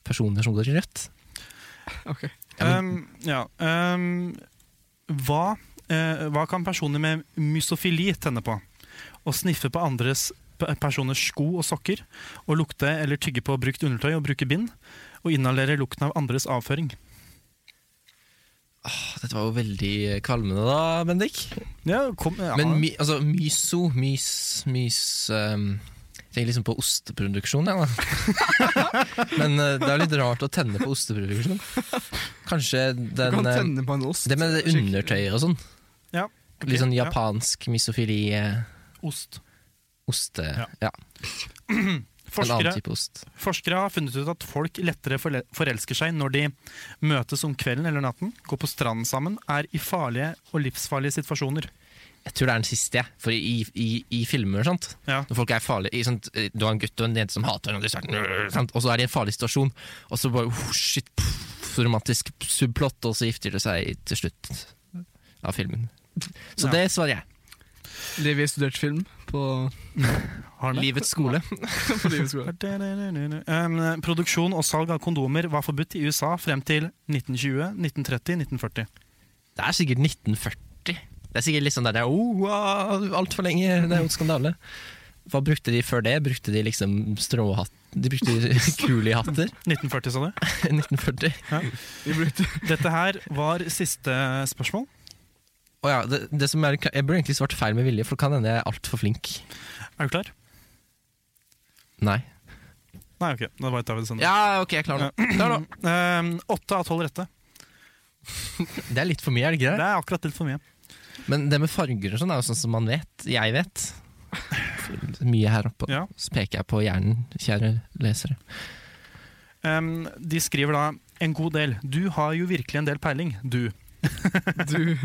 Speaker 4: personer som går i rødt.
Speaker 2: Ok.
Speaker 4: Ja,
Speaker 1: Um, ja, um, hva, eh, hva kan personer med mysofili tenne på? Å sniffe på andres pe- personers sko og sokker, å lukte eller tygge på brukt undertøy og bruke bind, og inhalere lukten av andres avføring.
Speaker 4: Dette var jo veldig kvalmende da, Bendik.
Speaker 1: Ja, kom, ja.
Speaker 4: Men my, altså, myso, mys, mys ehm, Jeg tenker liksom på osteproduksjon, jeg, da. men eh, det er litt rart å tenne på osteproduksjon. Kanskje
Speaker 2: Du
Speaker 4: den
Speaker 2: kan
Speaker 4: eh,
Speaker 2: tenne på en ost.
Speaker 4: Det med det
Speaker 2: Skikkelig.
Speaker 4: undertøyet og sånn.
Speaker 1: Ja, ok,
Speaker 4: Litt sånn
Speaker 1: ja.
Speaker 4: japansk misofili. eh,
Speaker 1: ost.
Speaker 4: Oste
Speaker 1: Ja.
Speaker 4: ja. En
Speaker 1: Forskere
Speaker 4: annen type ost.
Speaker 1: Forskere har funnet ut at folk lettere forle- forelsker seg når de møtes om kvelden eller natten, går på stranden sammen, er i farlige og livsfarlige situasjoner.
Speaker 4: Jeg tror det er den siste, jeg. For i, i, i filmer, sant?
Speaker 1: Ja.
Speaker 4: når folk er farlige i sånt, eh, Du har en gutt og en jente som hater hverandre, sant? Øh, sant? og så er de i en farlig situasjon, og så bare oh, shit, pff, romantisk subplott, og så gifter de seg til slutt av filmen. Så
Speaker 1: Ja.
Speaker 4: det svarer jeg.
Speaker 2: Levi studerte film på,
Speaker 1: Har den det?
Speaker 4: Livets skole.
Speaker 2: på livets skole.
Speaker 1: Um, Produksjon og salg av kondomer var forbudt i USA frem til 1920, 1930, 1940.
Speaker 4: Det er sikkert 1940. Det er sikkert litt sånn der det er, oh, ah, altfor lenge, det er jo en skandale. Hva brukte de før det? Brukte de liksom stråhatt? De brukte kulihatter
Speaker 1: 1940, sa du.
Speaker 4: 1940.
Speaker 1: Dette her var siste spørsmål.
Speaker 4: Å ja, det, det som er, jeg burde egentlig svart feil med vilje, for det kan hende jeg er altfor flink.
Speaker 1: Er du klar?
Speaker 4: Nei.
Speaker 1: Nei, ok. Da bare tar vi det sånn.
Speaker 4: Ja, ok, jeg klarer det. Klar, nå.
Speaker 1: Ehm, Åtte av tolv rette.
Speaker 4: Det er litt for mye, er det ikke
Speaker 1: Det
Speaker 4: det?
Speaker 1: er akkurat litt for mye.
Speaker 4: Men det med farger og sånn er jo sånn som man vet. Jeg vet. Mye her oppe.
Speaker 1: Ja.
Speaker 4: Så peker jeg på hjernen, kjære lesere.
Speaker 1: Ehm, de skriver da en god del. Du har jo virkelig en del peiling, du.
Speaker 2: Du,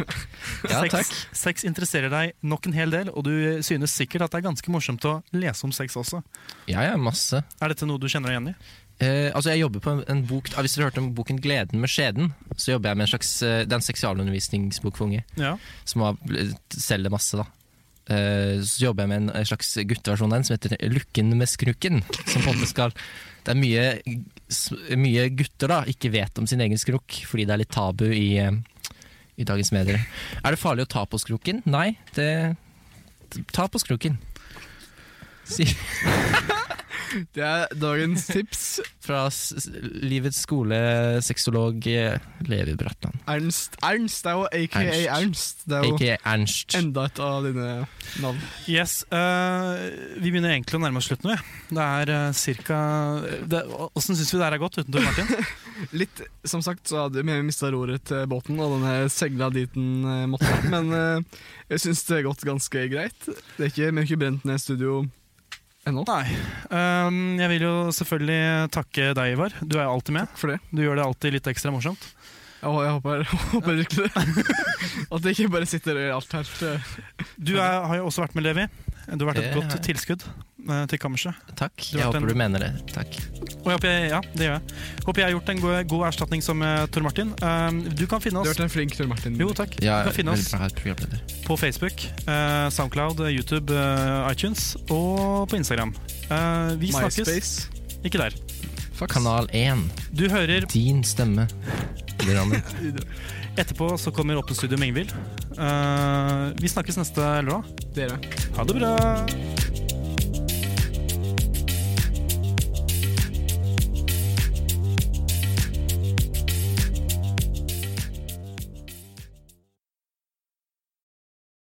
Speaker 4: Ja,
Speaker 1: sex,
Speaker 4: takk.
Speaker 1: sex interesserer deg nok en hel del, og du synes sikkert at det er ganske morsomt å lese om sex også.
Speaker 4: Ja, ja, masse.
Speaker 1: Er dette noe du kjenner deg igjen i?
Speaker 4: Eh, altså jeg jobber på en, en bok ah, Hvis dere hørte om boken 'Gleden med skjeden', så jobber jeg med en slags eh, Det er en seksualundervisningsbok for unge
Speaker 1: Ja.
Speaker 4: som har, selger masse. da Eh, Så jobber jeg med en- en slags gutteversjon av den som heter 'Lukken med skrukken'. Som på en måte skal Det er mye, s- mye gutter da ikke vet om sin egen skrukk fordi det er litt tabu i, eh, i dagens medier. Er det farlig å ta på skrukken? Nei, det Ta på skrukken. Sier
Speaker 2: det er dagens tips.
Speaker 4: Fra s- s- livets skole, sexolog eh, Levi Bratland.
Speaker 2: Ernst. Ernst er jo aka
Speaker 4: Ernst.
Speaker 2: Ernst. Det er jo
Speaker 4: Ikke Ernst.
Speaker 2: enda et av dine navn.
Speaker 1: Yes, eh, Vi begynner egentlig å nærme oss slutten. Vi. Det er uh, cirka eh, det, Hvordan syns vi det her er gått uten Tor Martin?
Speaker 2: Litt, som sagt, så hadde vi mista roret til båten, og denne segla dit den eh, måtte. Men eh, jeg syns det har gått ganske greit. Det er ikke, vi har ikke brent ned studio ennå.
Speaker 1: Nei. Ehm, jeg vil jo selvfølgelig takke deg, Ivar. Du er jo alltid med.
Speaker 2: For det.
Speaker 1: Du gjør det alltid litt ekstra morsomt.
Speaker 2: Og jeg håper, håper virkelig det. At det ikke bare sitter i alt her. for det-
Speaker 1: Du er, har jo også vært med, Levi. Du har vært et
Speaker 4: Det
Speaker 1: godt
Speaker 4: har jeg.
Speaker 1: tilskudd eh, til kammerset.
Speaker 4: Takk.
Speaker 1: Du
Speaker 4: Jeg
Speaker 1: har vært
Speaker 4: håper
Speaker 1: en-
Speaker 4: du mener det. Takk.
Speaker 1: Og jeg håper jeg, ja, det gjør jeg. Håper jeg har gjort en god, god erstatning som eh, Tor Martin. Ehm, du kan finne
Speaker 2: Du har
Speaker 1: oss
Speaker 2: vært en flink Tor Martin.
Speaker 1: jo, takk.
Speaker 4: Ja,
Speaker 1: Du kan finne
Speaker 4: veldig
Speaker 1: oss
Speaker 4: bra her, programleder.
Speaker 1: på Facebook, eh, Soundcloud, YouTube, eh, iTunes og på Instagram. Eh, vi snakkes
Speaker 2: MySpace.
Speaker 1: ikke der.
Speaker 2: Fax.
Speaker 4: Kanal 1.
Speaker 1: Du hører
Speaker 4: Din stemme. Programmet.
Speaker 1: Etterpå så kommer Åpent studio med Ingvild. Eh, vi snakkes neste lørdag.
Speaker 2: Dere.
Speaker 1: Ha det bra!